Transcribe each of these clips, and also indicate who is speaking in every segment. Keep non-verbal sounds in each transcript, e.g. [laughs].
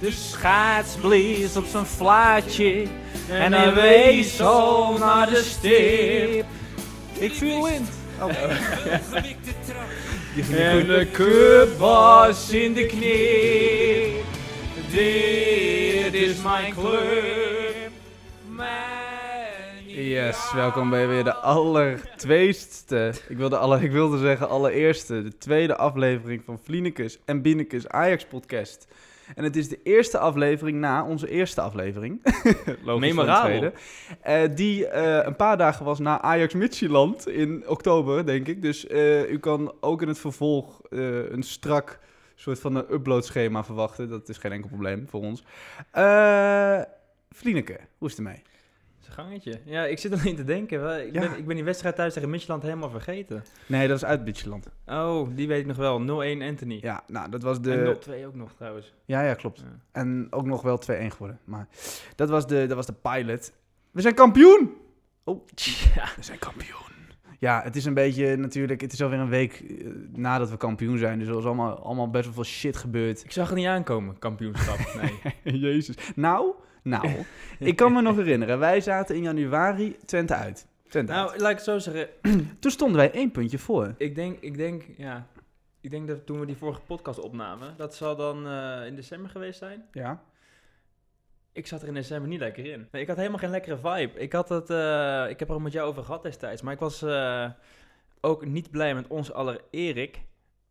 Speaker 1: De schaats blies op zijn vlaatje en hij wees zo naar de stip. Ik viel wind. En de cup was in de knie. Dit is mijn club. Mijn
Speaker 2: Yes, welkom bij weer de allertweestste, ik wilde, alle, ik wilde zeggen allereerste, de tweede aflevering van Vlinekus en Binekus Ajax podcast. En het is de eerste aflevering na onze eerste aflevering, Logisch van de
Speaker 1: Memorabel.
Speaker 2: tweede, eh, die eh, een paar dagen was na Ajax Midtjylland in oktober, denk ik. Dus eh, u kan ook in het vervolg eh, een strak soort van een uploadschema verwachten. Dat is geen enkel probleem voor ons. Eh Vlineke, hoe is het ermee?
Speaker 1: Zijn gangetje. Ja, ik zit alleen te denken. wel, Ik,
Speaker 2: Ja.
Speaker 1: ben, ik ben die wedstrijd thuis tegen Midtjylland helemaal vergeten.
Speaker 2: Nee, dat is uit Midtjylland.
Speaker 1: Oh, die weet ik nog wel. 0-1 Anthony.
Speaker 2: Ja, nou, dat was
Speaker 1: En
Speaker 2: de...
Speaker 1: 0-2 ook nog trouwens.
Speaker 2: Ja, ja, klopt.
Speaker 1: Ja.
Speaker 2: En ook nog wel 2-1 geworden. Maar dat was de, dat was de pilot. We zijn kampioen! Oh, we zijn kampioen. Ja, het is een beetje natuurlijk... Het is alweer een week eh, nadat we kampioen zijn. Dus er is allemaal, allemaal best wel veel shit
Speaker 1: [laughs]
Speaker 2: gebeurd.
Speaker 1: Ik zag het niet aankomen, kampioenschap. Nee.
Speaker 2: [laughs] Jezus. Nou, nou. [laughs] ik kan me nog herinneren. Wij zaten in januari Twente uit. Twente uit.
Speaker 1: nou, laat ik het zo zeggen.
Speaker 2: Toen stonden wij één puntje voor.
Speaker 1: Ik denk, ik denk, ja. Ik denk dat toen we die vorige podcast opnamen, dat zal dan eh, in december geweest zijn.
Speaker 2: Ja.
Speaker 1: Ik zat er in december niet lekker in. Nee, ik had helemaal geen lekkere vibe. Ik had het, eh, ik heb er ook met jou over gehad destijds, maar ik was eh, ook niet blij met ons aller Erik.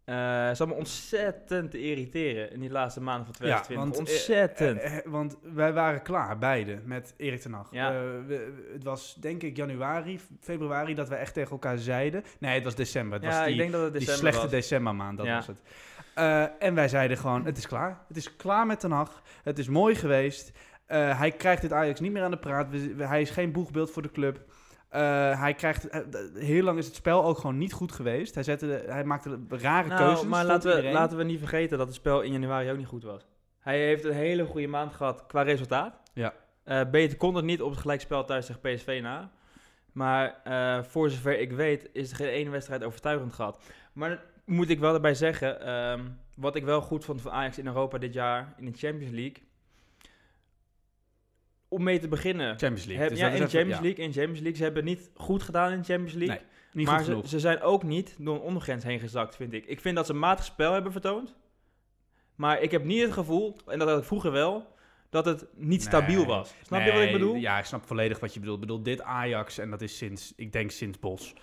Speaker 1: Eh het zat me ontzettend te irriteren in die laatste maanden van 2020.
Speaker 2: want, eh,
Speaker 1: ontzettend.
Speaker 2: Eh, eh, want wij waren klaar, beide, met Erik ten Hag.
Speaker 1: Ja.
Speaker 2: Eh, we- we- het was denk ik januari, februari, dat we echt tegen elkaar zeiden... Nee, het was december. Het
Speaker 1: ja,
Speaker 2: was die,
Speaker 1: ik denk dat het
Speaker 2: die
Speaker 1: december
Speaker 2: slechte
Speaker 1: was.
Speaker 2: decembermaand, dat
Speaker 1: Ja.
Speaker 2: was het. Eh, en wij zeiden gewoon, het is klaar. Het is klaar met ten Hag. Het is mooi geweest. Eh, hij krijgt dit Ajax niet meer aan de praat. We- we- hij is geen boegbeeld voor de club. Eh, hij krijgt, eh, d- heel lang is het spel ook gewoon niet goed geweest. Hij, zette, de- hij maakte rare
Speaker 1: Nou,
Speaker 2: keuzes.
Speaker 1: maar
Speaker 2: vond
Speaker 1: laten we,
Speaker 2: iedereen.
Speaker 1: laten we niet vergeten dat het spel in januari ook niet goed was. Hij heeft een hele goede maand gehad qua resultaat.
Speaker 2: Ja.
Speaker 1: Eh, beter kon het niet op het gelijkspel thuis tegen PSV na. Maar eh, voor zover ik weet is er geen ene wedstrijd overtuigend gehad. Maar dat moet ik wel erbij zeggen, ehm, wat ik wel goed vond van Ajax in Europa dit jaar in de Champions League. Om mee te beginnen.
Speaker 2: Champions League.
Speaker 1: Heb,
Speaker 2: Dus
Speaker 1: ja,
Speaker 2: dat
Speaker 1: in
Speaker 2: is
Speaker 1: de
Speaker 2: even-
Speaker 1: Champions
Speaker 2: ja,
Speaker 1: League. In de Champions League. Ze hebben het niet goed gedaan in de Champions League.
Speaker 2: Nee. niet
Speaker 1: maar
Speaker 2: goed
Speaker 1: ze,
Speaker 2: genoeg.
Speaker 1: ze zijn ook niet door een ondergrens heen gezakt, vind ik. Ik vind dat ze een matig spel hebben vertoond. Maar ik heb niet het gevoel, en dat had ik vroeger wel, dat het niet
Speaker 2: Nee.
Speaker 1: stabiel was. Snap je wat ik
Speaker 2: Nee,
Speaker 1: bedoel?
Speaker 2: Ja, ik snap volledig wat je bedoelt. Ik bedoel, dit Ajax, en dat is sinds, ik denk sinds Bos,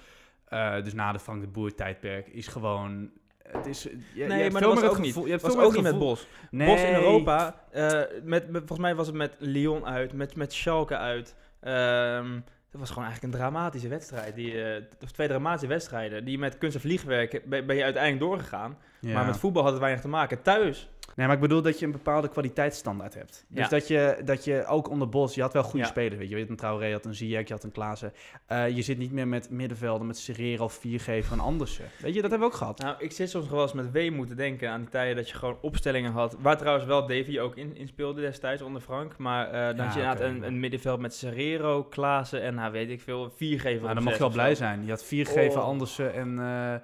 Speaker 2: eh, dus na de Frank de Boer tijdperk, is gewoon... Het is, je, je
Speaker 1: nee,
Speaker 2: hebt
Speaker 1: maar
Speaker 2: veel
Speaker 1: dat was
Speaker 2: meer het
Speaker 1: ook niet.
Speaker 2: gevoel- Je hebt
Speaker 1: was
Speaker 2: veel meer
Speaker 1: ook niet
Speaker 2: het
Speaker 1: met
Speaker 2: gevoel-
Speaker 1: Bos.
Speaker 2: Nee.
Speaker 1: Bos in Europa, eh, met, met- volgens mij was het met Lyon uit, met, met Schalke uit. Ehm, dat was gewoon eigenlijk een dramatische wedstrijd. Die, eh, of twee dramatische wedstrijden. Die met kunst en vliegwerk ben, ben je uiteindelijk doorgegaan.
Speaker 2: Ja.
Speaker 1: Maar met voetbal had het weinig te maken. Thuis
Speaker 2: Nee, maar ik bedoel dat je een bepaalde kwaliteitsstandaard hebt. Dus
Speaker 1: Ja.
Speaker 2: dat, je, dat je ook onder Bos, je had wel goede
Speaker 1: Ja.
Speaker 2: spelers. Weet je. je had een Traoré, je had een Ziyech, je had een Klaassen. Eh, je zit niet meer met middenvelden, met Serrero, Viergever en Andersen. Weet je, dat hebben we ook gehad.
Speaker 1: Nou, ik zit soms wel eens met weemoed te denken aan die tijden dat je gewoon opstellingen had. Waar trouwens wel Davy ook in, in speelde destijds onder Frank. Maar eh dan
Speaker 2: Ja,
Speaker 1: had je inderdaad
Speaker 2: oké,
Speaker 1: een,
Speaker 2: ja.
Speaker 1: een middenveld met Serrero, Klaassen en nou, weet ik veel, viergever.
Speaker 2: Maar dan mag je wel blij zijn. Je had Viergever,
Speaker 1: Oh.
Speaker 2: Andersen en... eh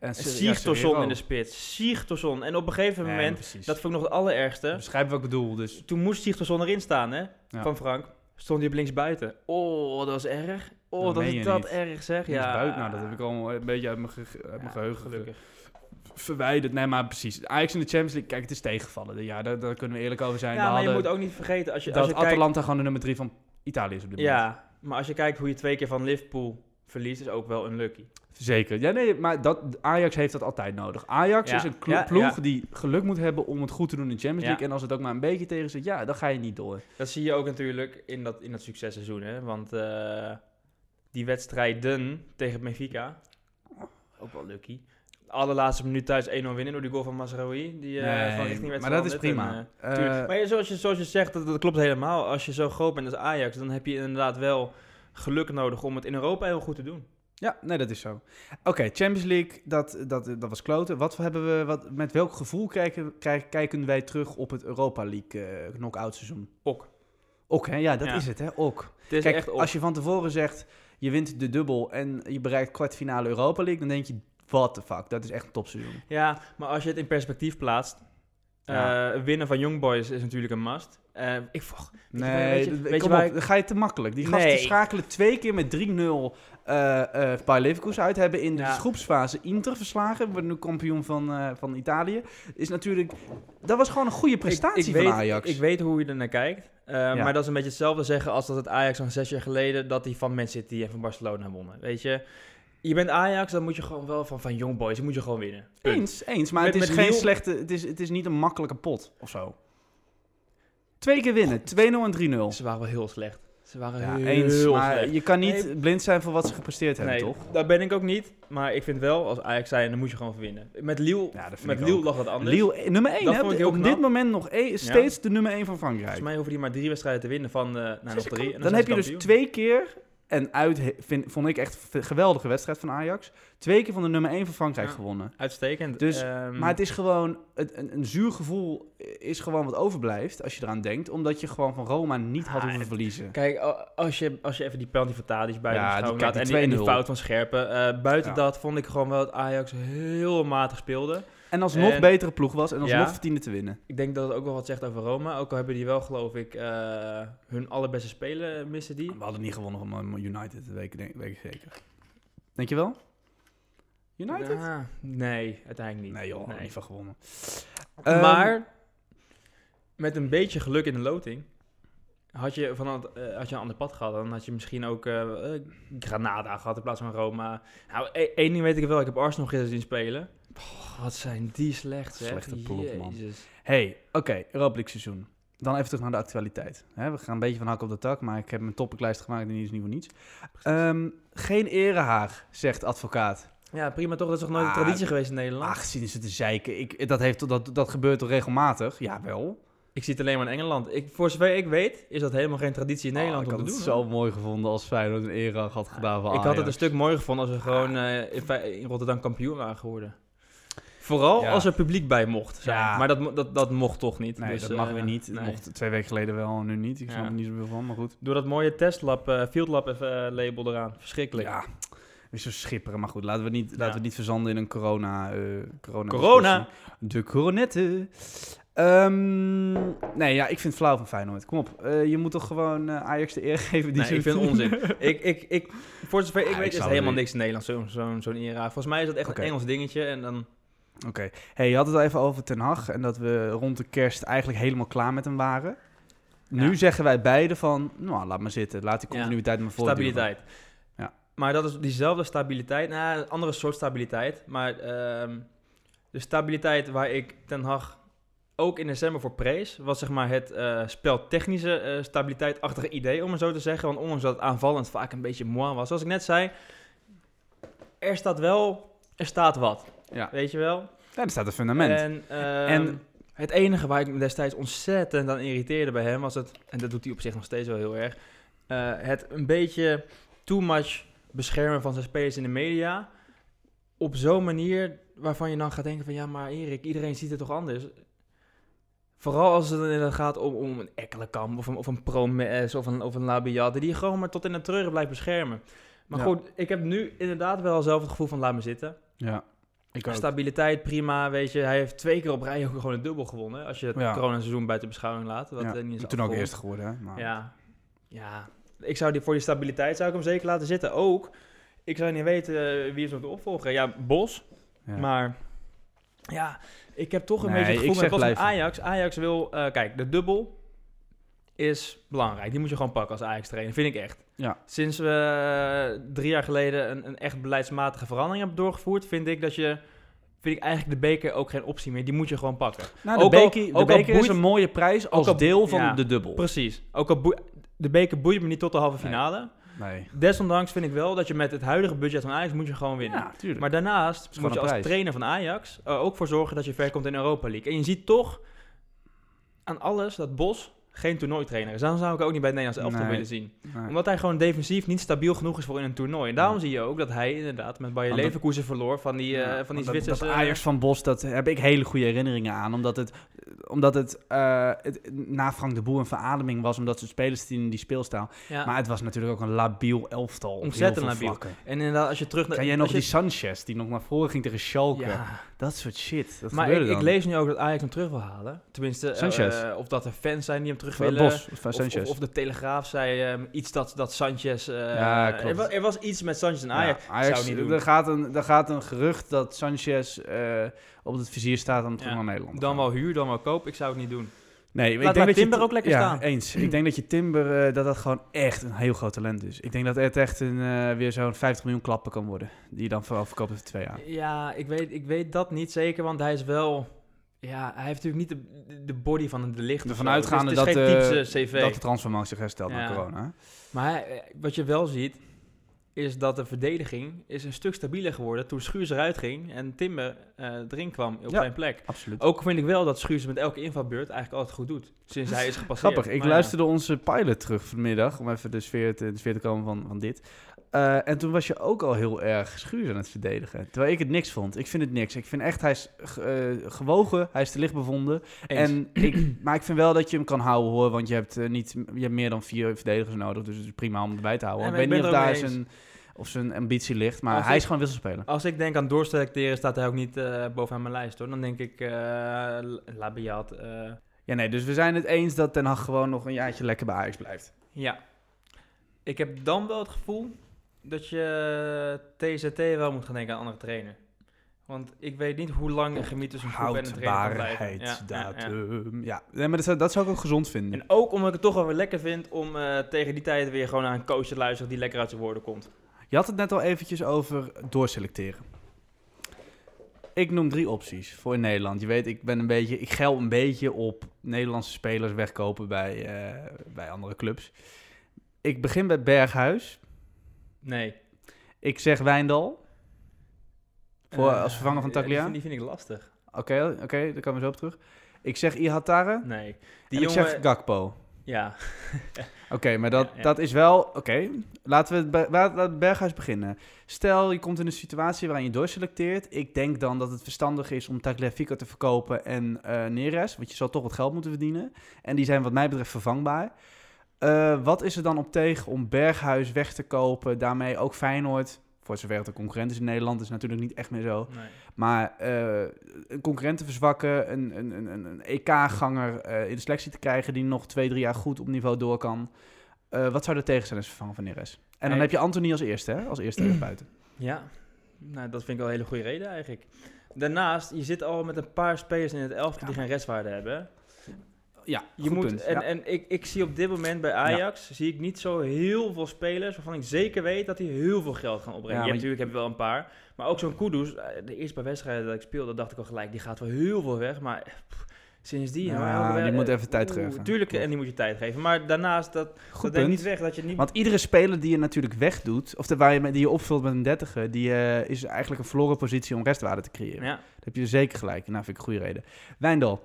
Speaker 2: en Ser- ja,
Speaker 1: Sigtorsson
Speaker 2: Serrero.
Speaker 1: in de spits. Sigtorsson. En op een gegeven
Speaker 2: Nee,
Speaker 1: moment,
Speaker 2: precies.
Speaker 1: dat vond ik nog het allerergste.
Speaker 2: Begrijp wat ik bedoel, dus...
Speaker 1: Toen moest Sigtorsson erin staan, hè?
Speaker 2: Ja.
Speaker 1: Van Frank. Stond hij op links buiten. Oh, dat was erg. Oh,
Speaker 2: Dat
Speaker 1: dat
Speaker 2: meen
Speaker 1: is
Speaker 2: je
Speaker 1: dat
Speaker 2: niet.
Speaker 1: erg, zeg.
Speaker 2: Ja.
Speaker 1: Ja.
Speaker 2: Buiten, nou, dat heb ik allemaal een beetje uit mijn, ge- uit
Speaker 1: Ja,
Speaker 2: mijn geheugen
Speaker 1: gelukkig.
Speaker 2: ge- verwijderd. Nee, maar precies. Ajax in de Champions League, kijk, het is tegengevallen. Ja, daar, daar kunnen we eerlijk over zijn.
Speaker 1: Ja,
Speaker 2: we
Speaker 1: maar je
Speaker 2: hadden
Speaker 1: moet ook niet vergeten, als je,
Speaker 2: dat
Speaker 1: als je kijkt...
Speaker 2: Atalanta gewoon de nummer drie van Italië is op dit moment.
Speaker 1: Ja, maar als je kijkt hoe je twee keer van Liverpool verliest, is ook wel unlucky.
Speaker 2: Zeker. Ja, nee, maar dat, Ajax heeft dat altijd nodig. Ajax
Speaker 1: Ja,
Speaker 2: is een klo-
Speaker 1: ja,
Speaker 2: ploeg
Speaker 1: ja.
Speaker 2: die geluk moet hebben om het goed te doen in de Champions
Speaker 1: Ja.
Speaker 2: League. En als het ook maar een beetje tegen zit, ja, dan ga je niet door.
Speaker 1: Dat zie je ook natuurlijk in dat, in dat successeizoen, hè. Want eh, die wedstrijden tegen Benfica, ook wel lucky. Allerlaatste minuut thuis 1-0 winnen door die goal van Masraoui. Die eh,
Speaker 2: Nee,
Speaker 1: van richting werd
Speaker 2: maar dat is
Speaker 1: veranderd.
Speaker 2: prima.
Speaker 1: En,
Speaker 2: Eh,
Speaker 1: eh, tuurlijk. maar ja, zoals, je, zoals je zegt, dat, dat klopt helemaal. Als je zo groot bent als Ajax, dan heb je inderdaad wel geluk nodig om het in Europa heel goed te doen.
Speaker 2: ja, nee, dat is zo. Oké, Champions League, dat, dat, dat was kloten. Wat hebben we, wat, met welk gevoel kijken, kijk- kijken wij terug op het Europa League eh knock-out seizoen?
Speaker 1: Ok.
Speaker 2: Ok, hè? Ja, dat
Speaker 1: Ja.
Speaker 2: is het, hè? Ok.
Speaker 1: Het is
Speaker 2: Kijk,
Speaker 1: echt op.
Speaker 2: als je van tevoren zegt, je wint de dubbel en je bereikt kwartfinale Europa League, dan denk je, what the fuck, dat is echt een topseizoen.
Speaker 1: Ja, maar als je het in perspectief plaatst.
Speaker 2: Ja.
Speaker 1: Eh, winnen van Young Boys is natuurlijk een must. Eh, ik vroeg,
Speaker 2: Nee,
Speaker 1: weet je-
Speaker 2: dat-
Speaker 1: weet je
Speaker 2: kom
Speaker 1: waar
Speaker 2: op,
Speaker 1: ik-
Speaker 2: dan ga je te makkelijk. Die gasten
Speaker 1: Nee.
Speaker 2: schakelen twee keer met 3-0 eh eh Bayer Leverkusen uit. Hebben in de
Speaker 1: Ja.
Speaker 2: groepsfase Inter verslagen. Worden nu kampioen van, eh, van Italië. Is natuurlijk... Dat was gewoon een goede prestatie
Speaker 1: ik, ik
Speaker 2: van
Speaker 1: weet,
Speaker 2: Ajax.
Speaker 1: Ik weet hoe je er naar kijkt. eh, Maar dat is een beetje hetzelfde zeggen als dat het Ajax van zes jaar geleden... dat die van Man City en van Barcelona wonnen. Weet je, je bent Ajax, dan moet je gewoon wel van, van Young Boys... moet je gewoon winnen. Punt.
Speaker 2: Eens, eens. Maar
Speaker 1: Met-
Speaker 2: het is
Speaker 1: met
Speaker 2: geen
Speaker 1: Lille-
Speaker 2: slechte... Het is, het is niet een makkelijke pot of zo. Twee keer winnen. 2-0 en 3-0.
Speaker 1: Ze waren wel heel slecht. Ze waren
Speaker 2: Ja,
Speaker 1: heel
Speaker 2: eens. Maar
Speaker 1: slecht.
Speaker 2: je kan niet
Speaker 1: Nee.
Speaker 2: blind zijn voor wat ze gepresteerd hebben, toch?
Speaker 1: daar ben ik ook niet. Maar ik vind wel, als Ajax zijn, dan moet je gewoon winnen. Met Liel,
Speaker 2: Ja, dat vind
Speaker 1: met
Speaker 2: ik
Speaker 1: Liel
Speaker 2: ook.
Speaker 1: lag dat anders.
Speaker 2: Lille, eh, nummer 1,
Speaker 1: Dat
Speaker 2: hè?
Speaker 1: vond ik heel
Speaker 2: Op
Speaker 1: knap.
Speaker 2: dit moment nog e- steeds de nummer 1 van Frankrijk.
Speaker 1: Volgens mij hoeven die maar drie wedstrijden te winnen van eh nou, nog drie. En
Speaker 2: Dan
Speaker 1: zijn
Speaker 2: heb
Speaker 1: ze
Speaker 2: je dus
Speaker 1: kampioen.
Speaker 2: twee keer, en uit he- vind, vond ik echt een geweldige wedstrijd van Ajax, twee keer van de nummer 1 van Frankrijk
Speaker 1: Ja.
Speaker 2: gewonnen.
Speaker 1: Uitstekend.
Speaker 2: Dus,
Speaker 1: Ehm,
Speaker 2: Maar het is gewoon, het, een, een zuur gevoel is gewoon wat overblijft als je eraan denkt, omdat je gewoon van Roma niet had
Speaker 1: Ah,
Speaker 2: hoeven
Speaker 1: het-
Speaker 2: verliezen.
Speaker 1: Kijk, a- als je, als je even die penalty van Tadic bij
Speaker 2: Ja,
Speaker 1: de
Speaker 2: die-
Speaker 1: beschouwing
Speaker 2: kijk,
Speaker 1: laat
Speaker 2: die
Speaker 1: en die, en die
Speaker 2: 2-0.
Speaker 1: fout van Scherpen. eh, buiten
Speaker 2: Ja.
Speaker 1: dat vond ik gewoon wel dat Ajax heel matig speelde.
Speaker 2: En alsnog
Speaker 1: en-
Speaker 2: betere ploeg was en alsnog
Speaker 1: Eh, Ja.
Speaker 2: verdiende te winnen.
Speaker 1: Ik denk dat het ook wel wat zegt over Roma. Ook al hebben die wel, geloof ik, eh, hun allerbeste spelen missen die.
Speaker 2: We hadden niet gewonnen van eh, United, dat weet ik, denk, weet ik zeker. Denk je wel? United?
Speaker 1: Ja, Ah, nee, uiteindelijk niet.
Speaker 2: Nee joh,
Speaker 1: Nee.
Speaker 2: niet van gewonnen. Ehm,
Speaker 1: maar met een beetje geluk in de loting had je, van, het, eh, had je een ander pad gehad. Dan had je misschien ook eh, eh, Granada gehad in plaats van Roma. Nou, e- één ding weet ik wel. Ik heb Arsenal gisteren zien spelen. Oh, wat zijn die slecht, zeg.
Speaker 2: Slechte ploeg, man.
Speaker 1: Jezus.
Speaker 2: Hey, oké, Europa League seizoen. Dan even terug naar de actualiteit. Hè, we gaan een beetje van hak op de tak, maar ik heb mijn topiclijst gemaakt en die is niet voor niets. Ehm, geen erehaag, zegt advocaat.
Speaker 1: Ja, prima toch. Dat is toch nooit een
Speaker 2: Ah,
Speaker 1: traditie geweest in Nederland?
Speaker 2: Ach, zien ze te zeiken. Ik, dat, heeft, dat, dat gebeurt toch regelmatig? Jawel.
Speaker 1: Ik zie het alleen maar in Engeland. Ik, voor zover ik weet, is dat helemaal geen traditie in Nederland
Speaker 2: Oh, ik
Speaker 1: om
Speaker 2: had
Speaker 1: te
Speaker 2: het
Speaker 1: doen.
Speaker 2: zo
Speaker 1: hoor.
Speaker 2: mooi gevonden als Feyenoord een erehaag had gedaan voor
Speaker 1: ik had het
Speaker 2: Ajax.
Speaker 1: een stuk mooier gevonden als we gewoon eh, in, fe- in Rotterdam kampioen waren geworden. Vooral
Speaker 2: Ja.
Speaker 1: als er publiek bij mocht zijn.
Speaker 2: Ja.
Speaker 1: Maar dat, mo- dat, dat mocht toch niet.
Speaker 2: Nee,
Speaker 1: Dus,
Speaker 2: dat mag
Speaker 1: eh,
Speaker 2: weer niet.
Speaker 1: nee.
Speaker 2: Het mocht twee weken geleden wel, nu niet. Ik snap
Speaker 1: Ja.
Speaker 2: er niet zoveel van, maar goed.
Speaker 1: Door dat mooie testlab, eh fieldlab eh, label eraan. Verschrikkelijk.
Speaker 2: Ja, weer zo schipperen. Maar goed, laten we niet, laten we niet verzanden in een corona... eh, corona,
Speaker 1: Corona!
Speaker 2: discussie. De coronetten. Ehm, nee, ja, ik vind het flauw van Feyenoord. Kom op, eh, je moet toch gewoon eh, Ajax de eer geven die
Speaker 1: Nee,
Speaker 2: ze
Speaker 1: ik
Speaker 2: [laughs]
Speaker 1: vind het
Speaker 2: verdienen?
Speaker 1: onzin. ik, ik, ik, voor zover ik
Speaker 2: Ah, ik
Speaker 1: weet is het
Speaker 2: zou het
Speaker 1: helemaal
Speaker 2: niet-
Speaker 1: niks in Nederland, zo'n zo'n zo'n era. Volgens mij is dat echt
Speaker 2: Oké.
Speaker 1: een Engels dingetje. En dan,
Speaker 2: Oké, hey, je had het al even over Ten Hag en dat we rond de kerst eigenlijk helemaal klaar met hem waren. Nu
Speaker 1: Ja.
Speaker 2: zeggen wij beiden van, nou, laat maar zitten. Laat die
Speaker 1: Ja.
Speaker 2: continuïteit maar voortduren.
Speaker 1: Stabiliteit.
Speaker 2: Ja.
Speaker 1: Maar dat is diezelfde stabiliteit, nou, een andere soort stabiliteit. Maar ehm, de stabiliteit waar ik Ten Hag ook in december voor prees, was zeg maar het eh, speltechnische eh, stabiliteitachtige idee, om het zo te zeggen. Want ondanks dat het aanvallend vaak een beetje mooi was. Zoals ik net zei, er staat wel, er staat wat.
Speaker 2: Ja.
Speaker 1: Weet je wel?
Speaker 2: Ja, daar staat een fundament.
Speaker 1: En, ehm,
Speaker 2: En-
Speaker 1: het enige waar ik me destijds ontzettend aan irriteerde bij hem was het, en dat doet hij op zich nog steeds wel heel erg, eh, het een beetje too much beschermen van zijn spelers in de media. Op zo'n manier waarvan je dan gaat denken van ja, maar Erik, iedereen ziet het toch anders? Vooral als het dan inderdaad gaat om, om een Ekkelenkamp of een, of een Promes of een, of een Labiade, die je gewoon maar tot in de treuren blijft beschermen. Maar
Speaker 2: Ja.
Speaker 1: goed, ik heb nu inderdaad wel zelf het gevoel van laat me zitten.
Speaker 2: ja, ik ook.
Speaker 1: Stabiliteit, prima, weet je. Hij heeft twee keer op rij ook gewoon een dubbel gewonnen. Als je het
Speaker 2: Ja.
Speaker 1: corona-seizoen buiten beschouwing laat. Wat
Speaker 2: Ja,
Speaker 1: eh, niet is
Speaker 2: Toen ook
Speaker 1: afgerond.
Speaker 2: eerst geworden, hè. Maar...
Speaker 1: Ja. ja. Ik zou die, voor die stabiliteit zou ik hem zeker laten zitten. Ook, ik zou niet weten eh, wie is nog de opvolger. Ja, Bos.
Speaker 2: Ja.
Speaker 1: Maar ja, ik heb toch een
Speaker 2: Nee,
Speaker 1: beetje het gevoel
Speaker 2: ik
Speaker 1: met,
Speaker 2: zeg
Speaker 1: was met
Speaker 2: blijven.
Speaker 1: Ajax. Ajax wil, eh, kijk, de dubbel is belangrijk. Die moet je gewoon pakken als Ajax-trainer, vind ik echt.
Speaker 2: Ja.
Speaker 1: Sinds we eh, drie jaar geleden een, een echt beleidsmatige verandering hebben doorgevoerd, vind ik dat je, vind ik eigenlijk de beker ook geen optie meer. Die moet je gewoon pakken.
Speaker 2: Nou, de
Speaker 1: Ook al-
Speaker 2: beker, de
Speaker 1: ook al
Speaker 2: beker is
Speaker 1: boeit-
Speaker 2: een mooie prijs als
Speaker 1: al-
Speaker 2: deel van
Speaker 1: ja.
Speaker 2: de dubbel.
Speaker 1: Precies. Ook al boe- de beker boeit me niet tot de halve
Speaker 2: Nee.
Speaker 1: finale.
Speaker 2: Nee.
Speaker 1: Desondanks vind ik wel dat je met het huidige budget van Ajax moet je gewoon winnen.
Speaker 2: Ja, tuurlijk.
Speaker 1: Maar daarnaast
Speaker 2: gewoon
Speaker 1: moet je
Speaker 2: een
Speaker 1: als
Speaker 2: prijs.
Speaker 1: trainer van Ajax eh, er ook voor zorgen dat je ver komt in Europa League. En je ziet toch aan alles dat Bos geen toernooitrainer is. Dan zou ik ook niet bij het Nederlands elftal
Speaker 2: Nee.
Speaker 1: willen zien.
Speaker 2: Maar-
Speaker 1: Omdat hij gewoon defensief niet stabiel genoeg is voor in een toernooi. En daarom zie je ook dat hij inderdaad met Bayer
Speaker 2: Want dat-
Speaker 1: Leverkusen verloor van die, eh, van die
Speaker 2: want dat,
Speaker 1: Zwitsers.
Speaker 2: dat Ajax van Bos, dat heb ik hele goede herinneringen aan. Omdat het, omdat het, eh, het na Frank de Boer een verademing was. Omdat ze spelers die in die speelstijl.
Speaker 1: ja.
Speaker 2: Maar het was natuurlijk ook een labiel elftal. op heel
Speaker 1: Ontzettend
Speaker 2: veel
Speaker 1: labiel.
Speaker 2: vlakken.
Speaker 1: En inderdaad, als je terug naar...
Speaker 2: Kan jij nog
Speaker 1: als je-
Speaker 2: die Sanchez die nog naar voren ging tegen Schalke?
Speaker 1: Ja.
Speaker 2: Dat soort shit. Dat
Speaker 1: Maar
Speaker 2: gebeurde
Speaker 1: ik, ik
Speaker 2: dan.
Speaker 1: lees nu ook dat Ajax hem terug wil halen. Tenminste, eh,
Speaker 2: Sanchez.
Speaker 1: eh, of dat er fans zijn die hem terug
Speaker 2: Van
Speaker 1: willen.
Speaker 2: Bos, van
Speaker 1: Of,
Speaker 2: Sanchez.
Speaker 1: of, of de Telegraaf zei ehm, iets dat, dat Sanchez... eh,
Speaker 2: Ja, klopt.
Speaker 1: Er was, er was iets met Sanchez en
Speaker 2: Ja, eh,
Speaker 1: Ajax. eh, zou niet doen.
Speaker 2: er, gaat een, er gaat een gerucht dat Sanchez eh, op het vizier staat om terug
Speaker 1: Ja,
Speaker 2: naar Nederland. te
Speaker 1: Dan
Speaker 2: gaan.
Speaker 1: wel huur, dan wel koop. Ik zou het niet doen.
Speaker 2: Nee,
Speaker 1: Laat
Speaker 2: maar ik denk
Speaker 1: maar
Speaker 2: dat
Speaker 1: Timber
Speaker 2: je,
Speaker 1: ook lekker
Speaker 2: ja,
Speaker 1: staan.
Speaker 2: eens. Ik denk dat je Timber, eh, dat dat gewoon echt een heel groot talent is. Ik denk dat het echt een, eh, weer zo'n 50 miljoen klappen kan worden. Die je dan vooral verkoopt over twee jaar.
Speaker 1: Ja, ik weet, ik weet dat niet zeker, want hij is wel... Ja, hij heeft natuurlijk niet de, de body van een de licht.
Speaker 2: Ervan uitgaande
Speaker 1: dus het is
Speaker 2: dat,
Speaker 1: geen
Speaker 2: eh,
Speaker 1: typische cv.
Speaker 2: Dat de transfermarkt zich herstelt na
Speaker 1: Ja.
Speaker 2: corona.
Speaker 1: Maar hij- eh, wat je wel ziet, is dat de verdediging is een stuk stabieler geworden toen Schuurs eruit ging en Timber eh, erin kwam op
Speaker 2: Ja.
Speaker 1: zijn plek.
Speaker 2: Absoluut.
Speaker 1: Ook vind ik wel dat Schuurs met elke invalbeurt eigenlijk altijd goed doet, sinds hij is gepasseerd.
Speaker 2: Grappig, ik
Speaker 1: Maar ja.
Speaker 2: luisterde onze pilot terug vanmiddag, om even de sfeer te, in de sfeer te komen van, van dit. Eh, en toen was je ook al heel erg schuur aan het verdedigen. Terwijl ik het niks vond. Ik vind het niks. Ik vind echt, hij is ge- eh, gewogen, hij is te licht bevonden.
Speaker 1: Eens.
Speaker 2: En ik, maar ik vind wel dat je hem kan houden hoor, want je hebt, eh, niet, je hebt meer dan vier verdedigers nodig. Dus het is prima om erbij te houden.
Speaker 1: Nee,
Speaker 2: ik weet
Speaker 1: maar ik
Speaker 2: niet of
Speaker 1: ben
Speaker 2: daar
Speaker 1: het er ook
Speaker 2: zijn, of zijn ambitie ligt, maar
Speaker 1: Als
Speaker 2: hij
Speaker 1: ik-
Speaker 2: is gewoon wisselspeler.
Speaker 1: Als ik denk aan doorselecteren, staat hij ook niet eh, bovenaan mijn lijst hoor. Dan denk ik eh L- Labiat. eh,
Speaker 2: Ja nee, dus we zijn het eens dat Ten Hag gewoon nog een jaartje lekker bij Ajax blijft.
Speaker 1: ja. Ik heb dan wel het gevoel dat je TZT wel moet gaan denken aan andere trainer. Want ik weet niet hoe lang een gemiet tussen een groep en een trainer kan blijven. Ja, ja, ja.
Speaker 2: Houdbaarheidsdatum. Ja, Nee, maar dat zou, dat zou ik ook gezond vinden.
Speaker 1: En ook omdat ik het toch wel weer lekker vind om eh, tegen die tijd weer gewoon naar een coach te luisteren die lekker uit zijn woorden komt.
Speaker 2: Je had het net al eventjes over doorselecteren. Ik noem drie opties voor in Nederland. Je weet, ik ben een beetje, ik gel een beetje op Nederlandse spelers wegkopen bij, eh, bij andere clubs. Ik begin bij Berghuis.
Speaker 1: Nee.
Speaker 2: Ik zeg Wijndal. Voor-
Speaker 1: Eh,
Speaker 2: als vervanger van
Speaker 1: ja, die
Speaker 2: Taglia?
Speaker 1: vind- Die, vind ik lastig.
Speaker 2: Oké, oké, daar komen we zo op terug. Ik zeg Ihatare.
Speaker 1: Nee.
Speaker 2: Die
Speaker 1: Die
Speaker 2: en ik
Speaker 1: jongen...
Speaker 2: zeg Gakpo.
Speaker 1: ja.
Speaker 2: Oké, maar dat,
Speaker 1: Ja, ja.
Speaker 2: dat is wel... Oké, laten we het bij- laat- laten we Berghuis beginnen. Stel, je komt in een situatie waarin je doorselecteert. Ik denk dan dat het verstandig is om Tagliafico te verkopen en eh Neres. Want je zal toch wat geld moeten verdienen. En die zijn wat mij betreft vervangbaar. Eh, wat is er dan op tegen om Berghuis weg te kopen? Daarmee ook Feyenoord... Voor zover het een concurrent is in Nederland, is het natuurlijk niet echt meer zo.
Speaker 1: Nee.
Speaker 2: Maar eh, een concurrent te verzwakken, een, een, een- een, een EK-ganger eh, in de selectie te krijgen die nog twee, drie jaar goed op niveau door kan. Eh, wat zou er tegen zijn als vervanger van Neres? En dan
Speaker 1: Hey.
Speaker 2: heb je Anthony als eerste, hè? Als eerste
Speaker 1: [clears throat]
Speaker 2: buiten.
Speaker 1: Ja. Nou, dat vind ik wel een hele goede reden eigenlijk. Daarnaast, je zit al met een paar spelers in het elftal die geen restwaarde hebben.
Speaker 2: Ja,
Speaker 1: Je moet, en en ik, ik zie op dit moment bij Ajax zie ik niet zo heel veel spelers waarvan ik zeker weet dat die heel veel geld gaan opbrengen.
Speaker 2: Ja,
Speaker 1: je
Speaker 2: maar
Speaker 1: hebt, natuurlijk heb je wel een paar. Maar ook zo'n Kudus, eh, de eerste paar wedstrijden dat ik speelde, dacht ik al gelijk, die gaat wel heel veel weg. Maar eh, pff, sindsdien...
Speaker 2: Ja,
Speaker 1: maar elke
Speaker 2: die
Speaker 1: wed-
Speaker 2: moet
Speaker 1: eh,
Speaker 2: even tijd
Speaker 1: oeh,
Speaker 2: geven.
Speaker 1: Tuurlijk,
Speaker 2: Klopt.
Speaker 1: en die moet je tijd geven. Maar daarnaast, dat,
Speaker 2: Goed
Speaker 1: dat neemt niet
Speaker 2: punt.
Speaker 1: weg dat je niet...
Speaker 2: Want iedere speler die je natuurlijk wegdoet, of de, waar je, met- die je opvult met een dertiger, die eh, is eigenlijk een verloren positie om restwaarde te creëren.
Speaker 1: ja,
Speaker 2: Dat heb je zeker gelijk. Nou, vind ik een goede reden. Wijndal.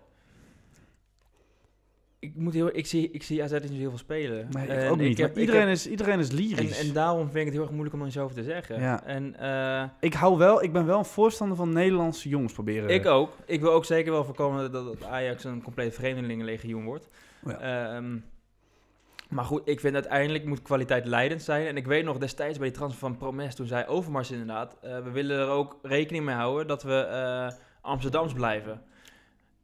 Speaker 1: ik, moet heel, ik, zie, ik zie AZ niet zo heel veel spelen.
Speaker 2: Maar ik
Speaker 1: En
Speaker 2: ook niet.
Speaker 1: eh, Ik heb,
Speaker 2: maar
Speaker 1: iedereen
Speaker 2: iedereen, is, iedereen is
Speaker 1: en,
Speaker 2: lyrisch.
Speaker 1: en daarom vind ik het heel erg moeilijk om er iets over te zeggen.
Speaker 2: Ja.
Speaker 1: En eh,
Speaker 2: Ik hou wel, ik ben wel een voorstander van Nederlandse jongens proberen.
Speaker 1: Ik ook. Ik wil ook zeker wel voorkomen dat- dat Ajax een compleet vreemdelingenlegioen wordt.
Speaker 2: Oh
Speaker 1: Ehm, maar goed, ik vind uiteindelijk moet kwaliteit leidend zijn. En ik weet nog destijds bij die transfer van Promes, toen zei Overmars inderdaad... eh, we willen er ook rekening mee houden dat we eh, Amsterdams blijven.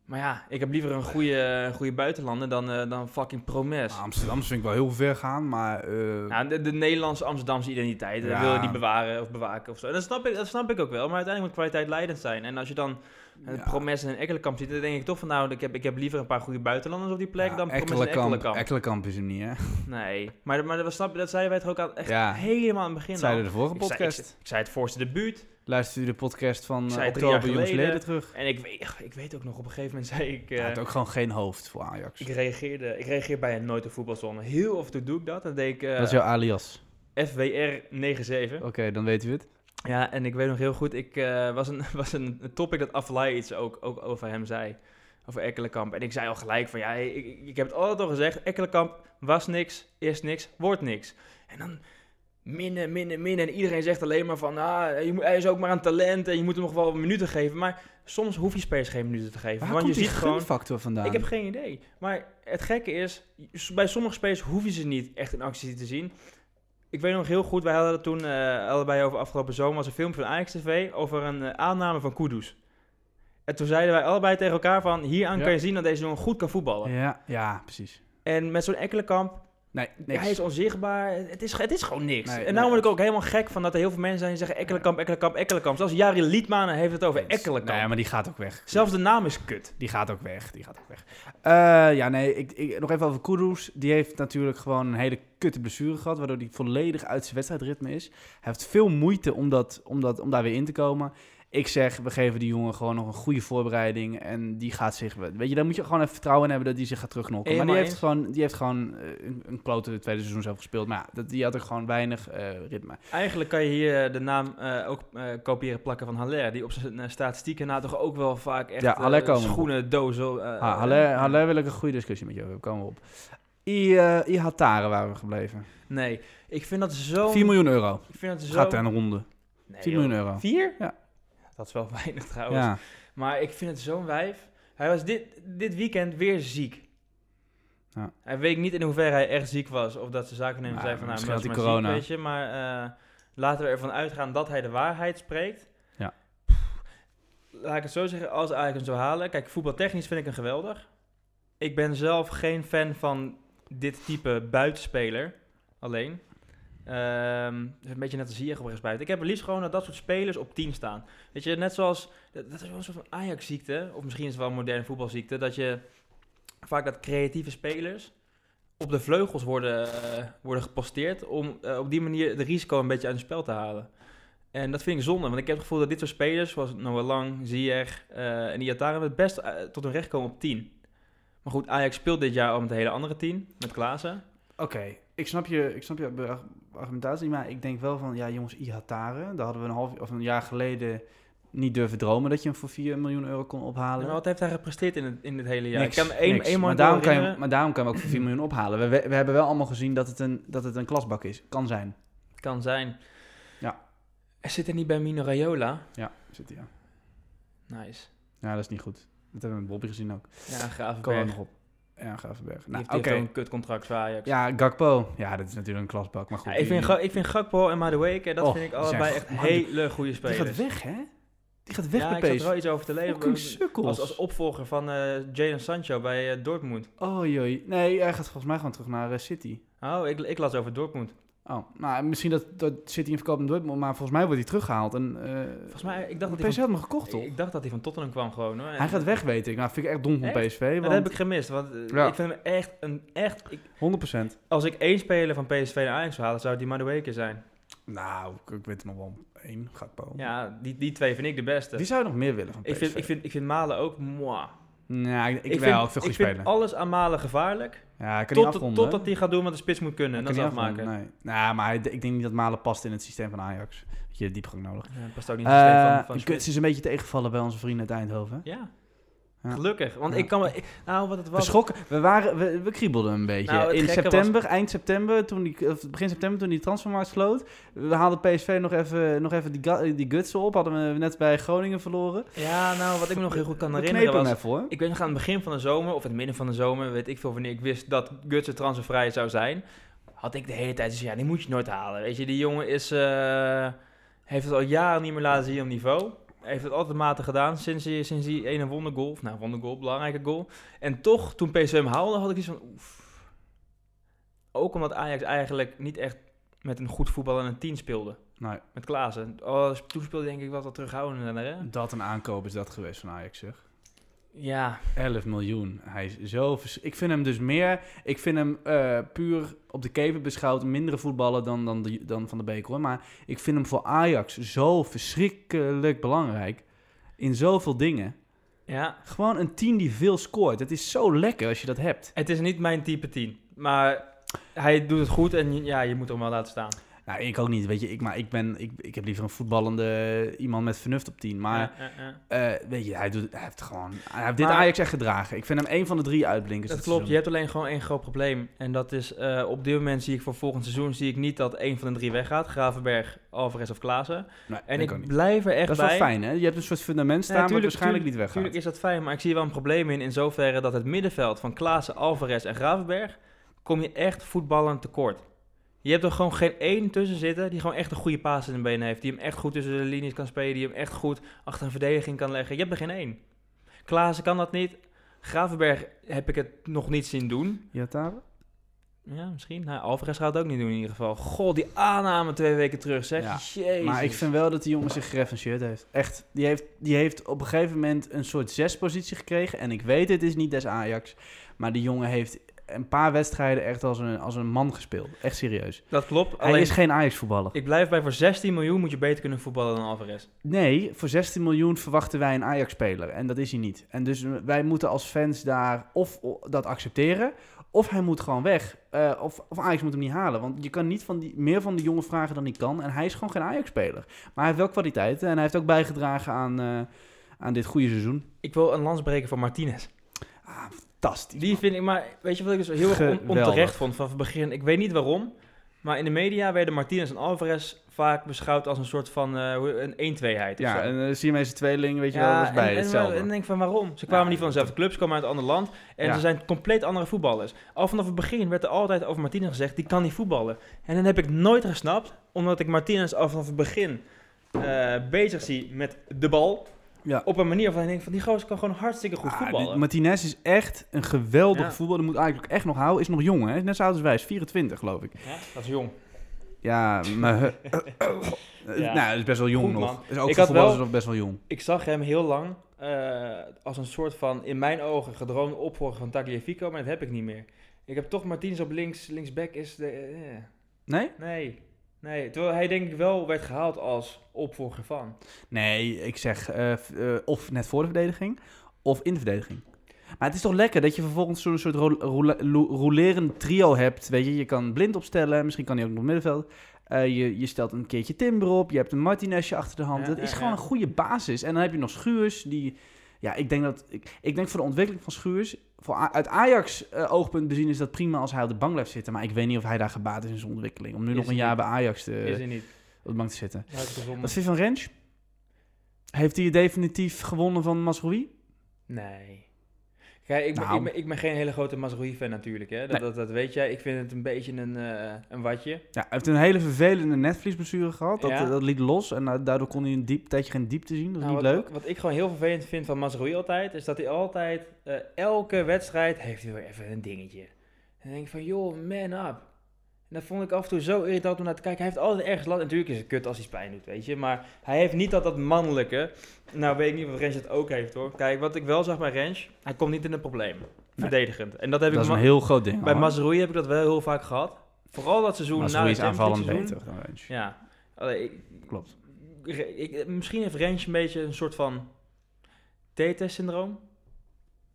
Speaker 1: Maar ja, ik heb liever een goede, een goede buitenlander dan, eh, dan fucking Promes.
Speaker 2: Nou, Amsterdamse vind ik wel heel ver gaan, maar... eh,
Speaker 1: Nou, de, de Nederlandse Amsterdamse identiteit, dat
Speaker 2: Ja.
Speaker 1: wil je die bewaren of bewaken of zo. En dat snap, ik, dat snap ik ook wel, maar uiteindelijk moet kwaliteit leidend zijn. En als je dan een
Speaker 2: Ja.
Speaker 1: Promes en een Ekkelenkamp ziet, dan denk ik toch van nou, ik heb, ik heb liever een paar goede buitenlanders op die plek
Speaker 2: ja,
Speaker 1: dan Promes en
Speaker 2: Ekkelenkamp-
Speaker 1: Ekkelenkamp.
Speaker 2: Ekkelenkamp is hem niet, hè?
Speaker 1: nee, maar, maar dat, was- snap, je, dat zeiden wij toch ook aan, echt
Speaker 2: Ja.
Speaker 1: helemaal aan het begin
Speaker 2: Dat
Speaker 1: al.
Speaker 2: zeiden we de vorige
Speaker 1: Ik zei-
Speaker 2: podcast.
Speaker 1: Ik, ik zei het voorste debuut
Speaker 2: Luistert u de podcast van
Speaker 1: Ik
Speaker 2: eh,
Speaker 1: zei het drie
Speaker 2: oktober
Speaker 1: jaar
Speaker 2: jongens
Speaker 1: geleden.
Speaker 2: leden terug?
Speaker 1: en ik weet, ik weet ook nog, op een gegeven moment [laughs] zei ik... eh,
Speaker 2: Hij had ook gewoon geen hoofd voor Ajax.
Speaker 1: ik reageerde, ik reageer bij een nooit de voetbalzone. Heel af en toe doe ik dat. Dan deed ik eh,
Speaker 2: Dat is jouw alias.
Speaker 1: FWR 97.
Speaker 2: Oké, dan weten we het.
Speaker 1: Ja, [laughs] en ik weet nog heel goed, ik eh, was, een, was een topic dat Aflaai iets ook, ook over hem zei. over Ekkelenkamp. En ik zei al gelijk van, ja, ik, ik- ik heb het altijd al gezegd. Ekkelenkamp was niks, is niks, wordt niks. En dan minnen, minnen, minnen. En iedereen zegt alleen maar van, ah, je moet, hij is ook maar een talent en je moet hem nog wel minuten geven. Maar soms hoef je spelers geen minuten te geven.
Speaker 2: Waar
Speaker 1: want
Speaker 2: komt
Speaker 1: je
Speaker 2: die
Speaker 1: ziet gewoon...
Speaker 2: gunfactor vandaan?
Speaker 1: Ik heb geen idee. Maar het gekke is, s- bij sommige spelers hoef je ze niet echt in actie te zien. Ik weet nog heel goed, wij hadden het toen eh, allebei over afgelopen zomer, was een filmpje van Ajax TV over een eh, aanname van Kudus. En toen zeiden wij allebei tegen elkaar van, hieraan
Speaker 2: Ja.
Speaker 1: kan je zien dat deze jongen goed kan voetballen.
Speaker 2: Ja, ja, precies.
Speaker 1: En met zo'n Ekkelenkamp,
Speaker 2: Nee,
Speaker 1: hij is onzichtbaar, het is, het is gewoon niks.
Speaker 2: Nee,
Speaker 1: en
Speaker 2: nee.
Speaker 1: nou word ik ook helemaal gek van dat er heel veel mensen zijn die zeggen Ekkelenkamp, Ekkelenkamp, Ekkelenkamp. Zelfs Jari Liedmanen heeft het over Ekkelenkamp.
Speaker 2: Nee, maar die gaat ook weg.
Speaker 1: Zelfs de naam is kut.
Speaker 2: Die gaat ook weg, die gaat ook weg. Eh, ja, nee, ik, ik, nog even over Kudus. Die heeft natuurlijk gewoon een hele kutte blessure gehad, waardoor hij volledig uit zijn wedstrijdritme is. Hij heeft veel moeite om, dat, om, dat, om daar weer in te komen. Ik zeg, we geven die jongen gewoon nog een goede voorbereiding en die gaat zich... Weet je, daar moet je gewoon even vertrouwen in hebben dat die zich gaat terugknokken. Maar die
Speaker 1: Helemaal
Speaker 2: heeft gewoon, die heeft gewoon eh, een, een klote tweede seizoen zelf gespeeld. Maar ja, dat, die had ook gewoon weinig eh, ritme.
Speaker 1: Eigenlijk kan je hier eh, de naam eh, ook eh, kopiëren plakken van Haller. Die op zijn eh, statistieken na toch ook wel vaak echt
Speaker 2: Ja,
Speaker 1: eh,
Speaker 2: Haller komen we
Speaker 1: schoenen, dozen. eh,
Speaker 2: Ah,
Speaker 1: eh,
Speaker 2: Haller,
Speaker 1: eh,
Speaker 2: Haller wil ik een goede discussie met je hebben, komen we op. I, eh I Hatare waren we gebleven.
Speaker 1: Nee, ik vind dat zo...
Speaker 2: 4 miljoen euro.
Speaker 1: Ik vind dat zo...
Speaker 2: Gaat aan een ronde.
Speaker 1: Nee,
Speaker 2: 10
Speaker 1: joh.
Speaker 2: miljoen euro.
Speaker 1: Vier?
Speaker 2: Ja.
Speaker 1: Dat is wel [laughs] weinig trouwens.
Speaker 2: Ja.
Speaker 1: Maar ik vind het zo'n wijf. Hij was dit, dit weekend weer ziek.
Speaker 2: Ja.
Speaker 1: Hij weet niet in hoeverre hij echt ziek was. Of dat ze zakennemer
Speaker 2: Maar
Speaker 1: zei van... Nou,
Speaker 2: misschien
Speaker 1: hij was
Speaker 2: had
Speaker 1: maar
Speaker 2: hij corona.
Speaker 1: Ziek, weet je. Maar eh, laten we ervan uitgaan dat hij de waarheid spreekt.
Speaker 2: Ja.
Speaker 1: Pff, laat ik het zo zeggen. Als Ajax hem zou halen... Kijk, voetbaltechnisch vind ik hem geweldig. Ik ben zelf geen fan van dit type buitenspeler. Alleen. Ehm, een beetje net als hier ergens buiten. Ik heb het liefst gewoon dat dat soort spelers op 10 staan. Weet je, net zoals... Dat, dat is wel een soort van Ajax-ziekte. Of misschien is het wel een moderne voetbalziekte. Dat je vaak dat creatieve spelers op de vleugels worden, eh, worden geposteerd. Om eh, op die manier de risico een beetje uit het spel te halen. En dat vind ik zonde. Want ik heb het gevoel dat dit soort spelers, zoals Noah Lang, Ziyech eh, en Iataren... het best eh, tot hun recht komen op 10. Maar goed, Ajax speelt dit jaar al met een hele andere 10. Met Klaassen.
Speaker 2: Oké, ik snap je, ik snap je be- argumentatie, maar ik denk wel van, ja jongens, Ihatare, daar hadden we een half of een jaar geleden niet durven dromen dat je hem voor 4 miljoen euro kon ophalen.
Speaker 1: Maar wat heeft hij gepresteerd in het, in het hele jaar?
Speaker 2: Niks,
Speaker 1: ik kan één,
Speaker 2: niks.
Speaker 1: één
Speaker 2: maar,
Speaker 1: moment
Speaker 2: daarom
Speaker 1: wel
Speaker 2: kan je,
Speaker 1: herinneren.
Speaker 2: maar daarom kan je hem ook voor 4 miljoen ophalen. We, we, we hebben wel allemaal gezien dat het een, dat het een klasbak is. Kan zijn.
Speaker 1: Kan zijn.
Speaker 2: Ja.
Speaker 1: Er zit er niet bij Mino Raiola.
Speaker 2: Ja, zit hij aan.
Speaker 1: Nice.
Speaker 2: Ja, dat is niet goed. Dat hebben we met Bobby gezien ook.
Speaker 1: Ja,
Speaker 2: Komen we
Speaker 1: Gravenberg.
Speaker 2: nog op. Ja, Gravenberg.
Speaker 1: Die
Speaker 2: Nou,
Speaker 1: heeft,
Speaker 2: oké.
Speaker 1: die heeft ook een kutcontract voor Ajax.
Speaker 2: Ja, Gakpo. Ja, dat is natuurlijk een klasbak, maar goed.
Speaker 1: Ja, ik, vind, Ga- ik vind Gakpo en Madueke, dat
Speaker 2: Och,
Speaker 1: vind ik
Speaker 2: die zijn
Speaker 1: allebei
Speaker 2: goed.
Speaker 1: echt
Speaker 2: Man, die-
Speaker 1: hele goede
Speaker 2: Die
Speaker 1: spelers.
Speaker 2: gaat weg, hè? Die gaat weg
Speaker 1: ja,
Speaker 2: bij
Speaker 1: ik zat
Speaker 2: PSV.
Speaker 1: er wel iets over te
Speaker 2: Fucking
Speaker 1: lezen.
Speaker 2: sukkels.
Speaker 1: Als, als opvolger van eh Jadon Sancho bij eh, Dortmund.
Speaker 2: Oh joi. Nee, hij gaat volgens mij gewoon terug naar eh, City.
Speaker 1: Oh, ik, ik las over Dortmund.
Speaker 2: Oh, nou, misschien dat, dat City hem verkoopt in Dortmund, maar volgens mij wordt hij teruggehaald. En, eh,
Speaker 1: Volgens mij, ik dacht dat hij
Speaker 2: PSV
Speaker 1: van,
Speaker 2: had hem gekocht, toch?
Speaker 1: ik, ik dacht dat hij van Tottenham kwam gewoon. Hoor.
Speaker 2: Hij gaat weg, weet ik. Nou, vind ik echt dom van
Speaker 1: Echt?
Speaker 2: PSV,
Speaker 1: Dat heb ik
Speaker 2: want
Speaker 1: gemist, want eh,
Speaker 2: Ja.
Speaker 1: ik vind hem echt een... Echt, ik-
Speaker 2: 100%.
Speaker 1: als ik één speler van PSV naar Ajax zou halen, zou het die Madueke zijn.
Speaker 2: Nou, ik, ik weet hem al wel. één Gakpo.
Speaker 1: Ja, die, die twee vind ik de beste.
Speaker 2: Wie zou je nog meer willen Oh. van PSV?
Speaker 1: Ik vind, ik, vind, ik vind Malen ook moi.
Speaker 2: Nou, ik, ik,
Speaker 1: vind,
Speaker 2: vind wel ook veel
Speaker 1: ik
Speaker 2: goede
Speaker 1: vind
Speaker 2: spelen.
Speaker 1: alles aan Malen gevaarlijk.
Speaker 2: Ja, ik kan niet
Speaker 1: Tot,
Speaker 2: afronden. hè?
Speaker 1: totdat hij gaat doen wat de spits moet kunnen.
Speaker 2: Hij
Speaker 1: En
Speaker 2: kan
Speaker 1: dat is
Speaker 2: niet afronden,
Speaker 1: afmaken.
Speaker 2: Nee, nou, maar hij- ik denk niet dat Malen past in het systeem van Ajax. Dat je diepgang nodig
Speaker 1: Ja, dat past ook niet in het systeem van,
Speaker 2: Eh,
Speaker 1: van
Speaker 2: de
Speaker 1: spits.
Speaker 2: kunst is een beetje tegengevallen bij onze vrienden uit Eindhoven.
Speaker 1: Ja.
Speaker 2: Ja.
Speaker 1: Gelukkig. Want
Speaker 2: Ja.
Speaker 1: ik kan me... ik- Nou, wat het
Speaker 2: We
Speaker 1: was...
Speaker 2: schrokken, we, waren, we, we kriebelden een beetje.
Speaker 1: Nou, het
Speaker 2: In
Speaker 1: gekke
Speaker 2: september, eind september, toen die, of begin september, toen die transfermarkt sloot. We haalden PSV nog even, nog even die, ga- die gutsen op. Hadden we net bij Groningen verloren.
Speaker 1: Ja, nou, wat ik me nog heel goed kan
Speaker 2: We
Speaker 1: herinneren
Speaker 2: knepen
Speaker 1: was...
Speaker 2: hem even hoor.
Speaker 1: Ik weet nog aan het begin van de zomer, of in het midden van de zomer, weet ik veel wanneer ik wist dat Gutsen transfervrij zou zijn, had ik de hele tijd gezegd, ja, die moet je nooit halen. Weet je, die jongen is, eh, heeft het al jaren niet meer laten zien op niveau. Hij heeft het altijd matig gedaan sinds, die- sinds die ene wondergoal, of nou, wondergoal, belangrijke goal. En toch, toen PSV hem haalde, had ik iets van, oef. Ook omdat Ajax eigenlijk niet echt met een goed voetbal en een team speelde.
Speaker 2: Nee.
Speaker 1: Met Klaassen. Oh, toen speelde denk ik wat wat terughoudender, hè?
Speaker 2: Dat een aankoop is dat geweest van Ajax zeg.
Speaker 1: Ja,
Speaker 2: 11 miljoen. Hij is zo... vers- Ik vind hem dus meer... Ik vind hem eh, puur op de keven beschouwd mindere voetballer dan, dan, die- dan Van de Beek hoor. Maar ik vind hem voor Ajax zo verschrikkelijk belangrijk. In zoveel dingen.
Speaker 1: ja.
Speaker 2: Gewoon een team die veel scoort. Het is zo lekker als je dat hebt.
Speaker 1: Het is niet mijn type 10, maar hij doet het goed en ja, je moet hem wel laten staan.
Speaker 2: Nou, ik ook niet, weet je. Ik, maar ik, ben, ik, ik heb liever een voetballende eh, iemand met vernuft op 10. Maar
Speaker 1: Ja, ja, ja.
Speaker 2: eh, weet je, hij, doet, hij heeft gewoon... Hij heeft dit
Speaker 1: Maar-
Speaker 2: Ajax echt gedragen. Ik vind hem één van de drie uitblinkers.
Speaker 1: Dat
Speaker 2: dit
Speaker 1: klopt, je
Speaker 2: seizoen.
Speaker 1: hebt alleen gewoon één groot probleem. En dat is, eh, op dit moment zie ik voor volgend seizoen zie ik niet dat één van de drie weggaat. Gravenberg, Alvarez of Klaassen.
Speaker 2: Nee,
Speaker 1: En
Speaker 2: denk
Speaker 1: ik,
Speaker 2: ook niet.
Speaker 1: blijf er echt
Speaker 2: Dat is
Speaker 1: bij.
Speaker 2: wel fijn, hè? Je hebt een soort fundament staan,
Speaker 1: tuurlijk,
Speaker 2: wat waarschijnlijk niet weggaat.
Speaker 1: Natuurlijk is dat fijn, maar ik zie er wel een probleem in. In zoverre dat het middenveld van Klaassen, Alvarez en Gravenberg... kom je echt voetballend tekort. Je hebt er gewoon geen één tussen zitten die gewoon echt een goede paas in de benen heeft. Die hem echt goed tussen de linies kan spelen. Die hem echt goed achter een verdediging kan leggen. Je hebt er geen één. Klaassen kan dat niet. Gravenberg heb ik het nog niet zien doen.
Speaker 2: Iataren?
Speaker 1: Ja, misschien. Nou, Alvarez gaat het ook niet doen in ieder geval. God, die aanname twee weken terug, zeg.
Speaker 2: Ja,
Speaker 1: Jezus.
Speaker 2: Maar ik vind wel dat die jongen zich gerefenseerd heeft. Echt, die heeft, die heeft op een gegeven moment een soort zespositie gekregen. En ik weet, het is niet des Ajax. Maar die jongen heeft een paar wedstrijden echt als een, als een man gespeeld. Echt serieus.
Speaker 1: Dat klopt.
Speaker 2: Hij
Speaker 1: Alleen,
Speaker 2: is geen Ajax-voetballer.
Speaker 1: ik blijf bij voor 16 miljoen moet je beter kunnen voetballen dan Alvarez.
Speaker 2: Nee, voor 16 miljoen verwachten wij een Ajax-speler. En dat is hij niet. En dus wij moeten als fans daar of o- dat accepteren... of hij moet gewoon weg. Eh, of, of Ajax moet hem niet halen. Want je kan niet van die, meer van die jongen vragen dan hij kan. En hij is gewoon geen Ajax-speler. Maar hij heeft wel kwaliteiten. En hij heeft ook bijgedragen aan, eh, aan dit goede seizoen.
Speaker 1: Ik wil een lans breken voor Martinez.
Speaker 2: Ah, fantastisch.
Speaker 1: Die vind ik, maar weet je wat ik dus heel erg on-
Speaker 2: Geweldig.
Speaker 1: onterecht vond vanaf het begin? Ik weet niet waarom, maar in de media werden Martinez en Alvarez vaak beschouwd als een soort van eh, hoe- een een-tweeheid. of
Speaker 2: ja,
Speaker 1: zo.
Speaker 2: en uh, Siamese tweeling, weet je
Speaker 1: Ja,
Speaker 2: wel, dat is bij
Speaker 1: en,
Speaker 2: hetzelfde.
Speaker 1: En, en denk van waarom? Ze kwamen
Speaker 2: Ja.
Speaker 1: niet van dezelfde club, ze kwamen uit een ander land. En
Speaker 2: Ja.
Speaker 1: ze zijn compleet andere voetballers. Al vanaf het begin werd er altijd over Martinez gezegd, die kan niet voetballen. En dan heb ik nooit gesnapt, omdat ik Martinez al vanaf het begin eh, bezig zie met de bal.
Speaker 2: Ja.
Speaker 1: Op een manier waarvan ik denk van die gozer kan gewoon hartstikke goed
Speaker 2: Ah,
Speaker 1: voetballen.
Speaker 2: dit- Martinez is echt een geweldige
Speaker 1: Ja.
Speaker 2: voetballer. Dat moet eigenlijk ook echt nog houden. Is nog jong, hè? Is net zo oud als wij. Is 24, geloof ik.
Speaker 1: Ja, dat is jong.
Speaker 2: Ja, maar...
Speaker 1: [laughs] Ja.
Speaker 2: Nou, dat is best wel jong
Speaker 1: Goed, man.
Speaker 2: nog. Is ook
Speaker 1: Ik
Speaker 2: voor
Speaker 1: had wel-
Speaker 2: voetballers nog best wel jong.
Speaker 1: Ik zag hem heel lang eh, als een soort van, in mijn ogen, gedroomde opvolger van Tagliafico, maar dat heb ik niet meer. Ik heb toch Martinez op links, linksback is de... eh,
Speaker 2: Nee?
Speaker 1: Nee. Nee, terwijl hij denk ik wel werd gehaald als opvolger van.
Speaker 2: Nee, ik zeg eh, f- eh, of net voor de verdediging, of in de verdediging. Maar het is toch lekker dat je vervolgens zo'n soort rol- roule- lo- rolerend trio hebt. Weet je, je kan blind opstellen, misschien kan hij ook nog middenveld. Eh, je, je stelt een keertje Timber op, je hebt een Martinezje achter de hand.
Speaker 1: Ja,
Speaker 2: dat is
Speaker 1: ja,
Speaker 2: gewoon
Speaker 1: ja.
Speaker 2: een goede basis. En dan heb je nog Schuurs, die... Ja, ik denk dat... Ik, ik denk voor de ontwikkeling van Schuurs... Voor, A- uit Ajax eh, oogpunt bezien is dat prima als hij op de bank blijft zitten. Maar ik weet niet of hij daar gebaat is in zijn ontwikkeling. Om nu
Speaker 1: Is
Speaker 2: nog een
Speaker 1: hij
Speaker 2: jaar
Speaker 1: niet.
Speaker 2: bij Ajax te,
Speaker 1: is hij niet.
Speaker 2: op de bank te zitten.
Speaker 1: Uitgezonderd.
Speaker 2: [laughs] Wat vind je van Rens? Heeft hij definitief gewonnen van Masroui?
Speaker 1: Nee. Kijk, ik ben,
Speaker 2: Nou.
Speaker 1: ik ben, ik ben geen hele grote Mazraoui-fan natuurlijk, hè. Dat,
Speaker 2: Nee.
Speaker 1: dat, dat weet jij. Ik vind het een beetje een, eh, een watje.
Speaker 2: Ja, hij heeft een hele vervelende netvliesblessure gehad. Dat,
Speaker 1: Ja.
Speaker 2: dat liet los en eh, daardoor kon hij een diep, tijdje geen diepte zien. Dat is
Speaker 1: Nou,
Speaker 2: niet
Speaker 1: wat,
Speaker 2: leuk.
Speaker 1: Wat ik gewoon heel vervelend vind van Mazraoui altijd, is dat hij altijd, eh, elke wedstrijd heeft hij weer even een dingetje. En dan denk ik van, joh, man up. En dat vond ik af en toe zo irritant om naar te kijken. Hij heeft altijd ergens last. Natuurlijk is het kut als hij pijn doet, weet je. Maar hij heeft niet dat, dat mannelijke. Nou, weet ik niet of Rens het ook heeft, hoor. Kijk, wat ik wel zag bij Rens, hij komt niet in een probleem. Verdedigend. En dat heb
Speaker 2: Dat
Speaker 1: ik
Speaker 2: is een
Speaker 1: ma-
Speaker 2: heel groot ding.
Speaker 1: bij Mazraoui heb ik dat wel heel vaak gehad. Vooral dat seizoen
Speaker 2: Masroui
Speaker 1: na
Speaker 2: is
Speaker 1: de Champions
Speaker 2: aanvallend
Speaker 1: League
Speaker 2: beter dan Rens.
Speaker 1: seizoen. Ja. Allee, ik,
Speaker 2: Klopt.
Speaker 1: Re- ik, misschien heeft Rens een beetje een soort van T-test-syndroom.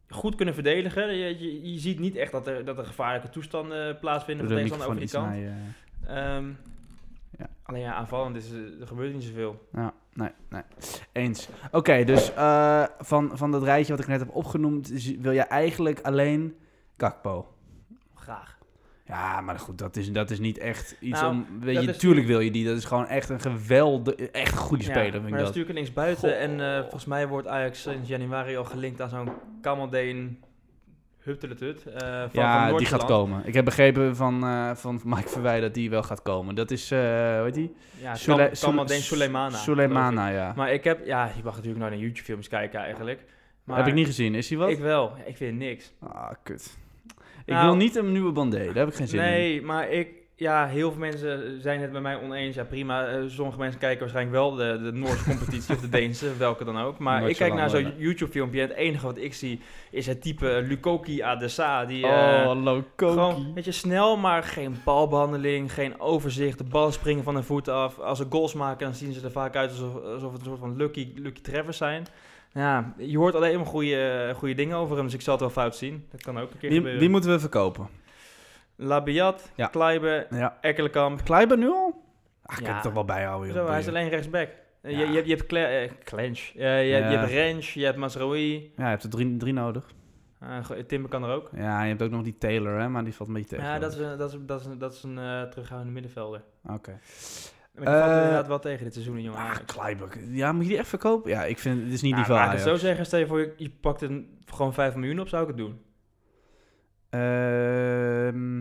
Speaker 1: Goed kunnen verdedigen. Je, je, je ziet niet echt dat er, dat er gevaarlijke toestanden eh, plaatsvinden
Speaker 2: Doe
Speaker 1: van
Speaker 2: de
Speaker 1: tegenstander
Speaker 2: microfoon
Speaker 1: over die
Speaker 2: iets
Speaker 1: kant.
Speaker 2: naar je...
Speaker 1: Ehm,
Speaker 2: Ja.
Speaker 1: Alleen ja, aanvallend is, eh, er gebeurt niet zoveel.
Speaker 2: Ja, nou, nee, nee. Eens. Oké, dus eh, van, van dat rijtje wat ik net heb opgenoemd... zie- wil je eigenlijk alleen Kakpo.
Speaker 1: Graag.
Speaker 2: Ja, maar goed, dat is, dat is niet echt iets
Speaker 1: Nou,
Speaker 2: om... Weet
Speaker 1: dat
Speaker 2: je,
Speaker 1: is-
Speaker 2: natuurlijk wil je die. Dat is gewoon echt een geweldige, echt een goede
Speaker 1: Ja,
Speaker 2: speler, vind
Speaker 1: maar
Speaker 2: ik
Speaker 1: dat
Speaker 2: dat.
Speaker 1: is natuurlijk links buiten.
Speaker 2: Goh.
Speaker 1: En eh, volgens mij wordt Ajax sinds januari al gelinkt aan zo'n Kamaldeen Hutteletut. eh, van,
Speaker 2: Ja,
Speaker 1: van
Speaker 2: die gaat
Speaker 1: Noord-Ierland.
Speaker 2: komen. Ik heb begrepen van, eh, van Mike Verwij dat die wel gaat komen. Dat is, eh hoe heet die?
Speaker 1: Ja,
Speaker 2: Sule-
Speaker 1: Kam- Kamaldeen
Speaker 2: Sule-
Speaker 1: Suleimana. geloof
Speaker 2: Suleimana, ja.
Speaker 1: ik. Maar ik heb, ja, je mag natuurlijk naar een YouTube-films kijken eigenlijk. Maar
Speaker 2: Heb ik niet gezien. Is hij wat?
Speaker 1: Ik wel. Ja, Ik vind niks.
Speaker 2: Ah, kut. Ik
Speaker 1: Nou-
Speaker 2: wil niet een nieuwe bandé. Daar heb ik geen zin in.
Speaker 1: nee, maar ik... Ja, heel veel mensen zijn het bij mij oneens. Ja, prima. Eh, sommige mensen kijken waarschijnlijk wel de, de Noorse competitie of de
Speaker 2: [laughs]
Speaker 1: Deense, welke dan ook. Maar
Speaker 2: Nooit
Speaker 1: ik
Speaker 2: zo
Speaker 1: kijk
Speaker 2: lang
Speaker 1: naar zo'n
Speaker 2: worden.
Speaker 1: YouTube-filmpje en het enige wat ik zie is het type Lukoki Adesa. Die, eh,
Speaker 2: Oh, loco.
Speaker 1: Gewoon, weet je, snel, maar geen balbehandeling, geen overzicht. De bal springen van hun voeten af. Als ze goals maken, dan zien ze er vaak uit alsof, alsof het een soort van lucky, lucky treffers zijn. Ja, je hoort alleen maar goede, goede dingen over hem, dus ik zal het wel fout zien. Dat kan ook een keer
Speaker 2: Wie,
Speaker 1: gebeuren.
Speaker 2: wie moeten we verkopen?
Speaker 1: Labiat,
Speaker 2: Ja.
Speaker 1: Kleiber,
Speaker 2: Ja.
Speaker 1: Ekkelenkamp.
Speaker 2: Kleiber nu al? Ah, ik
Speaker 1: Ja.
Speaker 2: kan het toch wel bijhouden, joh.
Speaker 1: Zo, hij is
Speaker 2: boeien.
Speaker 1: alleen rechtsback. Eh,
Speaker 2: Ja.
Speaker 1: Je, je, hebt- je hebt Cla eh, Clench. Eh, je, hebt- je
Speaker 2: Ja.
Speaker 1: hebt Rensch, je hebt Masraoui.
Speaker 2: Ja, je hebt er drie, drie nodig.
Speaker 1: Eh, go- Timber kan er ook.
Speaker 2: Ja, en je hebt ook nog die Taylor, hè, maar die valt een beetje tegen.
Speaker 1: Ja, dat is, een- dat is, een- dat is, een- dat is een eh, terughoudende middenvelder.
Speaker 2: Oké.
Speaker 1: Maar die valt
Speaker 2: Eh,
Speaker 1: inderdaad wel tegen dit seizoen, jongen.
Speaker 2: Ah,
Speaker 1: Ajax.
Speaker 2: Kleiberg. Ja, moet je die echt verkopen? Ja, ik vind het is niet
Speaker 1: Nou,
Speaker 2: die van
Speaker 1: laat ik het
Speaker 2: Ajax.
Speaker 1: zo zeggen, stel je voor, je, je pakt een, gewoon 5 miljoen op, zou ik het doen.
Speaker 2: Ehm,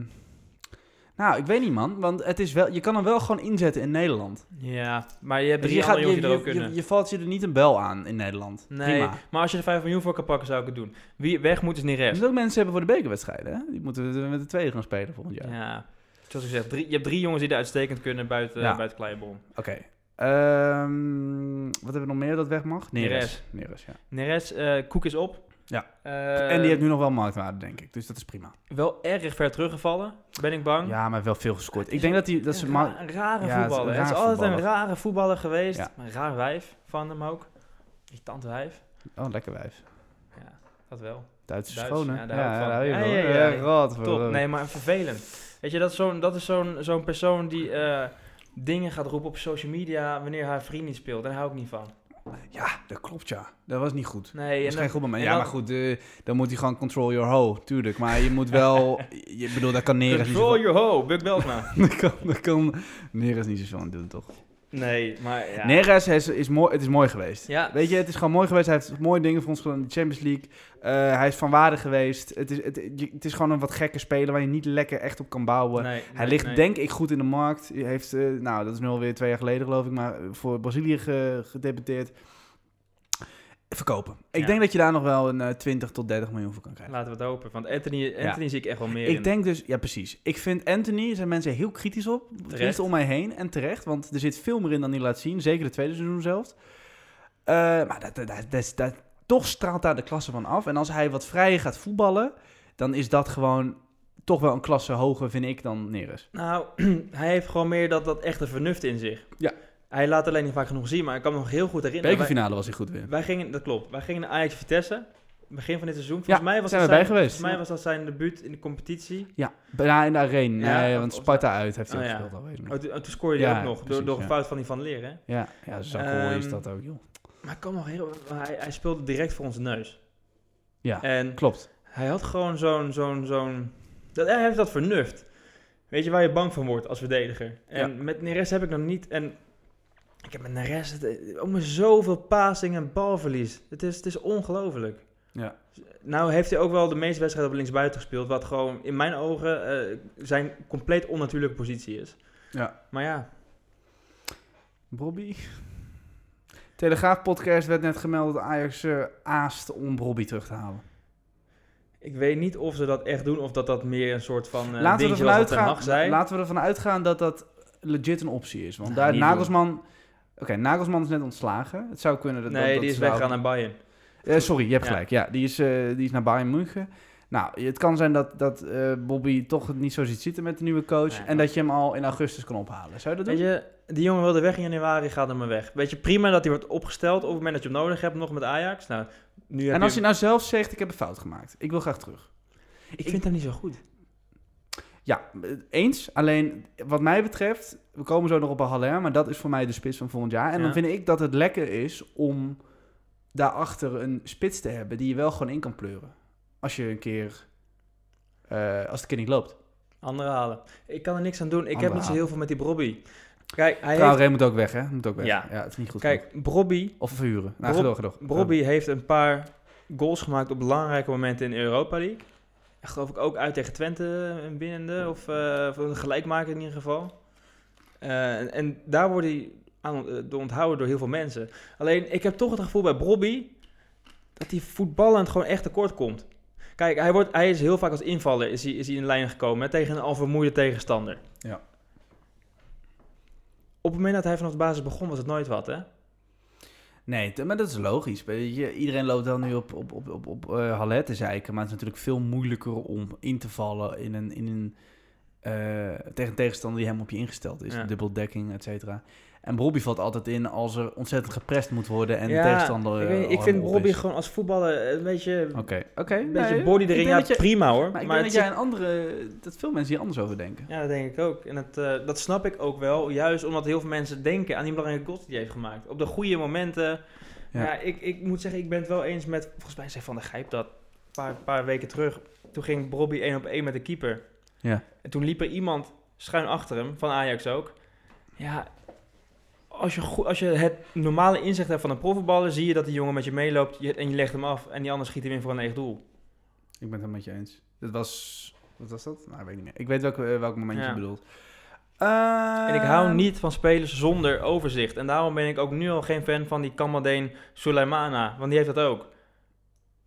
Speaker 2: nou, ik weet niet, man. Want het is wel, je kan hem wel gewoon inzetten in Nederland.
Speaker 1: Ja, maar je hebt
Speaker 2: Dus
Speaker 1: drie
Speaker 2: je, gaat,
Speaker 1: andere jongens die
Speaker 2: je,
Speaker 1: er ook
Speaker 2: je,
Speaker 1: kunnen.
Speaker 2: je, je valt je er niet een bel aan in Nederland.
Speaker 1: nee,
Speaker 2: Prima.
Speaker 1: maar als je er 5 miljoen voor kan pakken, zou ik het doen. Wie weg moet is niet
Speaker 2: Je
Speaker 1: rest.
Speaker 2: moet Dus ook mensen hebben voor de bekerwedstrijden. Hè? Die moeten we met de tweede gaan spelen volgend jaar.
Speaker 1: Ja. Zoals ik zeg, drie, je hebt drie jongens die er uitstekend kunnen buiten,
Speaker 2: Ja.
Speaker 1: buiten Kleibon.
Speaker 2: Oké. Ehm, wat hebben we nog meer dat weg mag?
Speaker 1: Neres.
Speaker 2: Neres. Neres, ja.
Speaker 1: Neres, eh Koek is op.
Speaker 2: Ja.
Speaker 1: Eh,
Speaker 2: en die heeft nu nog wel marktwaarde, denk ik. Dus dat is prima.
Speaker 1: Wel erg ver teruggevallen, ben ik bang.
Speaker 2: Ja, maar wel veel gescoord.
Speaker 1: Het
Speaker 2: Ik
Speaker 1: is
Speaker 2: denk dat, die, dat ze...
Speaker 1: een,
Speaker 2: ma-
Speaker 1: ra- een rare
Speaker 2: Ja, het is
Speaker 1: voetballer.
Speaker 2: een
Speaker 1: Het is
Speaker 2: raar
Speaker 1: altijd een
Speaker 2: voetballer.
Speaker 1: rare voetballer geweest.
Speaker 2: Ja.
Speaker 1: Een raar wijf van hem ook. Irritant wijf.
Speaker 2: Oh, lekker wijf.
Speaker 1: Ja, dat wel.
Speaker 2: Duitse
Speaker 1: Duits,
Speaker 2: schone.
Speaker 1: ja, daar hou ik van.
Speaker 2: hou je
Speaker 1: Ja,
Speaker 2: van.
Speaker 1: ja, ja, ja.
Speaker 2: godverdomme.
Speaker 1: Top. Nee, maar vervelend. Weet je, dat is zo'n dat is zo'n zo'n persoon die eh, dingen gaat roepen op social media wanneer haar vriend niet speelt. Daar hou ik niet van.
Speaker 2: Ja, dat klopt, ja. Dat was niet goed.
Speaker 1: Nee,
Speaker 2: Dat is
Speaker 1: en
Speaker 2: geen
Speaker 1: dan-
Speaker 2: goed moment.
Speaker 1: en
Speaker 2: Ja,
Speaker 1: dan-
Speaker 2: maar goed, eh, dan moet hij gewoon control your hoe, tuurlijk. Maar je moet
Speaker 1: [laughs]
Speaker 2: wel... je bedoel, daar kan Neres niet
Speaker 1: Control
Speaker 2: zoveel...
Speaker 1: your hoe, Buck Belsma.
Speaker 2: [laughs] Daar kan, daar kan Neres niet zoveel aan doen, toch?
Speaker 1: [laughs] nee, maar ja.
Speaker 2: Neres is, is mooi, het is mooi geweest.
Speaker 1: Ja.
Speaker 2: Weet je, het is gewoon mooi geweest. Hij heeft mooie dingen voor ons gedaan in de Champions League. Eh, hij is van waarde geweest. Het is, het, je- het is gewoon een wat gekke speler waar je niet lekker echt op kan bouwen.
Speaker 1: Nee,
Speaker 2: hij
Speaker 1: nee,
Speaker 2: ligt
Speaker 1: nee.
Speaker 2: denk ik goed in de markt. Hij heeft, eh, nou dat is nu alweer twee jaar geleden geloof ik, maar eh, voor Brazilië ge- gedebuteerd. Verkopen. Ik
Speaker 1: Ja.
Speaker 2: denk dat je daar nog wel een eh, 20 tot 30 miljoen voor kan krijgen.
Speaker 1: Laten we het hopen, want Anthony, Anthony zie ik echt wel meer in.
Speaker 2: Ik denk dus, ja precies. Ik vind Anthony, er zijn mensen heel kritisch op. Kritisch om mij heen en terecht, want er zit veel meer in dan hij laat zien. Zeker de tweede seizoen zelf. Eh, maar dat, dat, dat, dat- dat- toch straalt daar de klasse van af. En als hij wat vrijer gaat voetballen, dan is dat gewoon toch wel een klasse hoger, vind ik, dan Neres.
Speaker 1: Nou, [clears throat] hij heeft gewoon meer dat, dat echte vernuft in zich.
Speaker 2: Ja.
Speaker 1: Hij laat alleen niet vaak genoeg zien, maar ik kan me nog heel goed herinneren. Wij,
Speaker 2: Bekerfinale was hij goed weer.
Speaker 1: wij gingen, dat klopt, wij gingen naar Ajax Vitesse, begin van dit seizoen. Volgens mij was
Speaker 2: zijn
Speaker 1: dat
Speaker 2: we bij
Speaker 1: zijn,
Speaker 2: geweest.
Speaker 1: Volgens mij was dat zijn debuut in de competitie.
Speaker 2: Ja, bijna nou, in de arena.
Speaker 1: Ja,
Speaker 2: nee,
Speaker 1: of-
Speaker 2: want
Speaker 1: of-
Speaker 2: Sparta uit heeft hij
Speaker 1: Oh,
Speaker 2: ook
Speaker 1: ja.
Speaker 2: gespeeld alweer.
Speaker 1: Oh, toen, oh, toen scoorde hij
Speaker 2: Ja,
Speaker 1: ook nog, door,
Speaker 2: precies,
Speaker 1: door een
Speaker 2: ja.
Speaker 1: fout van die van leren. Hè?
Speaker 2: Ja, ja zo
Speaker 1: Ehm,
Speaker 2: cool is dat ook, joh.
Speaker 1: Maar ik kan me nog heel, hij, hij speelde direct voor onze neus.
Speaker 2: Ja,
Speaker 1: En
Speaker 2: klopt.
Speaker 1: hij had gewoon zo'n, zo'n, zo'n, dat, hij heeft dat vernuft. Weet je waar je bang van wordt als verdediger? En met Neres heb ik nog niet. En ik heb met Neres het, om zoveel passing en balverlies. Het is, het is ongelooflijk.
Speaker 2: Ja.
Speaker 1: Nou heeft hij ook wel de meeste wedstrijden op linksbuiten gespeeld. Wat gewoon in mijn ogen eh, zijn compleet onnatuurlijke positie is.
Speaker 2: Ja.
Speaker 1: Maar ja,
Speaker 2: Bobby? Telegraaf-podcast werd net gemeld dat Ajax eh, aast om Bobby terug te
Speaker 1: Eh,
Speaker 2: halen.
Speaker 1: ik weet niet of ze dat echt doen. Of dat dat meer een soort van eh
Speaker 2: laten, we
Speaker 1: dingetje
Speaker 2: ervan
Speaker 1: was dat Ten
Speaker 2: uitgaan,
Speaker 1: Hag zei.
Speaker 2: laten we ervan uitgaan dat dat legit een optie is. Want
Speaker 1: Nou,
Speaker 2: daar
Speaker 1: niet
Speaker 2: Nagelsman... Oké, Nagelsman is net ontslagen. Het zou kunnen dat... dat-
Speaker 1: nee,
Speaker 2: dat
Speaker 1: die is
Speaker 2: ze daar-
Speaker 1: weggegaan naar Bayern.
Speaker 2: Eh, sorry, je hebt
Speaker 1: Ja.
Speaker 2: gelijk. Ja, die is, eh, die is naar Bayern München. Nou, het kan zijn dat, dat eh, Bobby toch het niet zo ziet zitten met de nieuwe coach.
Speaker 1: Nee,
Speaker 2: en
Speaker 1: maar-
Speaker 2: dat je hem al in augustus kan ophalen. Zou je dat
Speaker 1: Weet
Speaker 2: doen?
Speaker 1: je, die jongen wilde weg in januari, gaat hem maar weg. Weet je, prima dat hij wordt opgesteld op het moment dat je hem nodig hebt, nog met Ajax. Nou, nu heb
Speaker 2: En als
Speaker 1: je
Speaker 2: hij
Speaker 1: hem-
Speaker 2: nou zelf zegt, ik heb een fout gemaakt. Ik wil graag terug.
Speaker 1: Ik vind hem niet zo goed.
Speaker 2: Ja, eh, eens. Alleen, wat mij betreft, we komen zo nog op een Haller. Maar dat is voor mij de spits van volgend jaar. En
Speaker 1: Ja.
Speaker 2: dan vind ik dat het lekker is om daarachter een spits te hebben die je wel gewoon in kan pleuren. Als je een keer, eh, als de keer niet loopt.
Speaker 1: Andere halen. Ik kan er niks aan doen. Ik heb
Speaker 2: Andere
Speaker 1: niet zo
Speaker 2: halen.
Speaker 1: heel veel met die Brobby. Kijk, hij heeft...
Speaker 2: Trouwens, hij moet ook weg, hè? Moet ook weg.
Speaker 1: Ja.
Speaker 2: Ja, het is niet goed. genoeg.
Speaker 1: Kijk, Brobby,
Speaker 2: Of verhuren. Nou,
Speaker 1: Rob-
Speaker 2: gedoog, gedoog.
Speaker 1: Brobby heeft een paar goals gemaakt op belangrijke momenten in Europa League. Geloof ik ook uit tegen Twente, een winnende. Of, eh, of een gelijkmaker in ieder geval. Eh, en, en daar wordt hij aan, eh, door onthouden door heel veel mensen. Alleen, ik heb toch het gevoel bij Brobby... dat hij voetballend gewoon echt tekort komt. Kijk, hij, wordt, hij is heel vaak als invaller is hij, is hij in lijn gekomen... Hè, tegen een al vermoeide tegenstander.
Speaker 2: Ja.
Speaker 1: Op het moment dat hij vanaf de basis begon, was het nooit wat, hè?
Speaker 2: Nee, t- maar dat is logisch. Weet je, iedereen loopt wel nu op, op, op, op, op eh, Haller te zeiken. Maar het is natuurlijk veel moeilijker om in te vallen in een, in een, eh, tegen een tegenstander die helemaal op je ingesteld is.
Speaker 1: Ja.
Speaker 2: Dubbeldekking, et cetera. En Bobby valt altijd in als er ontzettend geprest moet worden en
Speaker 1: Ja,
Speaker 2: de tegenstander.
Speaker 1: ik,
Speaker 2: eh,
Speaker 1: weet niet, ik
Speaker 2: al
Speaker 1: vind
Speaker 2: helemaal op
Speaker 1: Robbie
Speaker 2: is.
Speaker 1: gewoon als voetballer een beetje,
Speaker 2: Oké. Oké.
Speaker 1: een beetje
Speaker 2: nee,
Speaker 1: body
Speaker 2: ik
Speaker 1: erin.
Speaker 2: denk
Speaker 1: Ja,
Speaker 2: dat je-
Speaker 1: prima hoor.
Speaker 2: Maar ik denk
Speaker 1: het
Speaker 2: dat jij een andere... Dat veel mensen hier anders over denken.
Speaker 1: Ja, dat denk ik ook. En dat, eh, dat snap ik ook wel. Juist omdat heel veel mensen denken aan die belangrijke goals die hij heeft gemaakt. Op de goede momenten.
Speaker 2: Ja.
Speaker 1: Ja, ik, ik moet zeggen, ik ben het wel eens met... Volgens mij zei Van der Gijp dat een paar, paar weken terug. Toen ging Bobby één op één met de keeper.
Speaker 2: Ja.
Speaker 1: En toen liep er iemand schuin achter hem, van Ajax ook. Ja, als je, goed, als je het normale inzicht hebt van een profvoetballer... zie je dat die jongen met je meeloopt je- en je legt hem af. En die ander schiet hem in voor een eigen doel.
Speaker 2: Ik ben het helemaal met je eens. Dat was... Wat was dat? Nou, ik weet niet meer. Ik weet welk, eh, welk moment je
Speaker 1: Ja.
Speaker 2: bedoelt.
Speaker 1: En ik hou
Speaker 2: Ehm,
Speaker 1: niet van spelers zonder overzicht. En daarom ben ik ook nu al geen fan van die Kamadeen Suleimana. Want die heeft dat ook.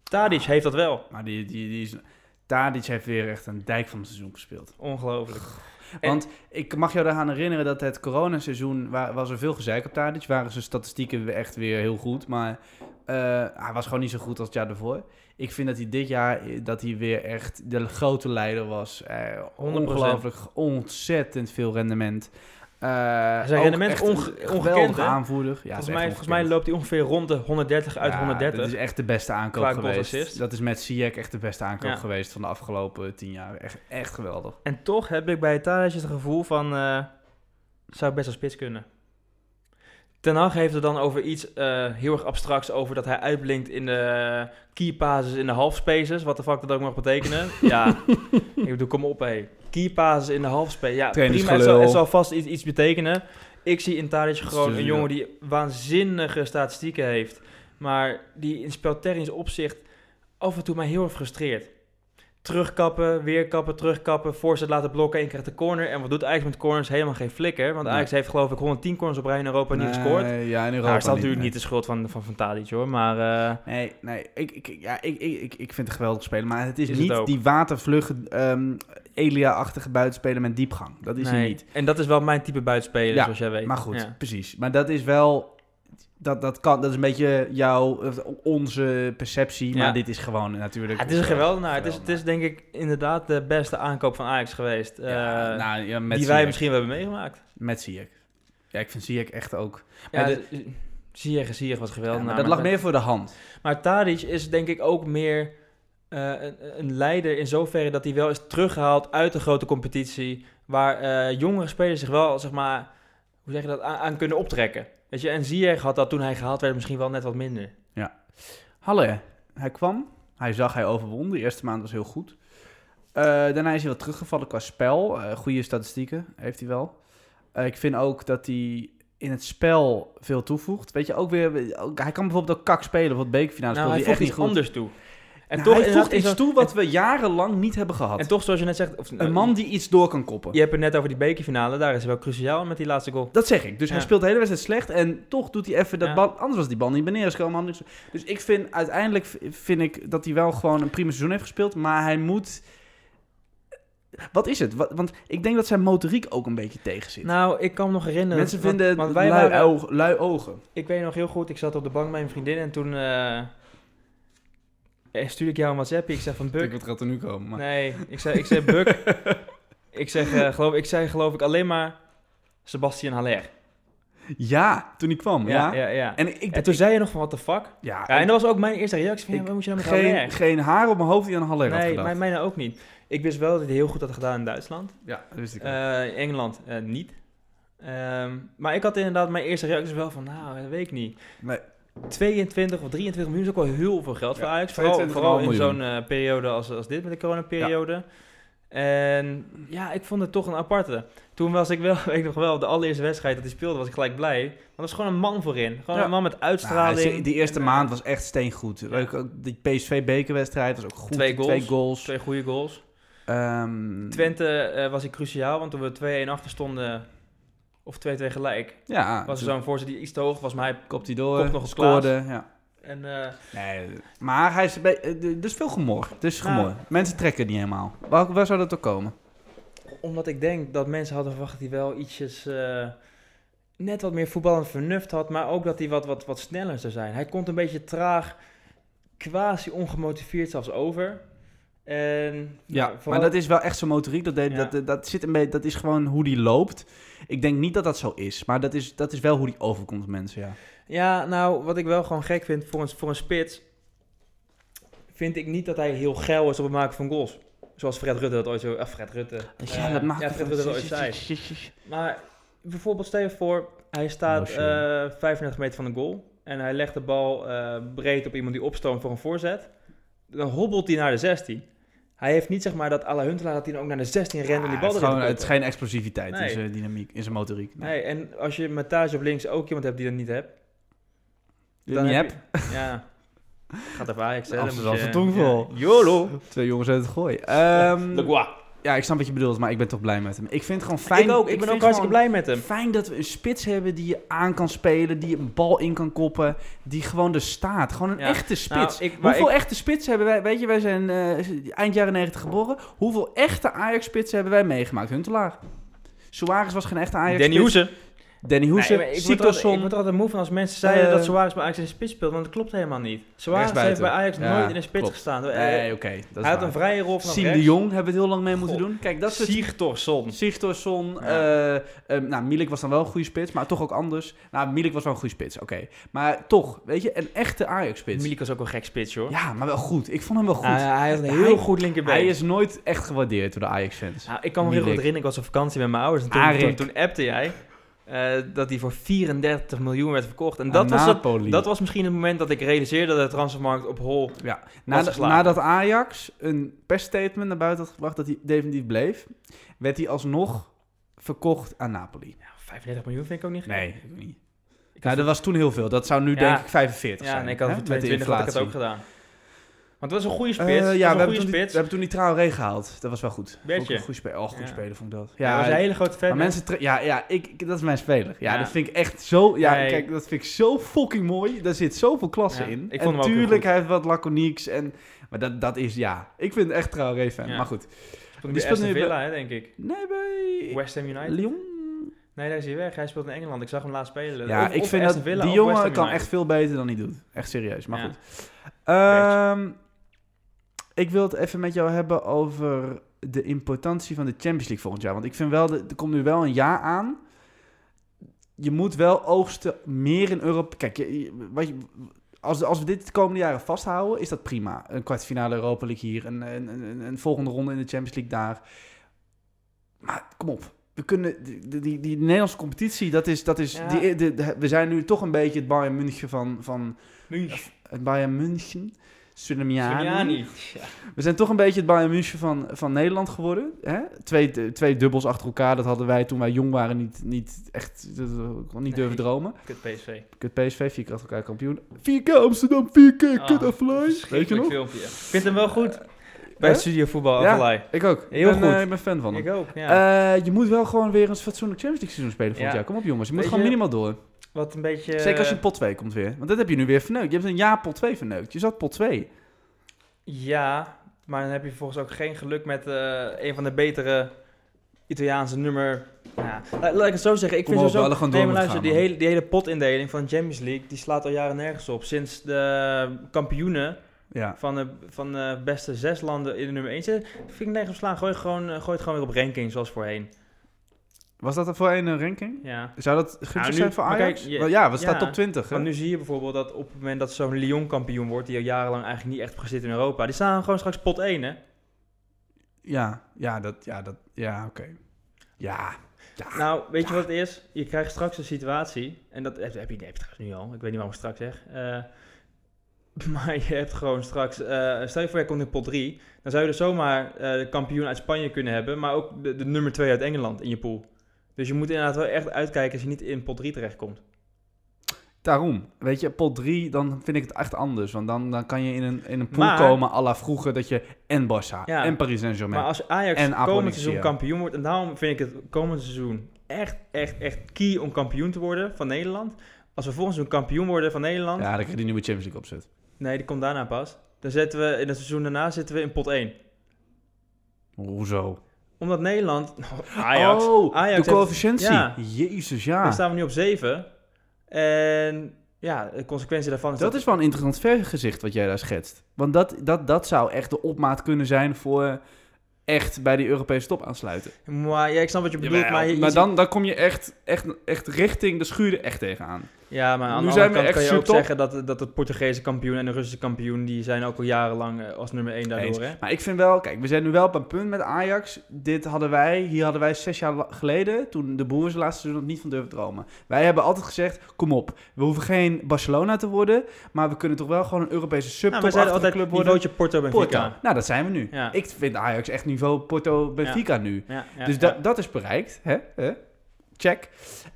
Speaker 1: Tadic
Speaker 2: Ah.
Speaker 1: heeft dat wel.
Speaker 2: Maar die, die, die is... Tadic heeft weer echt een dijk van het seizoen gespeeld.
Speaker 1: Ongelooflijk. En-
Speaker 2: Want ik mag jou eraan herinneren dat het coronaseizoen... Wa was er veel gezeik op Tadic. Waren zijn statistieken weer echt weer heel goed. Maar eh, hij was gewoon niet zo goed als het jaar daarvoor. Ik vind dat hij dit jaar eh, dat hij weer echt de grote leider was. Eh
Speaker 1: 100%.
Speaker 2: ongelooflijk, ontzettend veel rendement. Eh,
Speaker 1: Zijn
Speaker 2: ook
Speaker 1: rendement
Speaker 2: echt
Speaker 1: onge-
Speaker 2: een
Speaker 1: ongekend,
Speaker 2: geweldige
Speaker 1: hè?
Speaker 2: aanvoerder. Ja,
Speaker 1: volgens,
Speaker 2: het is
Speaker 1: mij,
Speaker 2: echt
Speaker 1: volgens mij
Speaker 2: ongekend.
Speaker 1: loopt hij ongeveer rond de 130 uit
Speaker 2: Ja,
Speaker 1: 130.
Speaker 2: Dat is echt de beste aankoop
Speaker 1: Qua
Speaker 2: geweest.
Speaker 1: goalassist.
Speaker 2: Dat is met Ziyech echt de beste aankoop
Speaker 1: Ja.
Speaker 2: geweest van de afgelopen tien jaar. Echt, echt geweldig.
Speaker 1: En toch heb ik bij Tadic het gevoel van... eh, zou ik best als spits kunnen. Ten Hag heeft het dan over iets eh, heel erg abstracts... over dat hij uitblinkt in de key passes in de half spaces. Wat de fuck dat ook mag betekenen. ja, ik bedoel, kom op hé. Key passes in de half spaces. Ja, prima.
Speaker 2: Trainingsgelul.
Speaker 1: Het zal, het zal vast iets, iets betekenen. Ik zie in Tadic gewoon
Speaker 2: Dus,
Speaker 1: een
Speaker 2: ja.
Speaker 1: jongen die waanzinnige statistieken heeft. Maar die in speltechnisch opzicht af en toe mij heel erg frustreert. Terugkappen, weer kappen, terugkappen, voorzet laten blokken en je krijgt de corner. En wat doet Ajax met corners? Helemaal geen flikker. Want
Speaker 2: Nee.
Speaker 1: Ajax heeft geloof ik 110 corners op rij in Europa niet gescoord.
Speaker 2: Nee, Ja, in Europa
Speaker 1: Daar is dat
Speaker 2: niet,
Speaker 1: natuurlijk
Speaker 2: nee.
Speaker 1: niet de schuld van, van, van Tadic hoor. Maar eh,
Speaker 2: Nee, nee ik, ik, ja, ik, ik, ik, ik vind het een geweldig spelen. Maar het is,
Speaker 1: Is het
Speaker 2: niet
Speaker 1: ook.
Speaker 2: die watervlugge ehm, Elia-achtige buitenspeler met diepgang. Dat is hij
Speaker 1: nee.
Speaker 2: niet.
Speaker 1: En dat is wel mijn type buitenspeler,
Speaker 2: Ja,
Speaker 1: zoals jij weet.
Speaker 2: Maar goed,
Speaker 1: Ja.
Speaker 2: precies. Maar dat is wel... Dat, dat, kan, dat is een beetje jouw, eh, onze perceptie. Maar
Speaker 1: Ja.
Speaker 2: dit is gewoon natuurlijk...
Speaker 1: Ja, het is een geweldenaar. Het is, het
Speaker 2: geweldenaar.
Speaker 1: is denk ik inderdaad de beste aankoop van Ajax geweest.
Speaker 2: Ja,
Speaker 1: eh,
Speaker 2: nou, ja, met
Speaker 1: die wij
Speaker 2: Ziyech.
Speaker 1: misschien wel hebben meegemaakt.
Speaker 2: Met Ziyech. Ja, ik vind Ziyech echt ook...
Speaker 1: Ja,
Speaker 2: Maar
Speaker 1: de... Ziyech is Ziyech was nou,
Speaker 2: Ja,
Speaker 1: geweldig.
Speaker 2: maar dat lag meer voor de hand.
Speaker 1: Maar Tadic is denk ik ook meer eh, een, een leider in zoverre dat hij wel is teruggehaald uit de grote competitie. Waar eh, jongere spelers zich wel, zeg maar, hoe zeg je dat, aan, aan kunnen optrekken. Weet je, en Ziyech had dat toen hij gehaald werd misschien wel net wat minder.
Speaker 2: Halle, hij kwam, hij zag, hij overwon. De eerste maand was heel goed. Eh, daarna is hij wat teruggevallen qua spel. Eh, goede statistieken heeft hij wel. Eh, ik vind ook dat hij in het spel veel toevoegt. Weet je, ook weer... ook- hij kan bijvoorbeeld ook kak spelen, wat beekfinale
Speaker 1: nou, hij
Speaker 2: speelt hij echt
Speaker 1: voegt
Speaker 2: niet
Speaker 1: iets
Speaker 2: goed.
Speaker 1: anders toe. En,
Speaker 2: Nou,
Speaker 1: toch,
Speaker 2: hij voegt
Speaker 1: inderdaad in
Speaker 2: iets
Speaker 1: zo'n-
Speaker 2: toe wat we jarenlang niet hebben gehad.
Speaker 1: en toch, zoals je net zegt, of, eh,
Speaker 2: een man die iets door kan koppen.
Speaker 1: je hebt het net over die bekerfinale, daar is hij wel cruciaal met die laatste goal.
Speaker 2: Dat zeg ik. Dus hij
Speaker 1: Ja.
Speaker 2: speelt de hele wedstrijd slecht en toch doet hij even dat
Speaker 1: Ja.
Speaker 2: bal. Anders was die bal niet beneden gekomen. anders- Dus ik vind uiteindelijk v- vind ik dat hij wel gewoon een prima seizoen heeft gespeeld, maar hij moet. Wat is het? Wat- Want ik denk dat zijn motoriek ook een beetje tegen zit.
Speaker 1: Nou, ik kan me nog herinneren.
Speaker 2: Mensen
Speaker 1: want-
Speaker 2: vinden
Speaker 1: want
Speaker 2: lui,
Speaker 1: wij waren,
Speaker 2: oog- lui ogen.
Speaker 1: Ik weet nog heel goed, ik zat op de bank met mijn vriendin en toen eh, eh, stuurde ik jou een WhatsAppje. Ik zei van Buk.
Speaker 2: wat gaat er nu komen.
Speaker 1: Nee, ik zei, ik zei
Speaker 2: [laughs]
Speaker 1: Buk. ik, zeg, eh, geloof, ik zei geloof ik alleen maar Sebastian Haller.
Speaker 2: Ja, toen hij kwam. Ja.
Speaker 1: ja. ja, En,
Speaker 2: En ik, ik-
Speaker 1: toen zei je nog van what the fuck.
Speaker 2: ja,
Speaker 1: Ja, en dat was ook mijn eerste reactie van ja,
Speaker 2: Ik-
Speaker 1: wat moet je nou met
Speaker 2: geen,
Speaker 1: Haller?
Speaker 2: geen haar op mijn hoofd die aan Haller had
Speaker 1: Nee,
Speaker 2: gedacht.
Speaker 1: mijn, mijne ook niet. Ik wist wel dat hij heel goed had gedaan in Duitsland.
Speaker 2: Ja, dat wist ik. ook.
Speaker 1: Eh, in Engeland eh, niet. Ehm, maar ik had inderdaad mijn eerste reacties wel van, nou, dat weet ik niet.
Speaker 2: Nee.
Speaker 1: 22 of 23 miljoen is ook wel heel veel geld voor
Speaker 2: Ja,
Speaker 1: Ajax. Vooral, vooral in
Speaker 2: 22,5
Speaker 1: zo'n eh, periode als, als dit, met de coronaperiode. En ja, ik vond het toch een aparte. Toen was ik wel, [laughs] weet ik nog wel, de allereerste wedstrijd dat hij speelde, was ik gelijk blij. Want er was gewoon een man voorin. Gewoon
Speaker 2: Ja.
Speaker 1: een man met
Speaker 2: Nou,
Speaker 1: uitstraling.
Speaker 2: die eerste
Speaker 1: En, eh,
Speaker 2: maand was echt steengoed. Ook- ook Die PSV-bekerwedstrijd was ook goed.
Speaker 1: Twee goals.
Speaker 2: Twee goals.
Speaker 1: Twee goede goals.
Speaker 2: Mm. Ehm,
Speaker 1: Twente eh, was hij cruciaal, want toen we 2-1 achter stonden, of 2-2 gelijk,
Speaker 2: Ja,
Speaker 1: was er
Speaker 2: toen
Speaker 1: zo'n voorzet die iets te hoog was, maar hij
Speaker 2: kopt hij door,
Speaker 1: kopt nog eens
Speaker 2: scoorde. Ja.
Speaker 1: En eh,
Speaker 2: Nee, maar hij is bij, eh, er is veel gemor. Er is
Speaker 1: Nou.
Speaker 2: gemor. Mensen trekken niet helemaal. Waar, waar zou dat ook komen?
Speaker 1: omdat ik denk dat mensen hadden verwacht dat hij wel ietsjes eh, net wat meer voetballend vernuft had, maar ook dat hij wat, wat, wat sneller zou zijn. Hij komt een beetje traag, quasi ongemotiveerd zelfs over. En,
Speaker 2: Ja,
Speaker 1: nou,
Speaker 2: maar
Speaker 1: vooral-
Speaker 2: dat is wel echt zo'n motoriek. Dat, deed,
Speaker 1: Ja.
Speaker 2: dat, dat, zit een beetje, dat is gewoon hoe die loopt. Ik denk niet dat dat zo is, maar dat is, dat is wel hoe die overkomt op mensen, ja.
Speaker 1: Ja, nou, wat ik wel gewoon gek vind voor een, voor een spits... vind ik niet dat hij heel geil is op het maken van goals. Zoals Fred Rutte dat ooit zo... eh, Fred Rutte.
Speaker 2: Ja,
Speaker 1: Eh,
Speaker 2: dat maakt
Speaker 1: ja, Fred Rutte dat ooit zei. Maar bijvoorbeeld stel je voor, hij staat
Speaker 2: Oh, sure.
Speaker 1: eh, 35 meter van de goal en hij legt de bal eh, breed op iemand die opstoomt voor een voorzet. Dan hobbelt hij naar de 16. Hij heeft niet zeg maar dat à la Huntelaar dat hij dan ook naar de 16 rent en die bal
Speaker 2: het, is
Speaker 1: erin
Speaker 2: gewoon, het is
Speaker 1: kopt.
Speaker 2: geen explosiviteit in
Speaker 1: Nee.
Speaker 2: zijn dynamiek, in zijn motoriek. Nee.
Speaker 1: Nee, en als je met Tage op links ook iemand hebt die dat niet hebt.
Speaker 2: Die dat niet
Speaker 1: heb je- Ja. Gaat er Ajax, hè. dan moet
Speaker 2: Amsterdamse
Speaker 1: je-
Speaker 2: tongval.
Speaker 1: Ja. YOLO.
Speaker 2: Twee jongens uit het
Speaker 1: [laughs]
Speaker 2: gooi. Ehm,
Speaker 1: De Gua.
Speaker 2: ja, ik snap wat je bedoelt, maar ik ben toch blij met hem. Ik vind het gewoon fijn.
Speaker 1: Ik ook, ik ben ook
Speaker 2: vind
Speaker 1: hartstikke
Speaker 2: gewoon
Speaker 1: blij met hem.
Speaker 2: Fijn dat we een spits hebben die je aan kan spelen, die een bal in kan koppen, die gewoon er staat. Gewoon een
Speaker 1: Ja.
Speaker 2: echte spits.
Speaker 1: Nou, ik, maar
Speaker 2: Hoeveel
Speaker 1: ik,
Speaker 2: echte spitsen hebben wij? Weet je, wij zijn eh, eind jaren 90 geboren. Hoeveel echte Ajax-spitsen hebben wij meegemaakt? Huntelaar. Suarez was geen echte Ajax.
Speaker 1: Danny Hoesen.
Speaker 2: Danny Hoese.
Speaker 1: Nee, maar ik, word er altijd, ik
Speaker 2: Siktorsson.
Speaker 1: word er altijd moe van als mensen zeiden
Speaker 2: Eh,
Speaker 1: dat Suarez bij Ajax in de spits speelde, want dat klopt helemaal niet. Suarez heeft
Speaker 2: Rechtsbuiten.
Speaker 1: bij Ajax
Speaker 2: Ja,
Speaker 1: nooit in de spits
Speaker 2: klopt.
Speaker 1: gestaan. Eh,
Speaker 2: Nee, oké. dat is
Speaker 1: hij had
Speaker 2: waar.
Speaker 1: een vrije rol van
Speaker 2: Siem de Jong hebben we het heel lang mee moeten
Speaker 1: Goh,
Speaker 2: doen. Kijk, dat soort...
Speaker 1: Sigtorsson.
Speaker 2: Sigtorsson,
Speaker 1: Ja.
Speaker 2: eh eh, nou, Milik was dan wel een goede spits, maar toch ook anders. Nou, Milik was wel een goede spits, oké. Maar toch, weet je, een echte Ajax-spits.
Speaker 1: Milik was ook een gek spits, hoor.
Speaker 2: Ja, maar wel goed. Ik vond hem wel goed.
Speaker 1: Ah, hij had een
Speaker 2: Hij-
Speaker 1: heel goed linkerbeen.
Speaker 2: Hij is nooit echt gewaardeerd door de Ajax-fans.
Speaker 1: Ah, ik kan me heel goed
Speaker 2: Milik.
Speaker 1: herinneren, ik was op vakantie met mijn ouders. En toen,
Speaker 2: Arik.
Speaker 1: toen, toen appte jij eh, dat hij voor 34 miljoen werd verkocht. En dat
Speaker 2: Aan
Speaker 1: was, het,
Speaker 2: Napoli.
Speaker 1: dat was misschien het moment dat ik realiseerde dat de transfermarkt op hol...
Speaker 2: Ja, nadat,
Speaker 1: geslagen.
Speaker 2: nadat Ajax een persstatement naar buiten had gebracht dat hij definitief bleef, werd hij alsnog verkocht aan Napoli.
Speaker 1: Ja, 35 miljoen vind ik ook niet gek.
Speaker 2: Nee, ik niet. Nou, dat was toen heel veel. Dat zou nu
Speaker 1: Ja.
Speaker 2: denk ik 45
Speaker 1: Ja,
Speaker 2: zijn.
Speaker 1: en ik had
Speaker 2: hè,
Speaker 1: het voor
Speaker 2: met de
Speaker 1: 22 had ik het ook
Speaker 2: inflatie.
Speaker 1: gedaan. Want het was een goede spits.
Speaker 2: Eh,
Speaker 1: ja,
Speaker 2: ja, we
Speaker 1: een
Speaker 2: hebben,
Speaker 1: goede
Speaker 2: toen die, we
Speaker 1: spits.
Speaker 2: hebben toen die Traoré gehaald. Dat was wel goed.
Speaker 1: Beetje.
Speaker 2: Ook een goede speler. Oh, goede
Speaker 1: Ja.
Speaker 2: speler vond ik dat.
Speaker 1: Ja, hij was een hele grote fan.
Speaker 2: maar mensen... tra- Ja, ja, ik, ik- dat is mijn speler. Ja,
Speaker 1: Ja.
Speaker 2: dat vind ik echt zo... Ja,
Speaker 1: Nee.
Speaker 2: kijk, dat vind ik zo fucking mooi. Daar zit zoveel klasse
Speaker 1: Ja,
Speaker 2: in.
Speaker 1: ik vond
Speaker 2: en
Speaker 1: hem ook heel
Speaker 2: tuurlijk,
Speaker 1: goed.
Speaker 2: hij heeft wat laconieks. En, maar dat, dat is... Ja, ik vind echt Traoré fan.
Speaker 1: Ja.
Speaker 2: Maar goed.
Speaker 1: die
Speaker 2: die
Speaker 1: bij
Speaker 2: speelt
Speaker 1: Aston
Speaker 2: nu bij-
Speaker 1: Villa, hè, denk ik.
Speaker 2: Nee, bij...
Speaker 1: West Ham United.
Speaker 2: Lyon?
Speaker 1: Nee, daar is hij weg. Hij speelt in Engeland. Ik zag hem laatst spelen.
Speaker 2: Ja,
Speaker 1: Of-
Speaker 2: ik
Speaker 1: of
Speaker 2: vind
Speaker 1: Aston
Speaker 2: dat...
Speaker 1: Villa
Speaker 2: die
Speaker 1: of West Ham
Speaker 2: jongen kan
Speaker 1: United.
Speaker 2: echt veel beter dan hij doet. Echt serieus. Maar
Speaker 1: Ja.
Speaker 2: goed. Ehm, ik wil het even met jou hebben over de importantie van de Champions League volgend jaar. Want ik vind wel, dat- er komt nu wel een jaar aan. Je moet wel oogsten meer in Europa. Kijk, je- je- wat je- als, als we dit de komende jaren vasthouden, is dat prima. Een kwartfinale Europa League hier, een, een, een, een volgende ronde in de Champions League daar. Maar kom op. We kunnen, die, die- die, die Nederlandse competitie, dat is, dat is
Speaker 1: Ja.
Speaker 2: die, de- de- we zijn nu toch een beetje het Bayern München van, van
Speaker 1: München.
Speaker 2: het Bayern München, Surinamiani.
Speaker 1: Soriani. Ja.
Speaker 2: We zijn toch een beetje het Bayern München van, van Nederland geworden. Hè? Twee, twee dubbels achter elkaar, dat hadden wij toen wij jong waren niet, niet echt dat we niet durven dromen.
Speaker 1: Kut PSV.
Speaker 2: Kut PSV, vier keer achter elkaar kampioen. Vier keer Amsterdam, vier keer
Speaker 1: Ah,
Speaker 2: kut Aflaai. Weet je
Speaker 1: verschrikkelijk
Speaker 2: nog?
Speaker 1: filmpje. Ik vind hem wel goed. Bij
Speaker 2: Hè?
Speaker 1: Studio Voetbal
Speaker 2: Ja.
Speaker 1: Avalai.
Speaker 2: Ik ook.
Speaker 1: Heel
Speaker 2: ik ben, eh,
Speaker 1: goed.
Speaker 2: ik ben fan van hem.
Speaker 1: Ik ook, ja.
Speaker 2: Eh, je moet wel gewoon weer een fatsoenlijk Champions League seizoen spelen volgend
Speaker 1: Ja.
Speaker 2: jaar. Kom op jongens, je moet
Speaker 1: Weet
Speaker 2: gewoon
Speaker 1: je- Eh,
Speaker 2: minimaal door.
Speaker 1: Wat een beetje...
Speaker 2: Zeker als je in pot 2 komt weer. Want dat heb je nu weer verneukt. Je hebt een jaar pot 2 verneukt. Je zat pot 2.
Speaker 1: Ja, maar dan heb je vervolgens ook geen geluk met eh, een van de betere Italiaanse nummer. nou Ja. Eh, Laat, laat ik het zo zeggen. Ik
Speaker 2: Kom
Speaker 1: vind
Speaker 2: op, we
Speaker 1: sowieso.
Speaker 2: hadden gewoon
Speaker 1: nee,
Speaker 2: door
Speaker 1: maar luister,
Speaker 2: moeten
Speaker 1: die
Speaker 2: gaan, man.
Speaker 1: hele, die hele potindeling van de Champions League die slaat al jaren nergens op. Sinds de kampioenen
Speaker 2: Ja.
Speaker 1: van de, van de beste zes landen in de nummer 1 zitten, vind ik nergens op slaan. Gooi, gewoon, eh, gooi het gewoon weer op ranking zoals voorheen.
Speaker 2: Was dat er voor een eh, ranking?
Speaker 1: Ja.
Speaker 2: Zou dat gunstig
Speaker 1: Nou, nu-
Speaker 2: zijn voor
Speaker 1: maar
Speaker 2: Ajax?
Speaker 1: kijk, je-
Speaker 2: Wel, ja, we staan
Speaker 1: ja.
Speaker 2: top 20. Hè?
Speaker 1: Want nu zie je bijvoorbeeld dat op het moment dat zo'n Lyon kampioen wordt, die al jarenlang eigenlijk niet echt gezit in Europa, die staan gewoon straks pot 1, hè?
Speaker 2: Ja, ja, dat, ja, dat, ja, oké. Ja, ja.
Speaker 1: Nou, weet je wat het is? Je krijgt straks een situatie, en dat heb, heb je, heb je trouwens nu al, ik weet niet waarom ik het straks zeg. eh, [laughs] maar je hebt gewoon straks, eh, stel je voor je komt in pot 3, dan zou je dus zomaar eh, de kampioen uit Spanje kunnen hebben, maar ook de, de nummer 2 uit Engeland in je pool. Dus je moet inderdaad wel echt uitkijken als je niet in pot 3 terechtkomt.
Speaker 2: daarom. Weet je, pot 3, dan vind ik het echt anders. Want dan, dan kan je in een, in een pool
Speaker 1: Maar-
Speaker 2: komen à la vroeger dat je en Barça
Speaker 1: Ja.
Speaker 2: en Paris
Speaker 1: Maar
Speaker 2: Saint-Germain.
Speaker 1: als Ajax
Speaker 2: En Apeldoorn,
Speaker 1: komend seizoen
Speaker 2: ja.
Speaker 1: kampioen wordt, en daarom vind ik het komend seizoen echt, echt, echt key om kampioen te worden van Nederland. Als we volgend seizoen kampioen worden van Nederland,
Speaker 2: Ja, dan krijg je die nieuwe Champions League opzet.
Speaker 1: nee, die komt daarna pas. Dan zetten we in het seizoen daarna zitten we in pot 1.
Speaker 2: Hoezo?
Speaker 1: Omdat Nederland. [laughs] Ajax.
Speaker 2: Oh,
Speaker 1: Ajax
Speaker 2: de
Speaker 1: heeft-
Speaker 2: coëfficiëntie.
Speaker 1: ja.
Speaker 2: Jezus,
Speaker 1: Dan
Speaker 2: ja.
Speaker 1: staan we nu op 7. En Ja, de consequentie daarvan is
Speaker 2: Dat is wel een interessant vergezicht wat jij daar schetst. Want dat, dat, dat zou echt de opmaat kunnen zijn voor echt bij die Europese top aansluiten.
Speaker 1: Maar ja, ik snap wat je bedoelt,
Speaker 2: Jawel,
Speaker 1: maar... Je, je ziet-
Speaker 2: dan, dan kom je echt, echt, echt richting de schuur er echt tegenaan.
Speaker 1: Ja, maar aan
Speaker 2: Nu
Speaker 1: de
Speaker 2: zijn
Speaker 1: andere
Speaker 2: we
Speaker 1: kant
Speaker 2: echt
Speaker 1: kan je ook
Speaker 2: supertop.
Speaker 1: zeggen dat, dat het Portugese kampioen en de Russische kampioen... die zijn ook al jarenlang eh, als nummer 1 daardoor,
Speaker 2: Eens.
Speaker 1: hè?
Speaker 2: Maar ik vind wel, kijk, we zijn nu wel op een punt met Ajax. Dit hadden wij, hier hadden wij zes jaar la- geleden, toen de Boer zijn laatste seizoen nog niet van durven dromen. Wij hebben altijd gezegd, kom op, we hoeven geen Barcelona te worden, maar we kunnen toch wel gewoon een Europese
Speaker 1: Nou, we
Speaker 2: subtop
Speaker 1: zeiden
Speaker 2: altijd
Speaker 1: altijd
Speaker 2: club worden.
Speaker 1: niveautje Porto
Speaker 2: Porto.
Speaker 1: Benfica.
Speaker 2: Nou, dat zijn we nu.
Speaker 1: Ja.
Speaker 2: Ik vind Ajax echt niveau Porto Benfica nu.
Speaker 1: Ja, ja,
Speaker 2: dus
Speaker 1: ja.
Speaker 2: dat dat is bereikt, hè? hè? Check.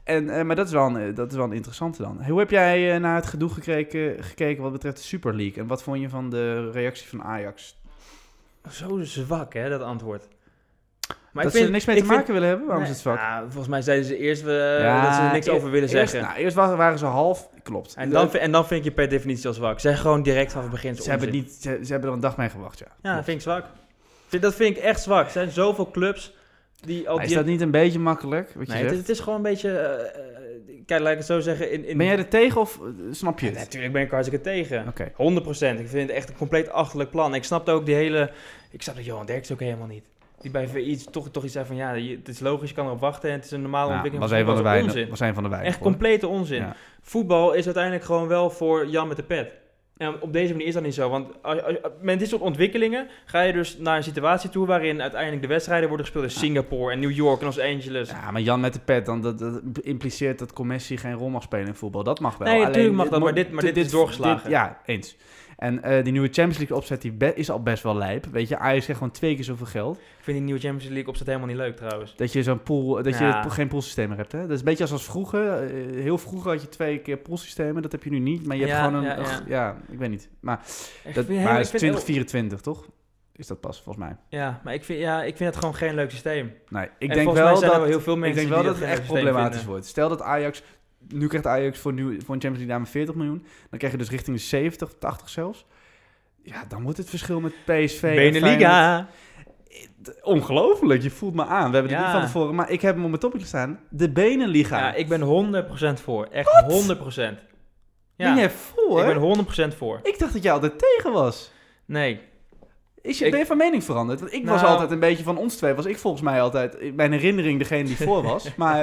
Speaker 2: En, eh, maar dat is, wel een, eh, dat is wel een interessante dan. Hoe heb jij eh, naar het gedoe gekeken, gekeken wat betreft de Super League? En wat vond je van de reactie van Ajax?
Speaker 1: Zo zwak, hè, dat antwoord. Maar
Speaker 2: dat ze er niks mee te maken willen hebben? Waarom
Speaker 1: nee,
Speaker 2: is het zwak?
Speaker 1: ah, volgens mij zeiden ze eerst eh,
Speaker 2: Ja,
Speaker 1: dat ze er niks
Speaker 2: e-
Speaker 1: over willen
Speaker 2: eerst-
Speaker 1: zeggen.
Speaker 2: nou, eerst wa- waren ze half, klopt.
Speaker 1: en,
Speaker 2: De-
Speaker 1: dan, vi- en dan vind ik je per definitie al zwak. Zeg gewoon direct vanaf het begin. is
Speaker 2: ze, hebben
Speaker 1: onzin.
Speaker 2: niet, ze, ze hebben er een dag mee gewacht, ja.
Speaker 1: Ja,
Speaker 2: Klopt.
Speaker 1: dat vind ik zwak. Vind- Dat vind ik echt zwak. Er zijn zoveel clubs die al...
Speaker 2: Maar is
Speaker 1: die-
Speaker 2: dat niet een beetje makkelijk, wat je
Speaker 1: nee,
Speaker 2: zegt?
Speaker 1: het, het is gewoon een beetje... eh, eh, kijk, laat ik het zo zeggen. In, in
Speaker 2: Ben jij er tegen of eh, snap je
Speaker 1: Ja,
Speaker 2: het?
Speaker 1: natuurlijk ben ik er hartstikke tegen.
Speaker 2: Oké.
Speaker 1: 100%. Ik vind het echt een compleet achterlijk plan. Ik snapte ook die hele... Ik snapte Johan Derks ook helemaal niet. Die bij VI toch, toch iets zei van... Ja, je- het is logisch, je kan erop wachten. En het is een normale
Speaker 2: Nou,
Speaker 1: ontwikkeling.
Speaker 2: was, een van de
Speaker 1: voetbal. Dat is
Speaker 2: weinig- was een van de weinig.
Speaker 1: Echt complete onzin.
Speaker 2: Ja.
Speaker 1: Voetbal is uiteindelijk gewoon wel voor Jan met de pet. En op deze manier is dat niet zo. Want als, als- met dit soort ontwikkelingen ga je dus naar een situatie toe... waarin uiteindelijk de wedstrijden worden gespeeld in
Speaker 2: Ja.
Speaker 1: Singapore en New York en Los Angeles.
Speaker 2: Dus, Ja, maar Jan met de pet, dan, dat, dat impliceert dat commissie geen rol mag spelen in voetbal. Dat mag wel.
Speaker 1: Nee,
Speaker 2: Alleen
Speaker 1: natuurlijk mag dat,
Speaker 2: moet-
Speaker 1: maar dit- maar dit is doorgeslagen.
Speaker 2: ja, eens. En eh, die nieuwe Champions League opzet die be- is al best wel lijp. Weet je, Ajax krijgt gewoon twee keer zoveel geld.
Speaker 1: Ik vind die nieuwe Champions League opzet helemaal niet leuk trouwens.
Speaker 2: Dat je zo'n pool, dat
Speaker 1: Ja.
Speaker 2: je po- geen poolsysteem meer hebt. Hè? Dat is een beetje als, als vroeger. eh, heel vroeger had je twee keer poolsystemen. Dat heb je nu niet. Maar je hebt
Speaker 1: Ja,
Speaker 2: gewoon een.
Speaker 1: ja,
Speaker 2: ach,
Speaker 1: ja.
Speaker 2: Ja, ik weet niet. Maar
Speaker 1: Ik
Speaker 2: dat
Speaker 1: vind helemaal-
Speaker 2: maar
Speaker 1: ik
Speaker 2: is
Speaker 1: vind heel-
Speaker 2: 2024, toch? Is dat pas, volgens mij.
Speaker 1: Ja, maar ik vind, ja, ik vind het gewoon geen leuk systeem.
Speaker 2: Nee, ik
Speaker 1: En
Speaker 2: denk
Speaker 1: volgens mij
Speaker 2: wel
Speaker 1: zijn er
Speaker 2: dat
Speaker 1: heel veel mensen
Speaker 2: Ik denk
Speaker 1: die
Speaker 2: wel
Speaker 1: dat
Speaker 2: dat het
Speaker 1: geen
Speaker 2: echt
Speaker 1: systeem
Speaker 2: problematisch
Speaker 1: vinden.
Speaker 2: wordt. Stel dat Ajax... Nu krijgt Ajax voor, nu, voor een Champions League dame 40 miljoen. Dan krijg je dus richting de 70, 80 zelfs. Ja, dan wordt het verschil met PSV en Feyenoord-
Speaker 1: Beneliga.
Speaker 2: Ongelooflijk, je voelt me aan. We hebben het
Speaker 1: Ja.
Speaker 2: niet van tevoren, maar ik heb hem op mijn toppetje staan. De Benenliga.
Speaker 1: Ja,
Speaker 2: Ja,
Speaker 1: ik ben 100% voor. Echt 100%. Ja,
Speaker 2: Ben jij voor? Ik,
Speaker 1: ik ben 100% voor.
Speaker 2: dacht dat jij altijd tegen was.
Speaker 1: Nee.
Speaker 2: Is je,
Speaker 1: Ik-
Speaker 2: ben je van mening veranderd? Want ik was
Speaker 1: Nou-
Speaker 2: altijd een beetje van ons twee. Was ik volgens mij altijd, in mijn herinnering, degene die voor
Speaker 1: [laughs]
Speaker 2: was. Maar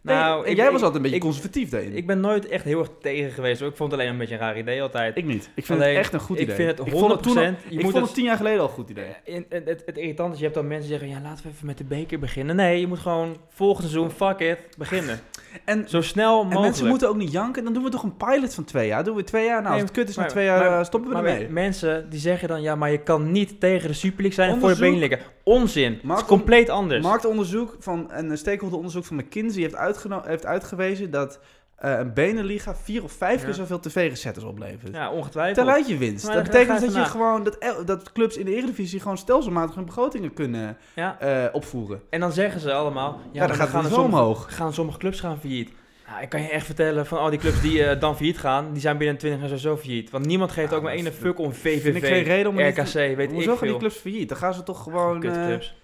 Speaker 2: nee,
Speaker 1: Nou,
Speaker 2: en
Speaker 1: ik-
Speaker 2: jij
Speaker 1: ik-
Speaker 2: was altijd een beetje
Speaker 1: ik-
Speaker 2: conservatief daarin.
Speaker 1: Ik ben nooit echt heel erg tegen geweest. hoor. Ik vond het alleen een beetje een raar idee altijd.
Speaker 2: Ik niet. Ik vind
Speaker 1: Alleen,
Speaker 2: het echt een goed
Speaker 1: ik
Speaker 2: idee.
Speaker 1: vind het 100%.
Speaker 2: vond het toen al-
Speaker 1: je
Speaker 2: ik
Speaker 1: moet
Speaker 2: vond het tien jaar geleden al een goed idee.
Speaker 1: in, in- het, het irritant is, je hebt dan mensen die zeggen, ja, laten we even met de beker beginnen. Nee, je moet gewoon volgend seizoen, fuck it, beginnen.
Speaker 2: En,
Speaker 1: Zo snel mogelijk.
Speaker 2: en mensen moeten ook niet janken. Dan doen we toch een pilot van twee jaar. Doen we twee jaar. Nou,
Speaker 1: Nee,
Speaker 2: als het kut is, na
Speaker 1: maar-
Speaker 2: twee jaar
Speaker 1: maar-
Speaker 2: eh, stoppen we
Speaker 1: Maar
Speaker 2: ermee.
Speaker 1: men- mensen die zeggen dan, ja, maar je kan niet tegen de Super League zijn en voor de
Speaker 2: Onderzoek-
Speaker 1: Beneliga. Onzin. Het is
Speaker 2: Markt-
Speaker 1: compleet anders.
Speaker 2: Marktonderzoek van een stakeholderonderzoek van McKinsey heeft, uitgeno- heeft uitgewezen dat eh, een benenliga vier of vijf
Speaker 1: Ja.
Speaker 2: keer zoveel tv-recetters oplevert.
Speaker 1: Ja, ongetwijfeld.
Speaker 2: Tel uit je winst.
Speaker 1: Maar
Speaker 2: dat
Speaker 1: daar- daar
Speaker 2: betekent
Speaker 1: ga
Speaker 2: dat
Speaker 1: ik
Speaker 2: je
Speaker 1: vanuit.
Speaker 2: gewoon dat, el- dat clubs in de Eredivisie gewoon stelselmatig hun begrotingen kunnen
Speaker 1: Ja.
Speaker 2: eh, opvoeren.
Speaker 1: En dan zeggen ze allemaal, ja,
Speaker 2: Ja,
Speaker 1: maar
Speaker 2: dan
Speaker 1: dan
Speaker 2: gaat het
Speaker 1: gaan, er
Speaker 2: zo
Speaker 1: sommige,
Speaker 2: omhoog.
Speaker 1: gaan sommige clubs gaan failliet. Nou, ik kan je echt vertellen, van al die clubs die eh, dan failliet gaan, die zijn binnen 20 jaar sowieso failliet. Want niemand geeft
Speaker 2: Ja,
Speaker 1: ook maar
Speaker 2: dat
Speaker 1: ene
Speaker 2: is-
Speaker 1: fuck om
Speaker 2: Vind ik geen
Speaker 1: VVV,
Speaker 2: reden om er niet te-
Speaker 1: RKC, weet ik
Speaker 2: Hoezo gaan die
Speaker 1: veel.
Speaker 2: clubs failliet? Dan gaan ze toch gewoon... eh,
Speaker 1: Kutclubs.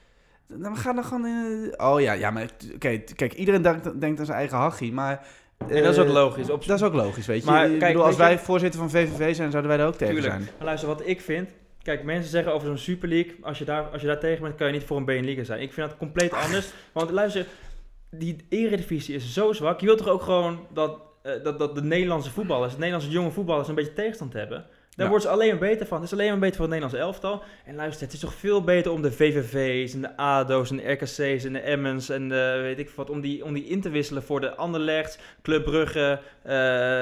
Speaker 2: Dan gaan dan gewoon in. Oh ja, ja maar t- oké, t- kijk, iedereen denkt, denkt aan zijn eigen hachie, maar.
Speaker 1: en dat is ook
Speaker 2: eh,
Speaker 1: logisch. Op,
Speaker 2: Dat is ook logisch, weet je.
Speaker 1: Maar
Speaker 2: Maar,
Speaker 1: kijk,
Speaker 2: bedoel, als
Speaker 1: weet
Speaker 2: wij
Speaker 1: je-
Speaker 2: voorzitter van VVV zijn, zouden wij daar ook tegen
Speaker 1: Tuurlijk.
Speaker 2: zijn.
Speaker 1: Maar luister, wat ik vind... Kijk, mensen zeggen over zo'n Super League... Als je, daar, als je daar tegen bent, kan je niet voor een Beneliga zijn. Ik vind dat compleet anders. Want luister, die eredivisie is zo zwak. Je wilt toch ook gewoon dat, eh, dat, dat de Nederlandse voetballers... De Nederlandse jonge voetballers een beetje tegenstand hebben? Daar
Speaker 2: Ja.
Speaker 1: worden ze alleen maar beter van. Het is alleen maar beter voor het Nederlands elftal. En luister, het is toch veel beter om de VVV's en de ADO's en de RKC's en de Emmens en de, weet ik wat... Om die, om die in te wisselen voor de Anderlechts, Club Brugge, eh,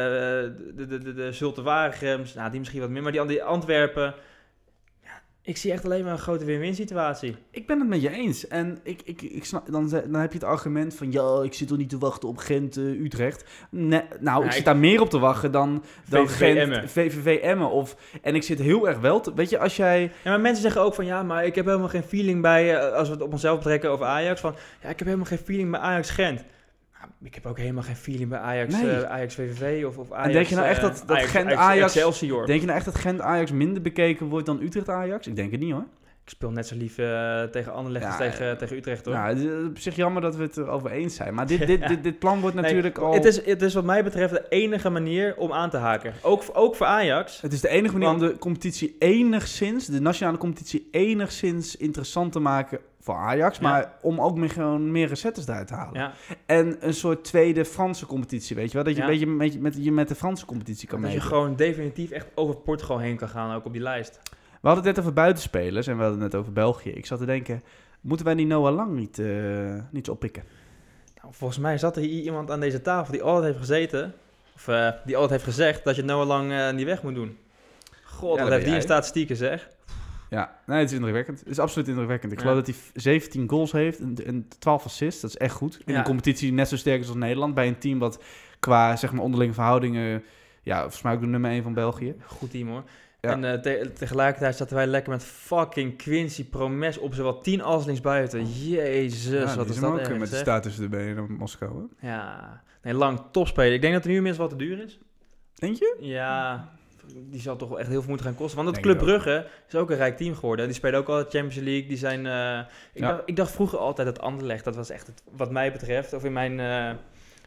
Speaker 1: de, de, de, de Zulte Waregems, nou die misschien wat meer, maar die, die Antwerpen. Ja, ik zie echt alleen maar een grote win-win situatie.
Speaker 2: Ik ben het met je eens. En ik, ik, ik snap, dan, ze- dan heb je het argument van, ja, ik zit toch niet te wachten op Gent, eh, Utrecht. Nee, nou, ik
Speaker 1: ik-
Speaker 2: zit daar meer op te wachten dan, dan
Speaker 1: VVV
Speaker 2: Gent,
Speaker 1: Emmen.
Speaker 2: VVV Emmen. Of, en ik zit heel erg wel te, weet je, als jij...
Speaker 1: Ja, maar mensen zeggen ook van ja, maar ik heb helemaal geen feeling bij, eh, als we het op onszelf betrekken over Ajax, van ja, ik heb helemaal geen feeling bij Ajax Gent. Nou, Ik heb ook helemaal geen feeling bij Ajax,
Speaker 2: Nee.
Speaker 1: eh, Ajax VVV of, of Ajax.
Speaker 2: denk je nou echt
Speaker 1: eh,
Speaker 2: dat- dat
Speaker 1: Ajax,
Speaker 2: Gent
Speaker 1: Ajax,
Speaker 2: Ajax-
Speaker 1: Excelsior.
Speaker 2: Denk je nou echt dat Gent Ajax minder bekeken wordt dan Utrecht Ajax? Ik denk het niet hoor.
Speaker 1: Ik Ik speel net zo lief eh, tegen Anderlecht als
Speaker 2: Ja,
Speaker 1: tegen,
Speaker 2: eh,
Speaker 1: tegen Utrecht, hoor.
Speaker 2: Nou, het is op zich jammer dat we het erover eens zijn. Maar
Speaker 1: [laughs]
Speaker 2: dit, dit, dit, dit plan wordt
Speaker 1: Nee,
Speaker 2: natuurlijk al...
Speaker 1: het, is, het is wat mij betreft de enige manier om aan te haken. Ook, voor- ook voor Ajax.
Speaker 2: Het is de enige manier
Speaker 1: Want-
Speaker 2: om de competitie enigszins, de nationale competitie enigszins interessant te maken voor Ajax,
Speaker 1: Ja.
Speaker 2: maar om ook meer, gewoon meer recettes eruit te halen.
Speaker 1: Ja,
Speaker 2: En een soort tweede Franse competitie, weet je wel? Dat je
Speaker 1: Ja.
Speaker 2: een beetje met, je- met, je met de Franse competitie kan
Speaker 1: dat je
Speaker 2: meedoen.
Speaker 1: gewoon definitief echt over Portugal heen kan gaan, ook op die lijst.
Speaker 2: We hadden het net over buitenspelers en we hadden het net over België. Ik zat te denken, moeten wij die Noah Lang niet, eh, niet oppikken?
Speaker 1: Nou, volgens mij zat er hier iemand aan deze tafel die altijd heeft gezeten, of eh, die altijd heeft gezegd dat je Noah Lang eh, niet weg moet doen. God,
Speaker 2: dat
Speaker 1: dat
Speaker 2: ben
Speaker 1: heeft die
Speaker 2: jij.
Speaker 1: in statistieken, zeg.
Speaker 2: Ja, nee, het is indrukwekkend. Het is absoluut indrukwekkend. Ik
Speaker 1: Ja.
Speaker 2: geloof dat hij v- 17 goals heeft en, en 12 assists. Dat is echt goed. In
Speaker 1: Ja.
Speaker 2: een competitie die net zo sterk is als Nederland. Bij een team wat qua zeg maar, onderlinge verhoudingen... Ja, volgens mij ook de nummer 1 van België.
Speaker 1: Goed team, hoor.
Speaker 2: Ja.
Speaker 1: En eh, te- tegelijkertijd zaten wij lekker met fucking Quincy Promes op zowel 10 als linksbuiten. Jezus,
Speaker 2: Ja,
Speaker 1: wat
Speaker 2: die
Speaker 1: is
Speaker 2: hem
Speaker 1: dat erg,
Speaker 2: met de
Speaker 1: zeg.
Speaker 2: status erbij in eh, Moskou. Hè?
Speaker 1: Ja, nee, lang topspeler. Ik denk dat hij nu minstens wat te duur is.
Speaker 2: Denk je?
Speaker 1: Ja, die zal toch wel echt heel veel moeten gaan kosten. Want dat
Speaker 2: Denk
Speaker 1: Club
Speaker 2: het ook.
Speaker 1: Brugge is ook een rijk team geworden. Die spelen ook al de Champions League. Die zijn, eh, ik,
Speaker 2: Ja.
Speaker 1: dacht, ik dacht vroeger altijd dat Anderlecht, dat was echt het, wat mij betreft, of in mijn eh,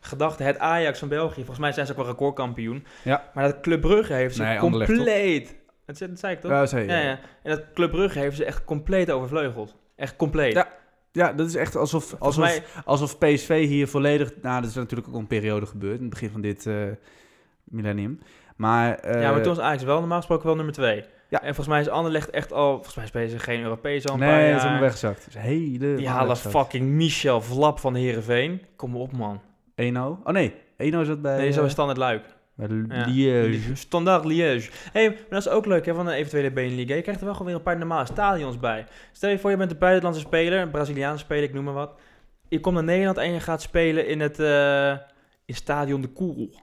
Speaker 1: gedachten, het Ajax van België. Volgens mij zijn ze ook wel recordkampioen.
Speaker 2: Ja.
Speaker 1: Maar dat Club Brugge heeft ze
Speaker 2: Nee, Anderlecht, toch?
Speaker 1: compleet... Dat zei, dat zei ik toch?
Speaker 2: Ja, zei je.
Speaker 1: Ja, ja. En dat Club Brugge heeft ze echt compleet overvleugeld. Echt compleet.
Speaker 2: Ja, Ja, dat is echt alsof,
Speaker 1: Volgens
Speaker 2: alsof,
Speaker 1: mij-
Speaker 2: alsof PSV hier volledig... Nou, dat is natuurlijk ook een periode gebeurd. In het begin van dit eh, millennium. Maar, eh,
Speaker 1: ja, maar toen was Ajax wel normaal gesproken wel nummer twee.
Speaker 2: Ja.
Speaker 1: En volgens mij is Anderlecht echt al... Volgens mij spelen ze geen Europees al een paar
Speaker 2: Nee, dat
Speaker 1: jaar.
Speaker 2: is helemaal weggezakt. Dat is helemaal
Speaker 1: Die halen
Speaker 2: weggezakt.
Speaker 1: fucking Michel Vlap van Heerenveen. Kom op, man.
Speaker 2: Eno? Oh nee, Eno zat bij...
Speaker 1: Nee, zo
Speaker 2: eh,
Speaker 1: is Standaard Luik.
Speaker 2: bij
Speaker 1: Ja.
Speaker 2: Liège.
Speaker 1: Standaard Liège. hey, maar dat is ook leuk hè, van een eventuele Beneliga. Je krijgt er wel gewoon weer een paar normale stadions bij. Stel je voor, je bent een buitenlandse speler, een Braziliaanse speler, ik noem maar wat. Je komt naar Nederland en je gaat spelen in het eh, in Stadion de Koel.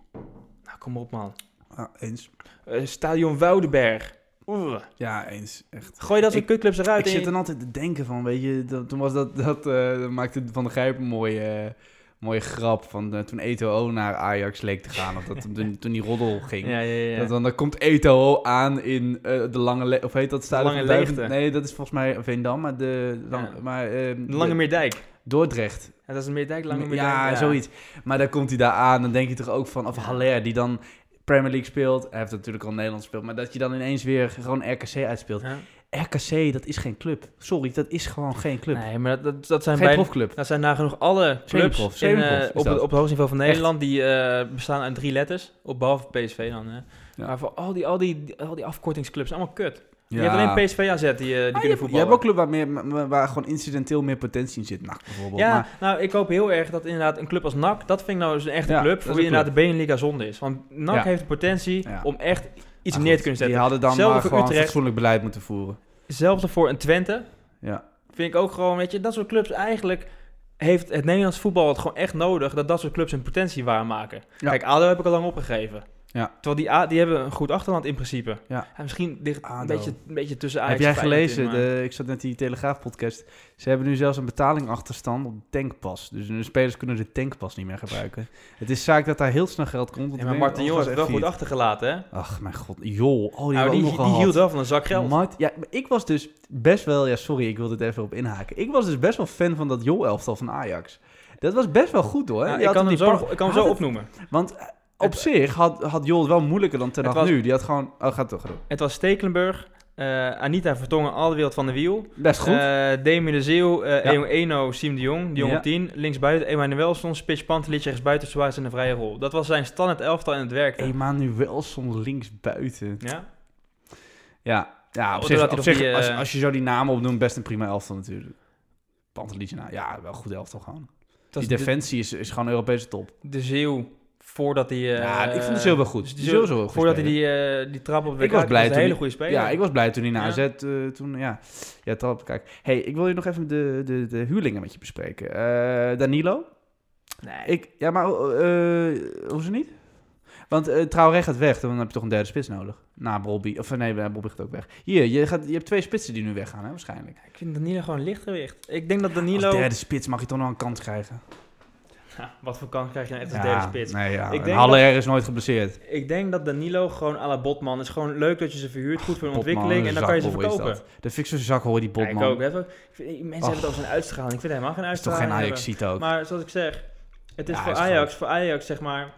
Speaker 1: Nou, kom op, man.
Speaker 2: Ah, eens.
Speaker 1: Eh, Stadion Woudenberg. Oeh.
Speaker 2: Ja, eens. Echt.
Speaker 1: Gooi dat soort
Speaker 2: Ik-
Speaker 1: kutclubs eruit.
Speaker 2: Ik
Speaker 1: en
Speaker 2: zit
Speaker 1: je-
Speaker 2: dan altijd te denken van, weet je, dat- toen was dat, dat eh, dat maakte Van der Gijp een mooie, eh, mooie grap van eh, toen Eto'o naar Ajax leek te gaan, of dat toen, toen die roddel ging.
Speaker 1: Ja, ja, ja.
Speaker 2: Dat dan, dan komt Eto'o aan in eh, de lange, le- of heet dat stadion?
Speaker 1: Lange
Speaker 2: van Duiven-
Speaker 1: Leegte.
Speaker 2: Nee, dat is volgens mij Veendam, maar de, lang-
Speaker 1: Ja.
Speaker 2: maar, eh,
Speaker 1: De Lange Meerdijk.
Speaker 2: Dordrecht.
Speaker 1: Ja, dat is een Meerdijk, Lange Meerdijk.
Speaker 2: ja, zoiets. Maar dan komt hij daar aan, dan denk je toch ook van... Of Haller, die dan Premier League speelt. Hij heeft natuurlijk al Nederland gespeeld. Maar dat je dan ineens weer gewoon RKC uitspeelt.
Speaker 1: Ja.
Speaker 2: RKC, dat is geen club. Sorry, dat is gewoon geen club.
Speaker 1: Nee, maar dat, dat, dat zijn
Speaker 2: geen
Speaker 1: bijna...
Speaker 2: profclub.
Speaker 1: Dat zijn nagenoeg alle clubs
Speaker 2: Semiprof,
Speaker 1: in, eh,
Speaker 2: semiprof is
Speaker 1: op, het,
Speaker 2: dat.
Speaker 1: op het hoogste niveau van Nederland. Die eh, bestaan uit drie letters. Op behalve PSV dan. Hè.
Speaker 2: Ja.
Speaker 1: Maar voor al die, al, die, die- al die afkortingsclubs, allemaal kut. Je hebt alleen PSV AZ die, eh, die
Speaker 2: Ah, je,
Speaker 1: kunnen
Speaker 2: hebt, je
Speaker 1: voetballen.
Speaker 2: hebt ook club waar, meer, waar gewoon incidenteel meer potentie in zit. NAC bijvoorbeeld.
Speaker 1: ja,
Speaker 2: Maar,
Speaker 1: nou ik hoop heel erg dat inderdaad een club als NAC, dat vind ik nou eens een echte
Speaker 2: Ja, dat
Speaker 1: club,
Speaker 2: is
Speaker 1: voor
Speaker 2: een
Speaker 1: wie
Speaker 2: club.
Speaker 1: inderdaad de Beneliga zonde is. Want NAC
Speaker 2: Ja.
Speaker 1: heeft de potentie
Speaker 2: Ja.
Speaker 1: om echt iets
Speaker 2: maar
Speaker 1: neer te
Speaker 2: Ah,
Speaker 1: kunnen
Speaker 2: goed,
Speaker 1: zetten.
Speaker 2: Die hadden dan
Speaker 1: Zelfde
Speaker 2: maar
Speaker 1: voor
Speaker 2: gewoon
Speaker 1: Utrecht.
Speaker 2: fatsoenlijk beleid moeten voeren.
Speaker 1: Zelfs voor een Twente
Speaker 2: Ja.
Speaker 1: vind ik ook gewoon, weet je, dat soort clubs eigenlijk heeft het Nederlands voetbal het gewoon echt nodig dat dat soort clubs hun potentie waarmaken.
Speaker 2: Ja.
Speaker 1: Kijk, ADO heb ik al lang opgegeven.
Speaker 2: Ja.
Speaker 1: Terwijl die, A, die hebben een goed achterland in principe.
Speaker 2: Ja.
Speaker 1: misschien ligt
Speaker 2: ADO.
Speaker 1: een beetje, een beetje tussen Ajax
Speaker 2: Heb jij
Speaker 1: en Feyenoord
Speaker 2: gelezen?
Speaker 1: in, maar-
Speaker 2: de, ik zat net die Telegraaf-podcast. Ze hebben nu zelfs een betalingachterstand op de tankpas. Dus de spelers kunnen de tankpas niet meer gebruiken. het is zaak dat daar heel snel geld komt. want
Speaker 1: Ja, maar
Speaker 2: dan
Speaker 1: Martin Jong
Speaker 2: wordt
Speaker 1: heeft
Speaker 2: het
Speaker 1: het wel goed
Speaker 2: echt
Speaker 1: achtergelaten, hè?
Speaker 2: failliet. Ach, mijn god. Jol. Oh, die
Speaker 1: nou,
Speaker 2: hebben
Speaker 1: die,
Speaker 2: we ook nog
Speaker 1: die
Speaker 2: gehad.
Speaker 1: hield wel van een zak geld.
Speaker 2: Mart- ja, maar ik was dus best wel... Ja, sorry, ik wil dit even op inhaken. Ik was dus best wel fan van dat Jol-elftal van Ajax. Dat was best wel goed, hoor.
Speaker 1: Nou,
Speaker 2: Die
Speaker 1: ik,
Speaker 2: had
Speaker 1: kan hem
Speaker 2: die
Speaker 1: zo,
Speaker 2: par-
Speaker 1: ik kan hem
Speaker 2: Had
Speaker 1: zo
Speaker 2: het-
Speaker 1: opnoemen.
Speaker 2: Want eh, op zich had, had Jol het wel moeilijker dan ten
Speaker 1: Het
Speaker 2: Hag
Speaker 1: was-
Speaker 2: nu. Die had gewoon... Oh, gaat toch doen.
Speaker 1: Het was Stekelenburg, eh, Anita Vertongen, Alderwereld van de Wiel.
Speaker 2: Best goed.
Speaker 1: Eh Demi de Zeeuw, eh
Speaker 2: Ja.
Speaker 1: Eno, Eno, Siem de Jong, de Jong
Speaker 2: Ja.
Speaker 1: op 10. Linksbuiten Emanuelson, Spits Pantelitje, rechtsbuiten Suarez in de vrije rol. Dat was zijn standaard elftal en het werkte.
Speaker 2: Emanuelson links buiten.
Speaker 1: Ja?
Speaker 2: Ja, ja op
Speaker 1: Oh,
Speaker 2: zich,
Speaker 1: doordat hij
Speaker 2: op
Speaker 1: nog
Speaker 2: zich
Speaker 1: die, eh,
Speaker 2: als, als je zo die namen opnoemt, best een prima elftal natuurlijk. Pantelietje, nou ja, wel een goed elftal gewoon.
Speaker 1: Dat is
Speaker 2: die
Speaker 1: de,
Speaker 2: defensie is, is gewoon Europese top.
Speaker 1: de Zeeuw, voordat hij... eh,
Speaker 2: ja, ik vond de Zeeuw wel goed.
Speaker 1: dus
Speaker 2: De
Speaker 1: die
Speaker 2: Zeeuw is
Speaker 1: Zeeuw-
Speaker 2: wel goed
Speaker 1: Voordat hij
Speaker 2: speler.
Speaker 1: die, eh, die trap op de
Speaker 2: Ik was blij
Speaker 1: was een
Speaker 2: toen
Speaker 1: hele
Speaker 2: die-
Speaker 1: goede speler.
Speaker 2: Ja, ik was blij toen hij naar
Speaker 1: Ja.
Speaker 2: AZ, eh, toen, ja, ja trap, kijk. hey, ik wil je nog even de, de, de huurlingen met je bespreken. Eh, Danilo,
Speaker 1: Nee,
Speaker 2: ik, ja, maar eh hoe ze niet? Want eh Traoré gaat weg, dan heb je toch een derde spits nodig. Na Bobby, of eh, nee, Bobby gaat ook weg. Hier, je, gaat, je hebt twee spitsen die nu weggaan, hè, waarschijnlijk.
Speaker 1: ik vind Danilo gewoon een lichtgewicht. Ik denk dat
Speaker 2: Als
Speaker 1: Danilo...
Speaker 2: derde spits mag je toch nog een kans krijgen.
Speaker 1: Ja, wat voor kans krijg je nou echt als derde
Speaker 2: ja,
Speaker 1: spits?
Speaker 2: nee, ja.
Speaker 1: Ik
Speaker 2: En
Speaker 1: denk
Speaker 2: Haller is nooit geblesseerd.
Speaker 1: Ik denk dat Danilo gewoon à la Botman is. Gewoon leuk dat je ze verhuurt, goed voor hun
Speaker 2: Botman,
Speaker 1: ontwikkeling en dan kan je ze
Speaker 2: zakbol is
Speaker 1: verkopen.
Speaker 2: Dat. dat vind ik zo'n zak hoor, die
Speaker 1: Ja,
Speaker 2: Botman.
Speaker 1: ik ook. hè. Ik vind- mensen hebben het
Speaker 2: Och.
Speaker 1: over zijn uitstraling. Ik vind helemaal geen
Speaker 2: is toch
Speaker 1: uitstraling.
Speaker 2: geen Ajax-ziet ook?
Speaker 1: hebben. Maar zoals ik zeg, het is
Speaker 2: Ja,
Speaker 1: voor
Speaker 2: hij is
Speaker 1: Ajax, voor Ajax zeg maar.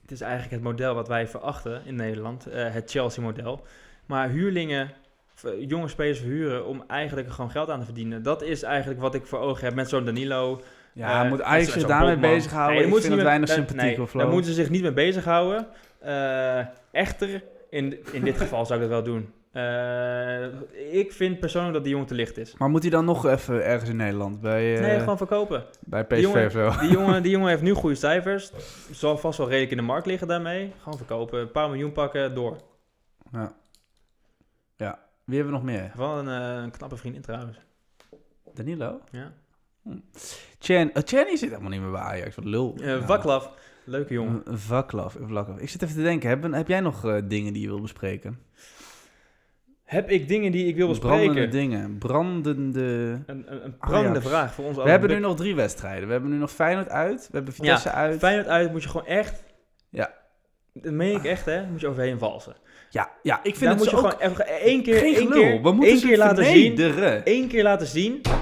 Speaker 1: Het is eigenlijk het model wat wij verachten in Nederland, eh, het Chelsea-model. Maar huurlingen, v- jonge spelers verhuren om eigenlijk er gewoon geld aan te verdienen. Dat is eigenlijk wat ik voor ogen heb met zo'n Danilo.
Speaker 2: ja,
Speaker 1: eh,
Speaker 2: moet
Speaker 1: met
Speaker 2: Ajax
Speaker 1: zo'n-
Speaker 2: zich
Speaker 1: zo'n
Speaker 2: daarmee
Speaker 1: Botman.
Speaker 2: bezighouden?
Speaker 1: Nee, daar
Speaker 2: ik
Speaker 1: moeten
Speaker 2: vind
Speaker 1: ze
Speaker 2: het
Speaker 1: niet mee-
Speaker 2: weinig
Speaker 1: daar-
Speaker 2: sympathiek
Speaker 1: nee,
Speaker 2: of
Speaker 1: Daar
Speaker 2: zo.
Speaker 1: moeten ze zich niet mee bezighouden. Eh, echter, in, in dit geval zou ik dat wel doen. Eh, ik vind persoonlijk dat die jongen te licht is.
Speaker 2: Maar moet hij dan nog even ergens in Nederland? Bij, eh
Speaker 1: Nee, gewoon verkopen.
Speaker 2: bij
Speaker 1: die
Speaker 2: PSV
Speaker 1: jongen-
Speaker 2: of zo?
Speaker 1: Die jongen, die jongen heeft nu goede cijfers. Zal vast wel redelijk in de markt liggen daarmee. Gewoon verkopen. Een paar miljoen pakken, door.
Speaker 2: Wie hebben we nog meer?
Speaker 1: Wel een, eh, een knappe vriendin trouwens.
Speaker 2: Danilo?
Speaker 1: Ja.
Speaker 2: Chen, eh, Chenny zit helemaal niet meer bij Ajax. Wat lul. Eh,
Speaker 1: Eh,
Speaker 2: Nou.
Speaker 1: Vaklav, leuke jongen.
Speaker 2: Een Vaklav, een Vaklav. Ik zit even te denken, heb, heb jij nog eh, dingen die je wil bespreken?
Speaker 1: Heb ik dingen die ik wil
Speaker 2: Brandende
Speaker 1: bespreken?
Speaker 2: dingen, brandende...
Speaker 1: Een, een, een prangende
Speaker 2: Ajax.
Speaker 1: vraag voor ons
Speaker 2: We hebben nu nog drie wedstrijden. We hebben nu nog Feyenoord uit, we hebben Vitesse uit.
Speaker 1: Feyenoord uit moet je gewoon echt...
Speaker 2: Ja.
Speaker 1: Dat meen ik echt, hè? Moet je overheen valsen.
Speaker 2: Ja, ja, ik vind
Speaker 1: Daar
Speaker 2: het
Speaker 1: moet
Speaker 2: zo
Speaker 1: je
Speaker 2: ook
Speaker 1: gewoon even één keer,
Speaker 2: geen
Speaker 1: één
Speaker 2: gelul.
Speaker 1: keer,
Speaker 2: we moeten
Speaker 1: één
Speaker 2: ze
Speaker 1: keer laten zien.
Speaker 2: vernederen.
Speaker 1: Eén keer laten zien dat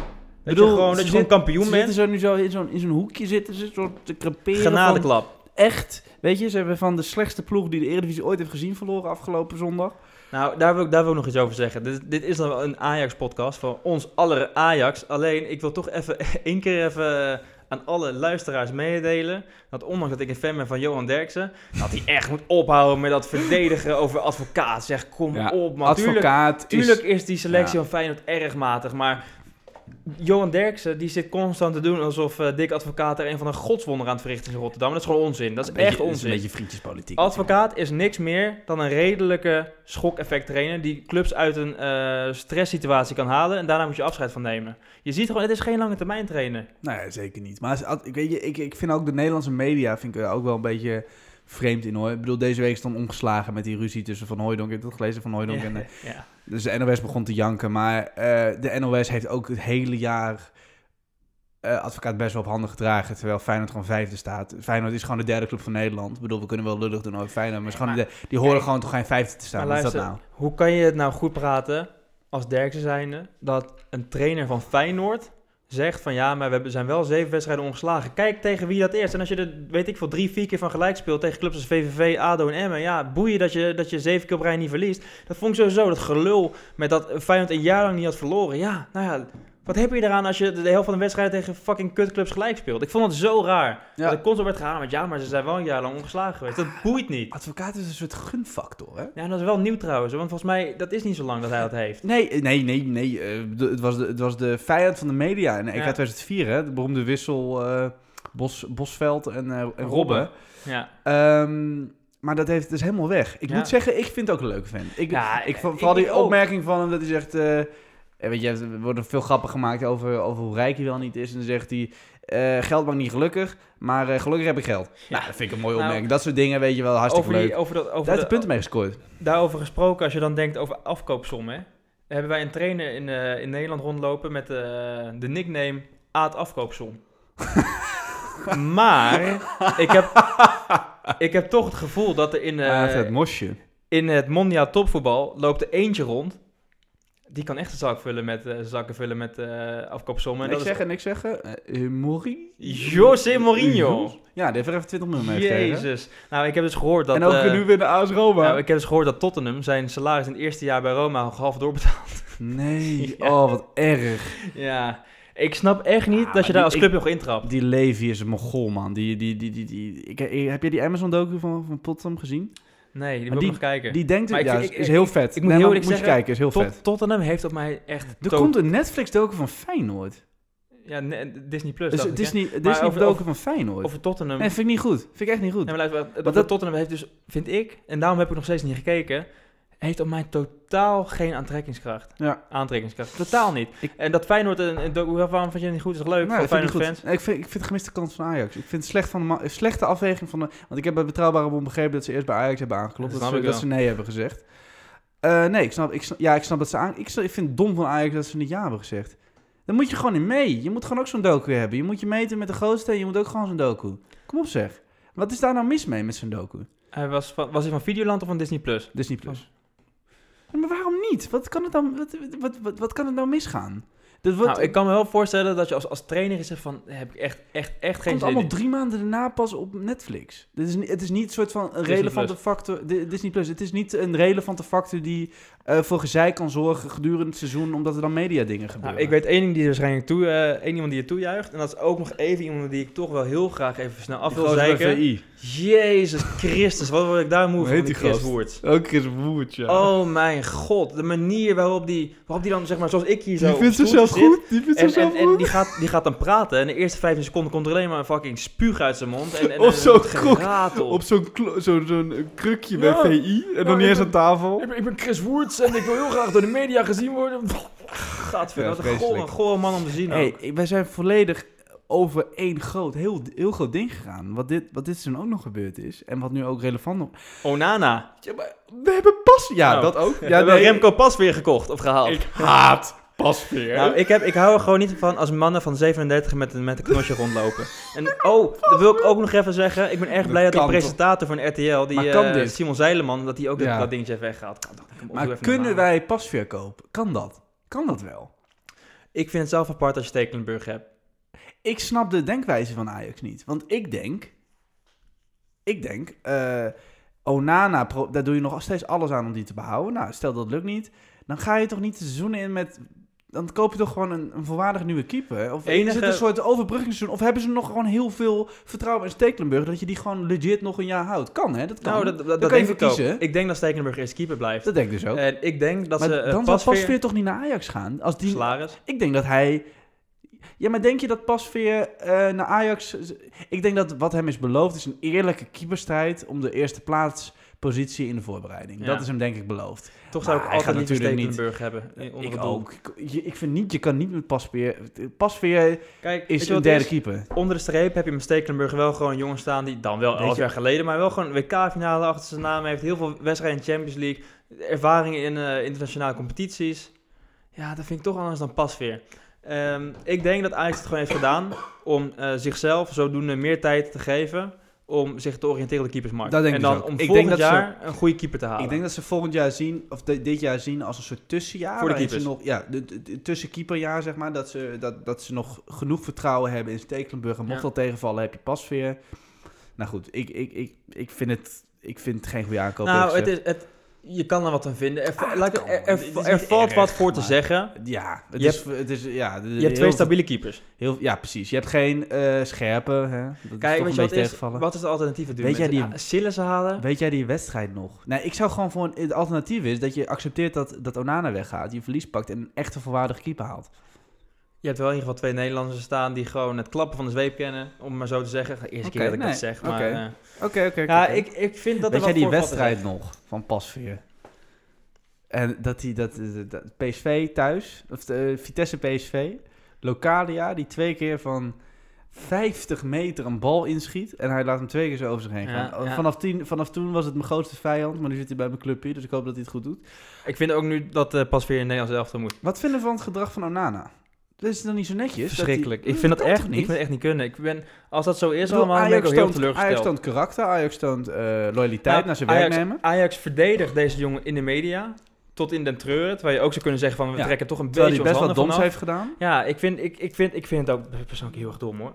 Speaker 2: Bedoel,
Speaker 1: je gewoon,
Speaker 2: ze
Speaker 1: dat je gewoon kampioen
Speaker 2: Ze zitten
Speaker 1: bent.
Speaker 2: zo nu zo in zo'n in zo'n hoekje zitten, ze soort te creperen. van-
Speaker 1: Genadeklap.
Speaker 2: Echt, weet je, ze hebben van de slechtste ploeg die de Eredivisie ooit heeft gezien verloren afgelopen zondag.
Speaker 1: Nou, daar wil, ik, daar wil ik nog iets over zeggen. Dit, dit is dan wel een Ajax-podcast van ons aller Ajax. Alleen, ik wil toch even [laughs] één keer even aan alle luisteraars meedelen... dat ondanks dat ik een fan ben van Johan Derksen... dat hij echt moet ophouden met dat verdedigen over advocaat. Zeg, kom
Speaker 2: Ja,
Speaker 1: op, man. Tuurlijk-
Speaker 2: Advocaat is-
Speaker 1: Tuurlijk is die selectie
Speaker 2: Ja.
Speaker 1: van Feyenoord erg matig, maar Johan Derksen die zit constant te doen alsof eh Dick Advocaat er een van de godswonder aan het verrichten is in Rotterdam. Dat is gewoon onzin. Dat is
Speaker 2: Een beetje-
Speaker 1: echt
Speaker 2: het Oh.
Speaker 1: onzin.
Speaker 2: Een beetje vriendjespolitiek.
Speaker 1: Advocaat is niks meer dan een redelijke schok-effect trainer die clubs uit een eh stresssituatie kan halen en daarna moet je afscheid van nemen. Je ziet gewoon, het is geen lange termijn trainer.
Speaker 2: Nee, zeker niet. Maar als- ik, weet je, ik, ik vind ook de Nederlandse media vind ik er ook wel een beetje vreemd in hoor. Ik bedoel, deze week is het dan omgeslagen met die ruzie tussen Van Hooijdonk. Ik heb dat gelezen, Van Hooijdonk. En, eh,
Speaker 1: [laughs] ja.
Speaker 2: dus de NOS begon te janken. Maar eh, de NOS heeft ook het hele jaar eh, advocaat best wel op handen gedragen. Terwijl Feyenoord gewoon vijfde staat. Feyenoord is gewoon de derde club van Nederland. Ik bedoel, we kunnen wel lullig doen over Feyenoord. Maar, het is
Speaker 1: Nee,
Speaker 2: gewoon de- die horen gewoon toch geen vijfde te staan.
Speaker 1: Maar
Speaker 2: Wat is dat
Speaker 1: luister,
Speaker 2: nou?
Speaker 1: Hoe kan je het nou goed praten als Derksen zijnde dat een trainer van Feyenoord zegt van ja, maar we hebben- zijn wel zeven wedstrijden ongeslagen. Kijk tegen wie dat is. En als je er, weet ik veel, drie, vier keer van gelijk speelt tegen clubs als VVV, ADO en Emmen. Ja, boeien dat je, dat je zeven keer op rij niet verliest. Dat vond ik sowieso, dat gelul met dat Feyenoord een jaar lang niet had verloren. Ja, nou ja, wat heb je eraan als je de helft van de wedstrijd tegen fucking kutclubs gelijk speelt? Ik vond het zo raar.
Speaker 2: Ja.
Speaker 1: Dat ik constant werd gehaald met ja, maar ze zijn wel een jaar lang ongeslagen geweest. Dat boeit niet.
Speaker 2: Advocaat is een soort gunfactor, hè?
Speaker 1: Ja, en dat is wel nieuw trouwens, want volgens mij, dat is niet zo lang dat hij dat heeft.
Speaker 2: Nee, eh, nee, nee, nee. eh, de- het, was de, het was de vijand van de E media in EK
Speaker 1: Ja.
Speaker 2: 2004, hè? De beroemde wissel eh, Bos, Bosveld en, eh, en
Speaker 1: Robben.
Speaker 2: Robben.
Speaker 1: Ja,
Speaker 2: Ehm, maar dat heeft dus helemaal weg. Ik
Speaker 1: Ja.
Speaker 2: moet zeggen, ik vind het ook een leuke vent. Ik,
Speaker 1: Ja,
Speaker 2: ik,
Speaker 1: eh,
Speaker 2: vond-
Speaker 1: ik-
Speaker 2: vooral
Speaker 1: ik
Speaker 2: die
Speaker 1: ook.
Speaker 2: opmerking van hem dat hij zegt... eh, eh, weet je, er worden veel grappen gemaakt over, over hoe rijk hij wel niet is. En dan zegt hij, eh, geld maakt niet gelukkig, maar eh, gelukkig heb ik geld. Nou, dat vind ik een mooie
Speaker 1: Nou,
Speaker 2: opmerking. Dat soort dingen, weet je wel, hartstikke
Speaker 1: over,
Speaker 2: leuk.
Speaker 1: die, over, dat, over
Speaker 2: Daar heeft
Speaker 1: de-
Speaker 2: hij punten mee gescoord.
Speaker 1: daarover gesproken, als je dan denkt over afkoopsommen. hè. Hebben wij een trainer in, eh, in Nederland rondlopen met eh, de nickname Aad
Speaker 2: [laughs]
Speaker 1: Afkoopsom. maar ik heb, ik heb toch het gevoel dat er in, eh,
Speaker 2: Ah, het mosje.
Speaker 1: in het mondiaal topvoetbal loopt er eentje rond. Die kan echt een zak vullen met, eh, zakken vullen met eh afkoopsommen. En
Speaker 2: niks
Speaker 1: dat is
Speaker 2: zeggen, niks zeggen. Eh, eh, Mori?
Speaker 1: José Mourinho.
Speaker 2: Ja, die heeft er even 20 miljoen mee gekregen.
Speaker 1: Jezus. Nou, ik heb dus gehoord dat...
Speaker 2: en ook
Speaker 1: eh,
Speaker 2: weer nu weer de AS Roma.
Speaker 1: Nou, ik heb dus gehoord dat Tottenham zijn salaris in het eerste jaar bij Roma half
Speaker 2: [laughs]
Speaker 1: doorbetaalt.
Speaker 2: Nee,
Speaker 1: [laughs] Ja.
Speaker 2: oh wat erg.
Speaker 1: ja, ik snap echt niet
Speaker 2: Ah,
Speaker 1: dat je
Speaker 2: maar
Speaker 1: daar
Speaker 2: die-
Speaker 1: als club nog intrapt.
Speaker 2: Die Levi is een mogol, man. Die, die, die, die, die, ik, ik- heb je die Amazon-docu van, van Potsdam gezien?
Speaker 1: Nee, die
Speaker 2: Maar
Speaker 1: wil ik nog kijken.
Speaker 2: Die denkt,
Speaker 1: Maar ik
Speaker 2: ja,
Speaker 1: vind-
Speaker 2: is,
Speaker 1: ik-
Speaker 2: is
Speaker 1: ik-
Speaker 2: heel vet.
Speaker 1: ik moet heel
Speaker 2: Nee, maar
Speaker 1: eerlijk
Speaker 2: moet je
Speaker 1: zeggen,
Speaker 2: kijken, is heel
Speaker 1: Tot-
Speaker 2: vet.
Speaker 1: Tottenham heeft op mij echt...
Speaker 2: Er
Speaker 1: to-
Speaker 2: komt een Netflix-docu van Feyenoord.
Speaker 1: Ja, nee, Disney Plus.
Speaker 2: Dus
Speaker 1: dacht
Speaker 2: het
Speaker 1: ik,
Speaker 2: is niet, het
Speaker 1: Maar
Speaker 2: is niet
Speaker 1: over-
Speaker 2: een docu
Speaker 1: over-
Speaker 2: van
Speaker 1: hè.
Speaker 2: Feyenoord.
Speaker 1: Over Tottenham.
Speaker 2: Nee, vind ik niet goed. Vind ik echt niet goed.
Speaker 1: Nee, maar luister, dat,
Speaker 2: Want dat-
Speaker 1: Tottenham heeft dus, vind ik, en daarom heb ik nog steeds niet gekeken, heeft op mij totaal geen aantrekkingskracht.
Speaker 2: Ja.
Speaker 1: Aantrekkingskracht. Totaal niet.
Speaker 2: Ik-
Speaker 1: en dat Feyenoord, een, een docu- waarom vind je het niet goed? Is toch leuk
Speaker 2: Nou,
Speaker 1: voor
Speaker 2: dat vind ik
Speaker 1: Feyenoord
Speaker 2: niet
Speaker 1: fans?
Speaker 2: goed. Nee, ik, vind, ik vind de gemiste kans van Ajax. Ik vind het slecht van de ma- een slechte afweging van de... Want ik heb bij Betrouwbare Bond begrepen dat ze eerst bij Ajax hebben
Speaker 1: Dat
Speaker 2: aangeklopt. Dat,
Speaker 1: snap
Speaker 2: ze,
Speaker 1: ik
Speaker 2: dat
Speaker 1: wel.
Speaker 2: ze nee hebben gezegd. Eh, nee, ik snap, ik snap- Ja, ik snap dat ze aan... Ik, snap- ik vind het dom van Ajax dat ze niet ja hebben gezegd. Dan moet je gewoon in mee. Je moet gewoon ook zo'n docu hebben. Je moet je meten met de grootste en je moet ook gewoon zo'n docu. Kom op zeg. Wat is daar nou mis mee met zo'n docu?
Speaker 1: Hij was, van, was hij van Videoland of van Disney Plus?
Speaker 2: Disney Plus.
Speaker 1: Oh.
Speaker 2: Maar waarom niet? Wat kan het dan, wat, wat, wat, wat kan het nou misgaan? Dat wordt,
Speaker 1: Nou, ik kan me wel voorstellen dat je als, als trainer is van, heb ik echt, echt, echt geen
Speaker 2: komt
Speaker 1: zin
Speaker 2: allemaal
Speaker 1: in.
Speaker 2: drie maanden daarna pas op Netflix. Dit is, ni- het is niet een soort van een
Speaker 1: Disney
Speaker 2: relevante factor. Di- Disney Plus. Het is niet een relevante factor die eh, voor gezeik kan zorgen gedurende het seizoen, omdat er dan mediadingen gebeuren.
Speaker 1: Nou, ik weet één ding die er waarschijnlijk toe, eh, één iemand die je toejuicht. En dat is ook nog even iemand die ik toch wel heel graag even snel af
Speaker 2: Die
Speaker 1: wil
Speaker 2: gozer bij
Speaker 1: zeiken.
Speaker 2: VI.
Speaker 1: Jezus Christus, wat word ik daar moe
Speaker 2: Hoe
Speaker 1: van,
Speaker 2: heet
Speaker 1: die
Speaker 2: die
Speaker 1: Chris
Speaker 2: gast?
Speaker 1: Woerts.
Speaker 2: Ook Chris Woerts, ja.
Speaker 1: Oh mijn god, de manier waarop die, waarop die dan, zeg maar, zoals ik hier zo
Speaker 2: die
Speaker 1: op
Speaker 2: vindt
Speaker 1: stoeltje
Speaker 2: zichzelf
Speaker 1: zit.
Speaker 2: goed. Die vindt
Speaker 1: En,
Speaker 2: zichzelf
Speaker 1: en, en
Speaker 2: goed.
Speaker 1: die, gaat, die gaat dan praten en de eerste 15 seconden komt er alleen maar een fucking spuug uit zijn mond. En, en,
Speaker 2: [laughs] Of
Speaker 1: en
Speaker 2: zo'n
Speaker 1: wordt
Speaker 2: krok
Speaker 1: geratel.
Speaker 2: Op zo'n klo- zo'n- zo'n krukje
Speaker 1: Ja.
Speaker 2: bij VI. En dan
Speaker 1: Ja,
Speaker 2: niet eens
Speaker 1: ik-
Speaker 2: aan tafel.
Speaker 1: Ik ben, ik ben Chris Woerts en ik wil heel graag door de media gezien worden. Gadver,
Speaker 2: Ja,
Speaker 1: wat een
Speaker 2: vreselijk.
Speaker 1: gore, gore man om te zien. ook.
Speaker 2: Hey, wij zijn volledig over één groot, heel, heel groot ding gegaan. Wat dit, wat dit seizoen ook nog gebeerd is. En wat nu ook relevant nog...
Speaker 1: Onana.
Speaker 2: Ja, maar we hebben pas... Ja,
Speaker 1: Nou.
Speaker 2: dat ook.
Speaker 1: Ja,
Speaker 2: Ja,
Speaker 1: hebben we
Speaker 2: nee,
Speaker 1: Remco pas weer gekocht of gehaald.
Speaker 2: ik haat pasveer.
Speaker 1: Nou, ik, heb, ik hou er gewoon niet van als mannen van 37 met een, met een knotje rondlopen. En oh, dat wil ik ook nog even zeggen. Ik ben erg
Speaker 2: Dat
Speaker 1: blij dat die
Speaker 2: kan toch?
Speaker 1: presentator van RTL, die
Speaker 2: Maar kan
Speaker 1: eh,
Speaker 2: dit?
Speaker 1: Simon Zeileman, dat hij ook
Speaker 2: Ja.
Speaker 1: dat, dat dingetje heeft weggehaald. Kan toch? Kom op, doe
Speaker 2: maar
Speaker 1: even
Speaker 2: kunnen
Speaker 1: normaal.
Speaker 2: wij pasveer kopen? Kan dat? Kan dat wel?
Speaker 1: Ik vind het zelf apart als je Stekelenburg hebt.
Speaker 2: Ik snap de denkwijze van Ajax niet. Want ik denk... Ik denk... eh, Onana, pro- daar doe je nog steeds alles aan om die te behouden. Nou, stel dat lukt niet. Dan ga je toch niet de seizoenen in met... Dan koop je toch gewoon een, een voorwaardig nieuwe keeper? Of is
Speaker 1: Enige-
Speaker 2: het een soort overbruggingsseizoen? Of hebben ze nog gewoon heel veel vertrouwen in Stekelenburg... dat je die gewoon legit nog een jaar houdt? Kan, hè? Dat kan.
Speaker 1: Nou, dat, dat,
Speaker 2: kan
Speaker 1: dat
Speaker 2: je
Speaker 1: denk ik ook.
Speaker 2: verkiezen.
Speaker 1: Ik denk dat Stekelenburg eerst keeper blijft.
Speaker 2: Dat denk ik dus ook.
Speaker 1: En ik denk dat
Speaker 2: maar
Speaker 1: ze eh,
Speaker 2: dan
Speaker 1: pas
Speaker 2: zou
Speaker 1: weer...
Speaker 2: Pasveer toch niet naar Ajax gaan? Als die...
Speaker 1: Salaris.
Speaker 2: Ik denk dat hij... Ja, maar denk je dat Pasveer eh, naar Ajax... Ik denk dat wat hem is beloofd is een eerlijke keeperstrijd... om de eerste plaatspositie in de voorbereiding.
Speaker 1: Ja.
Speaker 2: Dat is hem denk ik beloofd.
Speaker 1: Toch zou
Speaker 2: Maar
Speaker 1: ik
Speaker 2: hij gaat
Speaker 1: altijd liever
Speaker 2: natuurlijk niet.
Speaker 1: Stekelenburg hebben. eh, Onder
Speaker 2: ik
Speaker 1: het doel.
Speaker 2: ook. Ik, je- ik vind niet, je kan niet met Pasveer... Pasveer
Speaker 1: Kijk, weet
Speaker 2: is
Speaker 1: je wat
Speaker 2: een
Speaker 1: het
Speaker 2: derde
Speaker 1: is?
Speaker 2: keeper.
Speaker 1: Onder de streep heb je met Stekelenburg wel gewoon jongens staan die dan wel
Speaker 2: Weet
Speaker 1: 11
Speaker 2: je-
Speaker 1: jaar geleden, maar wel gewoon een WK-finale achter zijn naam heeft. Heel veel wedstrijden in de Champions League, ervaring in eh, internationale competities. Ja, dat vind ik toch anders dan Pasveer. Ehm, ik denk dat Ajax het gewoon heeft gedaan om eh, zichzelf zodoende meer tijd te geven om zich te oriënteren op de keepersmarkt.
Speaker 2: Dat denk
Speaker 1: en
Speaker 2: ik
Speaker 1: dan
Speaker 2: dus ook.
Speaker 1: om
Speaker 2: Ik
Speaker 1: volgend
Speaker 2: denk dat ze-
Speaker 1: jaar een goede keeper te halen.
Speaker 2: Ik denk dat ze volgend jaar zien, of di- dit jaar zien als een soort tussenjaar.
Speaker 1: Voor de
Speaker 2: waarin ze
Speaker 1: keepers.
Speaker 2: nog, ja, de, de- de tussenkeeperjaar, zeg maar. Dat ze, dat, dat ze nog genoeg vertrouwen hebben in Stekelenburg. En mocht
Speaker 1: Ja.
Speaker 2: dat tegenvallen, heb je Pasveer. Nou goed, ik, ik, ik, ik, vind, het, ik vind het geen goede aankoop.
Speaker 1: nou, het
Speaker 2: eerlijk
Speaker 1: is, het, je kan er wat aan vinden. Er,
Speaker 2: Ah, het
Speaker 1: laat ik-
Speaker 2: kan
Speaker 1: er-
Speaker 2: wel.
Speaker 1: er-
Speaker 2: Dit is niet
Speaker 1: er valt
Speaker 2: erg,
Speaker 1: wat voor te
Speaker 2: maar-
Speaker 1: zeggen.
Speaker 2: gezegd. Ja, het
Speaker 1: Je
Speaker 2: is, het is, ja,
Speaker 1: Je hebt twee stabiele keepers.
Speaker 2: Heel, ja, precies. Je hebt geen eh scherpe, hè. Dat
Speaker 1: Kijk, weet je
Speaker 2: is toch een
Speaker 1: wat
Speaker 2: beetje
Speaker 1: is?
Speaker 2: tegenvallen.
Speaker 1: Wat is de alternatief? Weet
Speaker 2: Weet jij die-
Speaker 1: Sillissen halen?
Speaker 2: Weet jij die wedstrijd nog? Nee, ik zou gewoon voor een, het alternatief is dat je accepteert dat, dat Onana weggaat, je verlies pakt en een echte volwaardige keeper haalt.
Speaker 1: Je hebt wel in ieder geval twee Nederlanders staan die gewoon het klappen van de zweep kennen. Om het maar zo te zeggen. De eerste keer
Speaker 2: Oké,
Speaker 1: dat ik dat
Speaker 2: nee,
Speaker 1: zeg. Maar,
Speaker 2: oké.
Speaker 1: eh,
Speaker 2: Oké, oké.
Speaker 1: ja, ik, ik vind dat
Speaker 2: Weet
Speaker 1: er wel
Speaker 2: jij die
Speaker 1: voor wat te
Speaker 2: wedstrijd nog van Pasveer? En dat die, dat, dat- dat- PSV thuis, of de, Vitesse PSV, Localia, die twee keer van 50 meter een bal inschiet en hij laat hem twee keer zo over zich heen
Speaker 1: Ja,
Speaker 2: gaan.
Speaker 1: ja.
Speaker 2: Vanaf, tien, vanaf toen was het mijn grootste vijand, maar nu zit hij bij mijn clubje, dus ik hoop dat hij het goed doet.
Speaker 1: zeggen. Ik vind ook nu dat eh pas weer in Nederlands elftal moet.
Speaker 2: Wat vinden we van het gedrag van Onana? Dat is dan niet zo netjes. dat hij-
Speaker 1: Verschrikkelijk. ik vind Mm, dat
Speaker 2: kan
Speaker 1: echt,
Speaker 2: toch
Speaker 1: ik
Speaker 2: niet?
Speaker 1: vind het echt niet kunnen. Ik ben, als dat zo
Speaker 2: Ik
Speaker 1: is
Speaker 2: bedoel,
Speaker 1: allemaal, dan ben ik
Speaker 2: Ajax
Speaker 1: ook heel
Speaker 2: toont-
Speaker 1: teleurgesteld.
Speaker 2: Ajax toont karakter, Ajax toont eh, loyaliteit
Speaker 1: Nou,
Speaker 2: naar zijn
Speaker 1: Ajax-
Speaker 2: werknemer.
Speaker 1: Ajax verdedigt deze jongen in de media. Tot in den treuren. Terwijl je ook zou kunnen zeggen van we
Speaker 2: Ja,
Speaker 1: trekken toch een
Speaker 2: Terwijl
Speaker 1: beetje
Speaker 2: hij
Speaker 1: ons
Speaker 2: best wat
Speaker 1: handen
Speaker 2: doms
Speaker 1: vanaf.
Speaker 2: heeft gedaan.
Speaker 1: Ja, ik vind, ik, ik, vind, ik vind het ook persoonlijk heel erg dom hoor.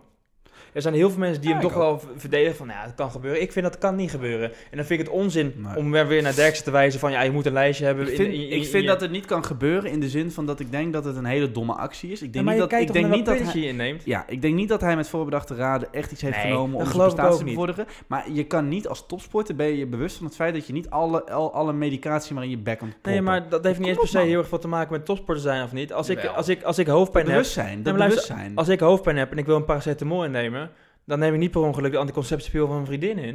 Speaker 1: Er zijn heel veel mensen die
Speaker 2: Ja,
Speaker 1: hem
Speaker 2: ik
Speaker 1: toch wel v- verdedigen van, nou, ja, dat kan gebeuren. Ik vind dat kan niet gebeuren. En dan vind ik het onzin
Speaker 2: Nee.
Speaker 1: om weer weer naar Derksen te wijzen van, ja, je moet een lijstje hebben.
Speaker 2: Ik
Speaker 1: in-
Speaker 2: vind,
Speaker 1: in- in-
Speaker 2: ik
Speaker 1: in
Speaker 2: vind
Speaker 1: je-
Speaker 2: dat het niet kan gebeuren in de zin van dat ik denk dat het een hele domme actie is. Ik
Speaker 1: Ja,
Speaker 2: denk
Speaker 1: maar
Speaker 2: niet
Speaker 1: je
Speaker 2: dat,
Speaker 1: kijkt
Speaker 2: ik
Speaker 1: toch
Speaker 2: denk
Speaker 1: naar
Speaker 2: niet
Speaker 1: welke
Speaker 2: dat hij,
Speaker 1: positie je inneemt.
Speaker 2: ja, ik denk niet dat hij met voorbedachte raden echt iets heeft
Speaker 1: Nee,
Speaker 2: genomen
Speaker 1: dat
Speaker 2: om zijn
Speaker 1: geloof ik ook
Speaker 2: prestatie te
Speaker 1: niet.
Speaker 2: bevorderen. Maar je kan niet als topsporter ben je je bewust van het feit dat je niet alle, al- alle medicatie maar in je bek kan proppen.
Speaker 1: Nee, maar dat heeft niet
Speaker 2: Kom
Speaker 1: eens
Speaker 2: op,
Speaker 1: per se
Speaker 2: man.
Speaker 1: heel erg veel te maken met topsporter zijn of niet. Als ik,
Speaker 2: Jawel.
Speaker 1: als ik, als ik hoofdpijn heb,
Speaker 2: bewustzijn,
Speaker 1: Ja,
Speaker 2: dat
Speaker 1: maar luister,
Speaker 2: bewustzijn.
Speaker 1: als ik hoofdpijn heb en ik wil een paracetamol innemen, dan neem ik niet per ongeluk de anticonceptiepil van mijn vriendin in.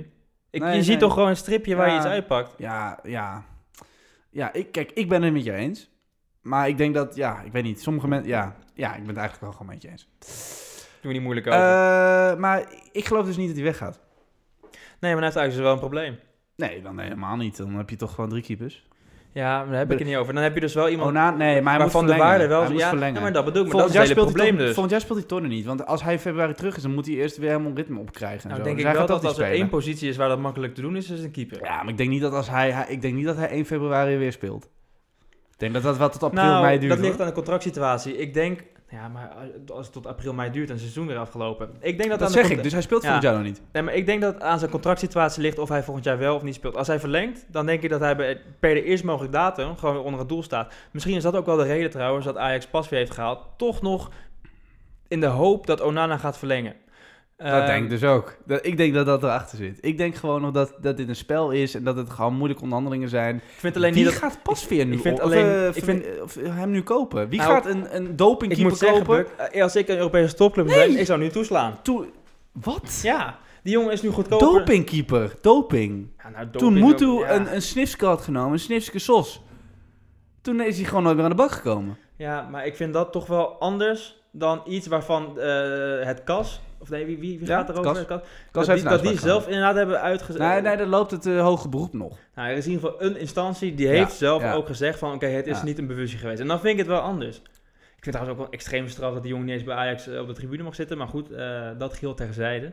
Speaker 1: Ik, je
Speaker 2: Nee, nee.
Speaker 1: ziet toch gewoon een stripje waar
Speaker 2: Ja.
Speaker 1: je iets uitpakt.
Speaker 2: Ja, ja. Ja, ik, kijk, ik ben het met je eens. Maar ik denk dat, ja, ik weet niet, sommige mensen, ja, ja, ik ben het eigenlijk wel gewoon met je eens.
Speaker 1: Doe me niet moeilijk over.
Speaker 2: Eh, maar ik geloof dus niet dat hij weggaat.
Speaker 1: nee, maar dan nou heeft Ajax dus wel een probleem.
Speaker 2: Nee, dan helemaal niet. Dan heb je toch gewoon drie keepers.
Speaker 1: Ja, maar daar heb ik het niet over. Dan heb je dus wel iemand
Speaker 2: Ona, Oh, nee, maar hij moet
Speaker 1: waarvan de
Speaker 2: verlengen.
Speaker 1: waarde wel...
Speaker 2: hij moet
Speaker 1: ja,
Speaker 2: verlengen.
Speaker 1: ja, maar dat bedoel ik. Maar dat is
Speaker 2: Volgend
Speaker 1: het
Speaker 2: jaar,
Speaker 1: hele
Speaker 2: speelt hij
Speaker 1: probleem
Speaker 2: toch,
Speaker 1: dus.
Speaker 2: volgend jaar speelt hij Tonnen niet. Want als hij februari terug is, dan moet hij eerst weer helemaal ritme opkrijgen. en
Speaker 1: Nou,
Speaker 2: zo.
Speaker 1: denk
Speaker 2: Dus
Speaker 1: ik
Speaker 2: hij
Speaker 1: wel
Speaker 2: gaat
Speaker 1: dat als er
Speaker 2: niet
Speaker 1: één
Speaker 2: spelen.
Speaker 1: positie is waar dat makkelijk te doen is, is het een keeper.
Speaker 2: Ja, maar ik denk niet dat als hij, hij- ik denk niet dat hij 1 februari weer speelt. Ik denk dat dat wel tot april,
Speaker 1: nou,
Speaker 2: mei duurt.
Speaker 1: dat ligt
Speaker 2: hoor.
Speaker 1: aan de contractsituatie. Ik denk... Ja, maar eh, als het tot april, mei duurt en het seizoen weer afgelopen. Ik denk dat,
Speaker 2: dat
Speaker 1: aan de
Speaker 2: zeg
Speaker 1: contra-
Speaker 2: ik, dus hij speelt
Speaker 1: Ja.
Speaker 2: volgend jaar nog niet.
Speaker 1: Nee, maar ik denk dat het aan zijn contractsituatie ligt of hij volgend jaar wel of niet speelt. Als hij verlengt, dan denk ik dat hij bij- per de eerst mogelijke datum gewoon weer onder het doel staat. Misschien is dat ook wel de reden trouwens dat Ajax pas weer heeft gehaald. Toch nog in de hoop dat Onana gaat verlengen.
Speaker 2: Dat
Speaker 1: Ehm,
Speaker 2: denk ik dus ook. Dat, ik denk dat dat erachter zit. Ik denk gewoon nog dat, dat dit een spel is en dat het gewoon moeilijke onderhandelingen zijn.
Speaker 1: Ik vind alleen
Speaker 2: Wie
Speaker 1: niet dat...
Speaker 2: gaat Pasveer nu
Speaker 1: ik vind
Speaker 2: op- of,
Speaker 1: alleen-
Speaker 2: eh,
Speaker 1: ik
Speaker 2: Ver-
Speaker 1: vind-
Speaker 2: of hem nu kopen? Wie
Speaker 1: Nou,
Speaker 2: gaat een, een
Speaker 1: Ik moet
Speaker 2: dopingkeeper
Speaker 1: zeggen,
Speaker 2: kopen?
Speaker 1: Buck, eh, als ik een Europese topclub ben, ik zou nu toeslaan.
Speaker 2: Toen, wat?
Speaker 1: Ja, die jongen is nu goedkoper.
Speaker 2: Dopingkeeper. Doping.
Speaker 1: Ja, nou,
Speaker 2: Toen
Speaker 1: doping
Speaker 2: Moetu
Speaker 1: ook, ja.
Speaker 2: een, een snifske had genomen, een snifske sos. Toen is hij gewoon nooit meer aan de bak gekomen.
Speaker 1: Ja, maar ik vind dat toch wel anders dan iets waarvan eh, het kas... Of nee, wie, wie, wie
Speaker 2: Ja,
Speaker 1: gaat er
Speaker 2: het
Speaker 1: over?
Speaker 2: Kas.
Speaker 1: Het Kas? dat
Speaker 2: Kas heeft
Speaker 1: die,
Speaker 2: een
Speaker 1: dat die
Speaker 2: uitspraak
Speaker 1: zelf inderdaad hebben uitgezet.
Speaker 2: gehad. Nee, nee, dat loopt het eh, hoge beroep nog.
Speaker 1: Nou, er is in ieder geval een instantie die
Speaker 2: Ja,
Speaker 1: heeft zelf
Speaker 2: ja.
Speaker 1: ook gezegd van... oké, het is
Speaker 2: Ja.
Speaker 1: niet een bewustzijn geweest. En dan vind ik het wel anders. Ik vind trouwens ook wel extreem straf dat die jongen niet eens bij Ajax eh, op de tribune mag zitten. Maar goed, eh, dat geheel terzijde.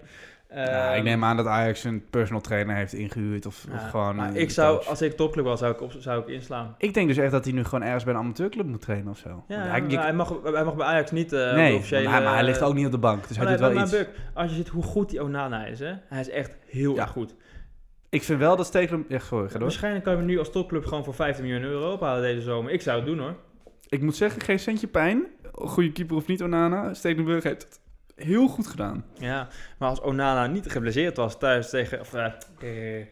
Speaker 2: ja, ik
Speaker 1: Ehm,
Speaker 2: neem aan dat Ajax een personal trainer heeft ingehuurd of, of
Speaker 1: ja,
Speaker 2: gewoon...
Speaker 1: Ah, Maar
Speaker 2: een
Speaker 1: ik zou,
Speaker 2: coach.
Speaker 1: als ik topclub was, zou ik, op, zou ik inslaan.
Speaker 2: Ik denk dus echt dat hij nu gewoon ergens bij een amateurclub moet trainen of zo.
Speaker 1: Ja,
Speaker 2: Want
Speaker 1: maar
Speaker 2: je-
Speaker 1: hij, mag, hij mag bij Ajax niet eh op de
Speaker 2: nee, want
Speaker 1: officiële... eh,
Speaker 2: hij, maar hij ligt ook niet op de bank, dus hij
Speaker 1: Maar
Speaker 2: doet wel
Speaker 1: nee,
Speaker 2: iets.
Speaker 1: maar Buck, als je ziet hoe goed die Onana is, hè. Hij is echt heel
Speaker 2: Ja.
Speaker 1: erg goed.
Speaker 2: Ik vind wel dat Stekelum... Ja, sorry, ga door.
Speaker 1: Waarschijnlijk kan je hem nu als topclub gewoon voor 15 miljoen euro ophalen deze zomer. Ik zou het doen, hoor.
Speaker 2: Ik moet zeggen, geen centje pijn. Goede keeper of niet, Onana. Stekelenburg heeft het heel goed gedaan.
Speaker 1: Ja, maar als Onana niet geblesseerd was thuis tegen... Of, eh, eh,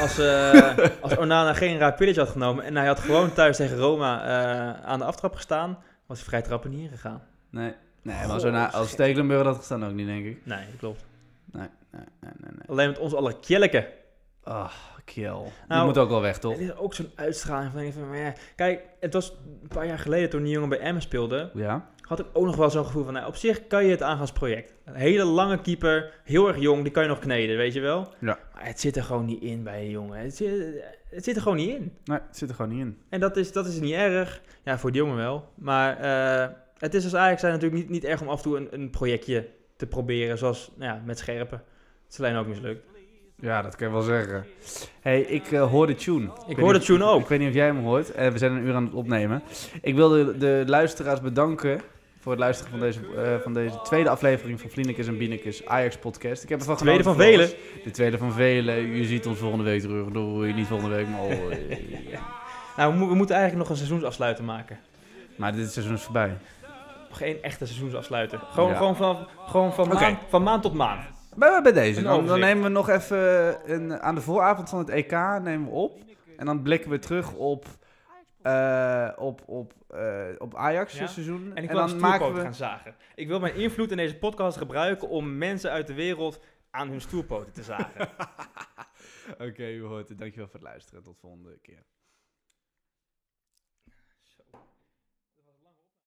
Speaker 1: als, eh, als Onana geen raar pilletje had genomen en hij had gewoon thuis tegen Roma eh, aan de aftrap gestaan, was hij vrij trappen niet ingegaan.
Speaker 2: Nee, nee maar
Speaker 1: Goh,
Speaker 2: als, Ona- als
Speaker 1: gek.
Speaker 2: Stekelenburg dat had gestaan ook niet, denk ik.
Speaker 1: Nee, dat klopt.
Speaker 2: Nee, nee, nee, nee. nee.
Speaker 1: Alleen met ons alle kjelleken.
Speaker 2: Ah, Kiel. Die
Speaker 1: Nou,
Speaker 2: moet ook wel weg, toch?
Speaker 1: Het is ook zo'n uitstraling van... Even, maar ja, kijk, het was een paar jaar geleden toen die jongen bij Emmen speelde,
Speaker 2: Ja.
Speaker 1: had ik ook nog wel zo'n gevoel van, nou, op zich kan je het aan als project. Een hele lange keeper, heel erg jong, die kan je nog kneden, weet je wel?
Speaker 2: Ja.
Speaker 1: Maar het zit er gewoon niet in bij een jongen. Het zit, het zit er gewoon niet in.
Speaker 2: Nee, het zit er gewoon niet in.
Speaker 1: En dat is, dat is niet erg. Ja, voor die jongen wel. Maar eh, het is als Ajax zijn natuurlijk niet, niet erg om af en toe een, een projectje te proberen. Zoals nou ja, met scherpen. Het is alleen ook mislukt.
Speaker 2: Ja, dat kan je wel zeggen. hey, ik eh, hoor de tune.
Speaker 1: Ik
Speaker 2: weet
Speaker 1: hoor de
Speaker 2: niet-
Speaker 1: tune ook.
Speaker 2: Ik weet niet of jij hem hoort. Eh, we zijn een uur aan het opnemen. Ik wil de, de luisteraars bedanken voor het luisteren van deze, eh, van deze tweede aflevering van Vlienekes en Bienekes Ajax podcast. Ik heb ervan
Speaker 1: Tweede
Speaker 2: genoten,
Speaker 1: van velen.
Speaker 2: volgens. De tweede van velen. U ziet ons volgende week terug. Doei, niet volgende week,
Speaker 1: [laughs]
Speaker 2: maar... al, eh.
Speaker 1: Nou, we, mo- we moeten eigenlijk nog een seizoensafsluiter maken.
Speaker 2: maar dit seizoen is voorbij.
Speaker 1: Nog één echte seizoensafsluiter. Gewoon,
Speaker 2: Ja.
Speaker 1: gewoon, van, gewoon van,
Speaker 2: Oké.
Speaker 1: maand, van maand tot maand.
Speaker 2: Bij, bij deze.
Speaker 1: Een
Speaker 2: Dan, dan
Speaker 1: overzicht.
Speaker 2: nemen we nog even een, aan de vooravond van het EK nemen we op. En dan blikken we terug op, eh, op, op, eh, op Ajax
Speaker 1: Ja.
Speaker 2: dit seizoen.
Speaker 1: En ik wil
Speaker 2: dan
Speaker 1: aan stoerpoten gaan zagen. Ik wil mijn invloed in deze podcast gebruiken om mensen uit de wereld aan
Speaker 2: [laughs]
Speaker 1: hun stoerpoten te zagen.
Speaker 2: Oké, u hoort het. Dankjewel voor het luisteren. Tot volgende keer.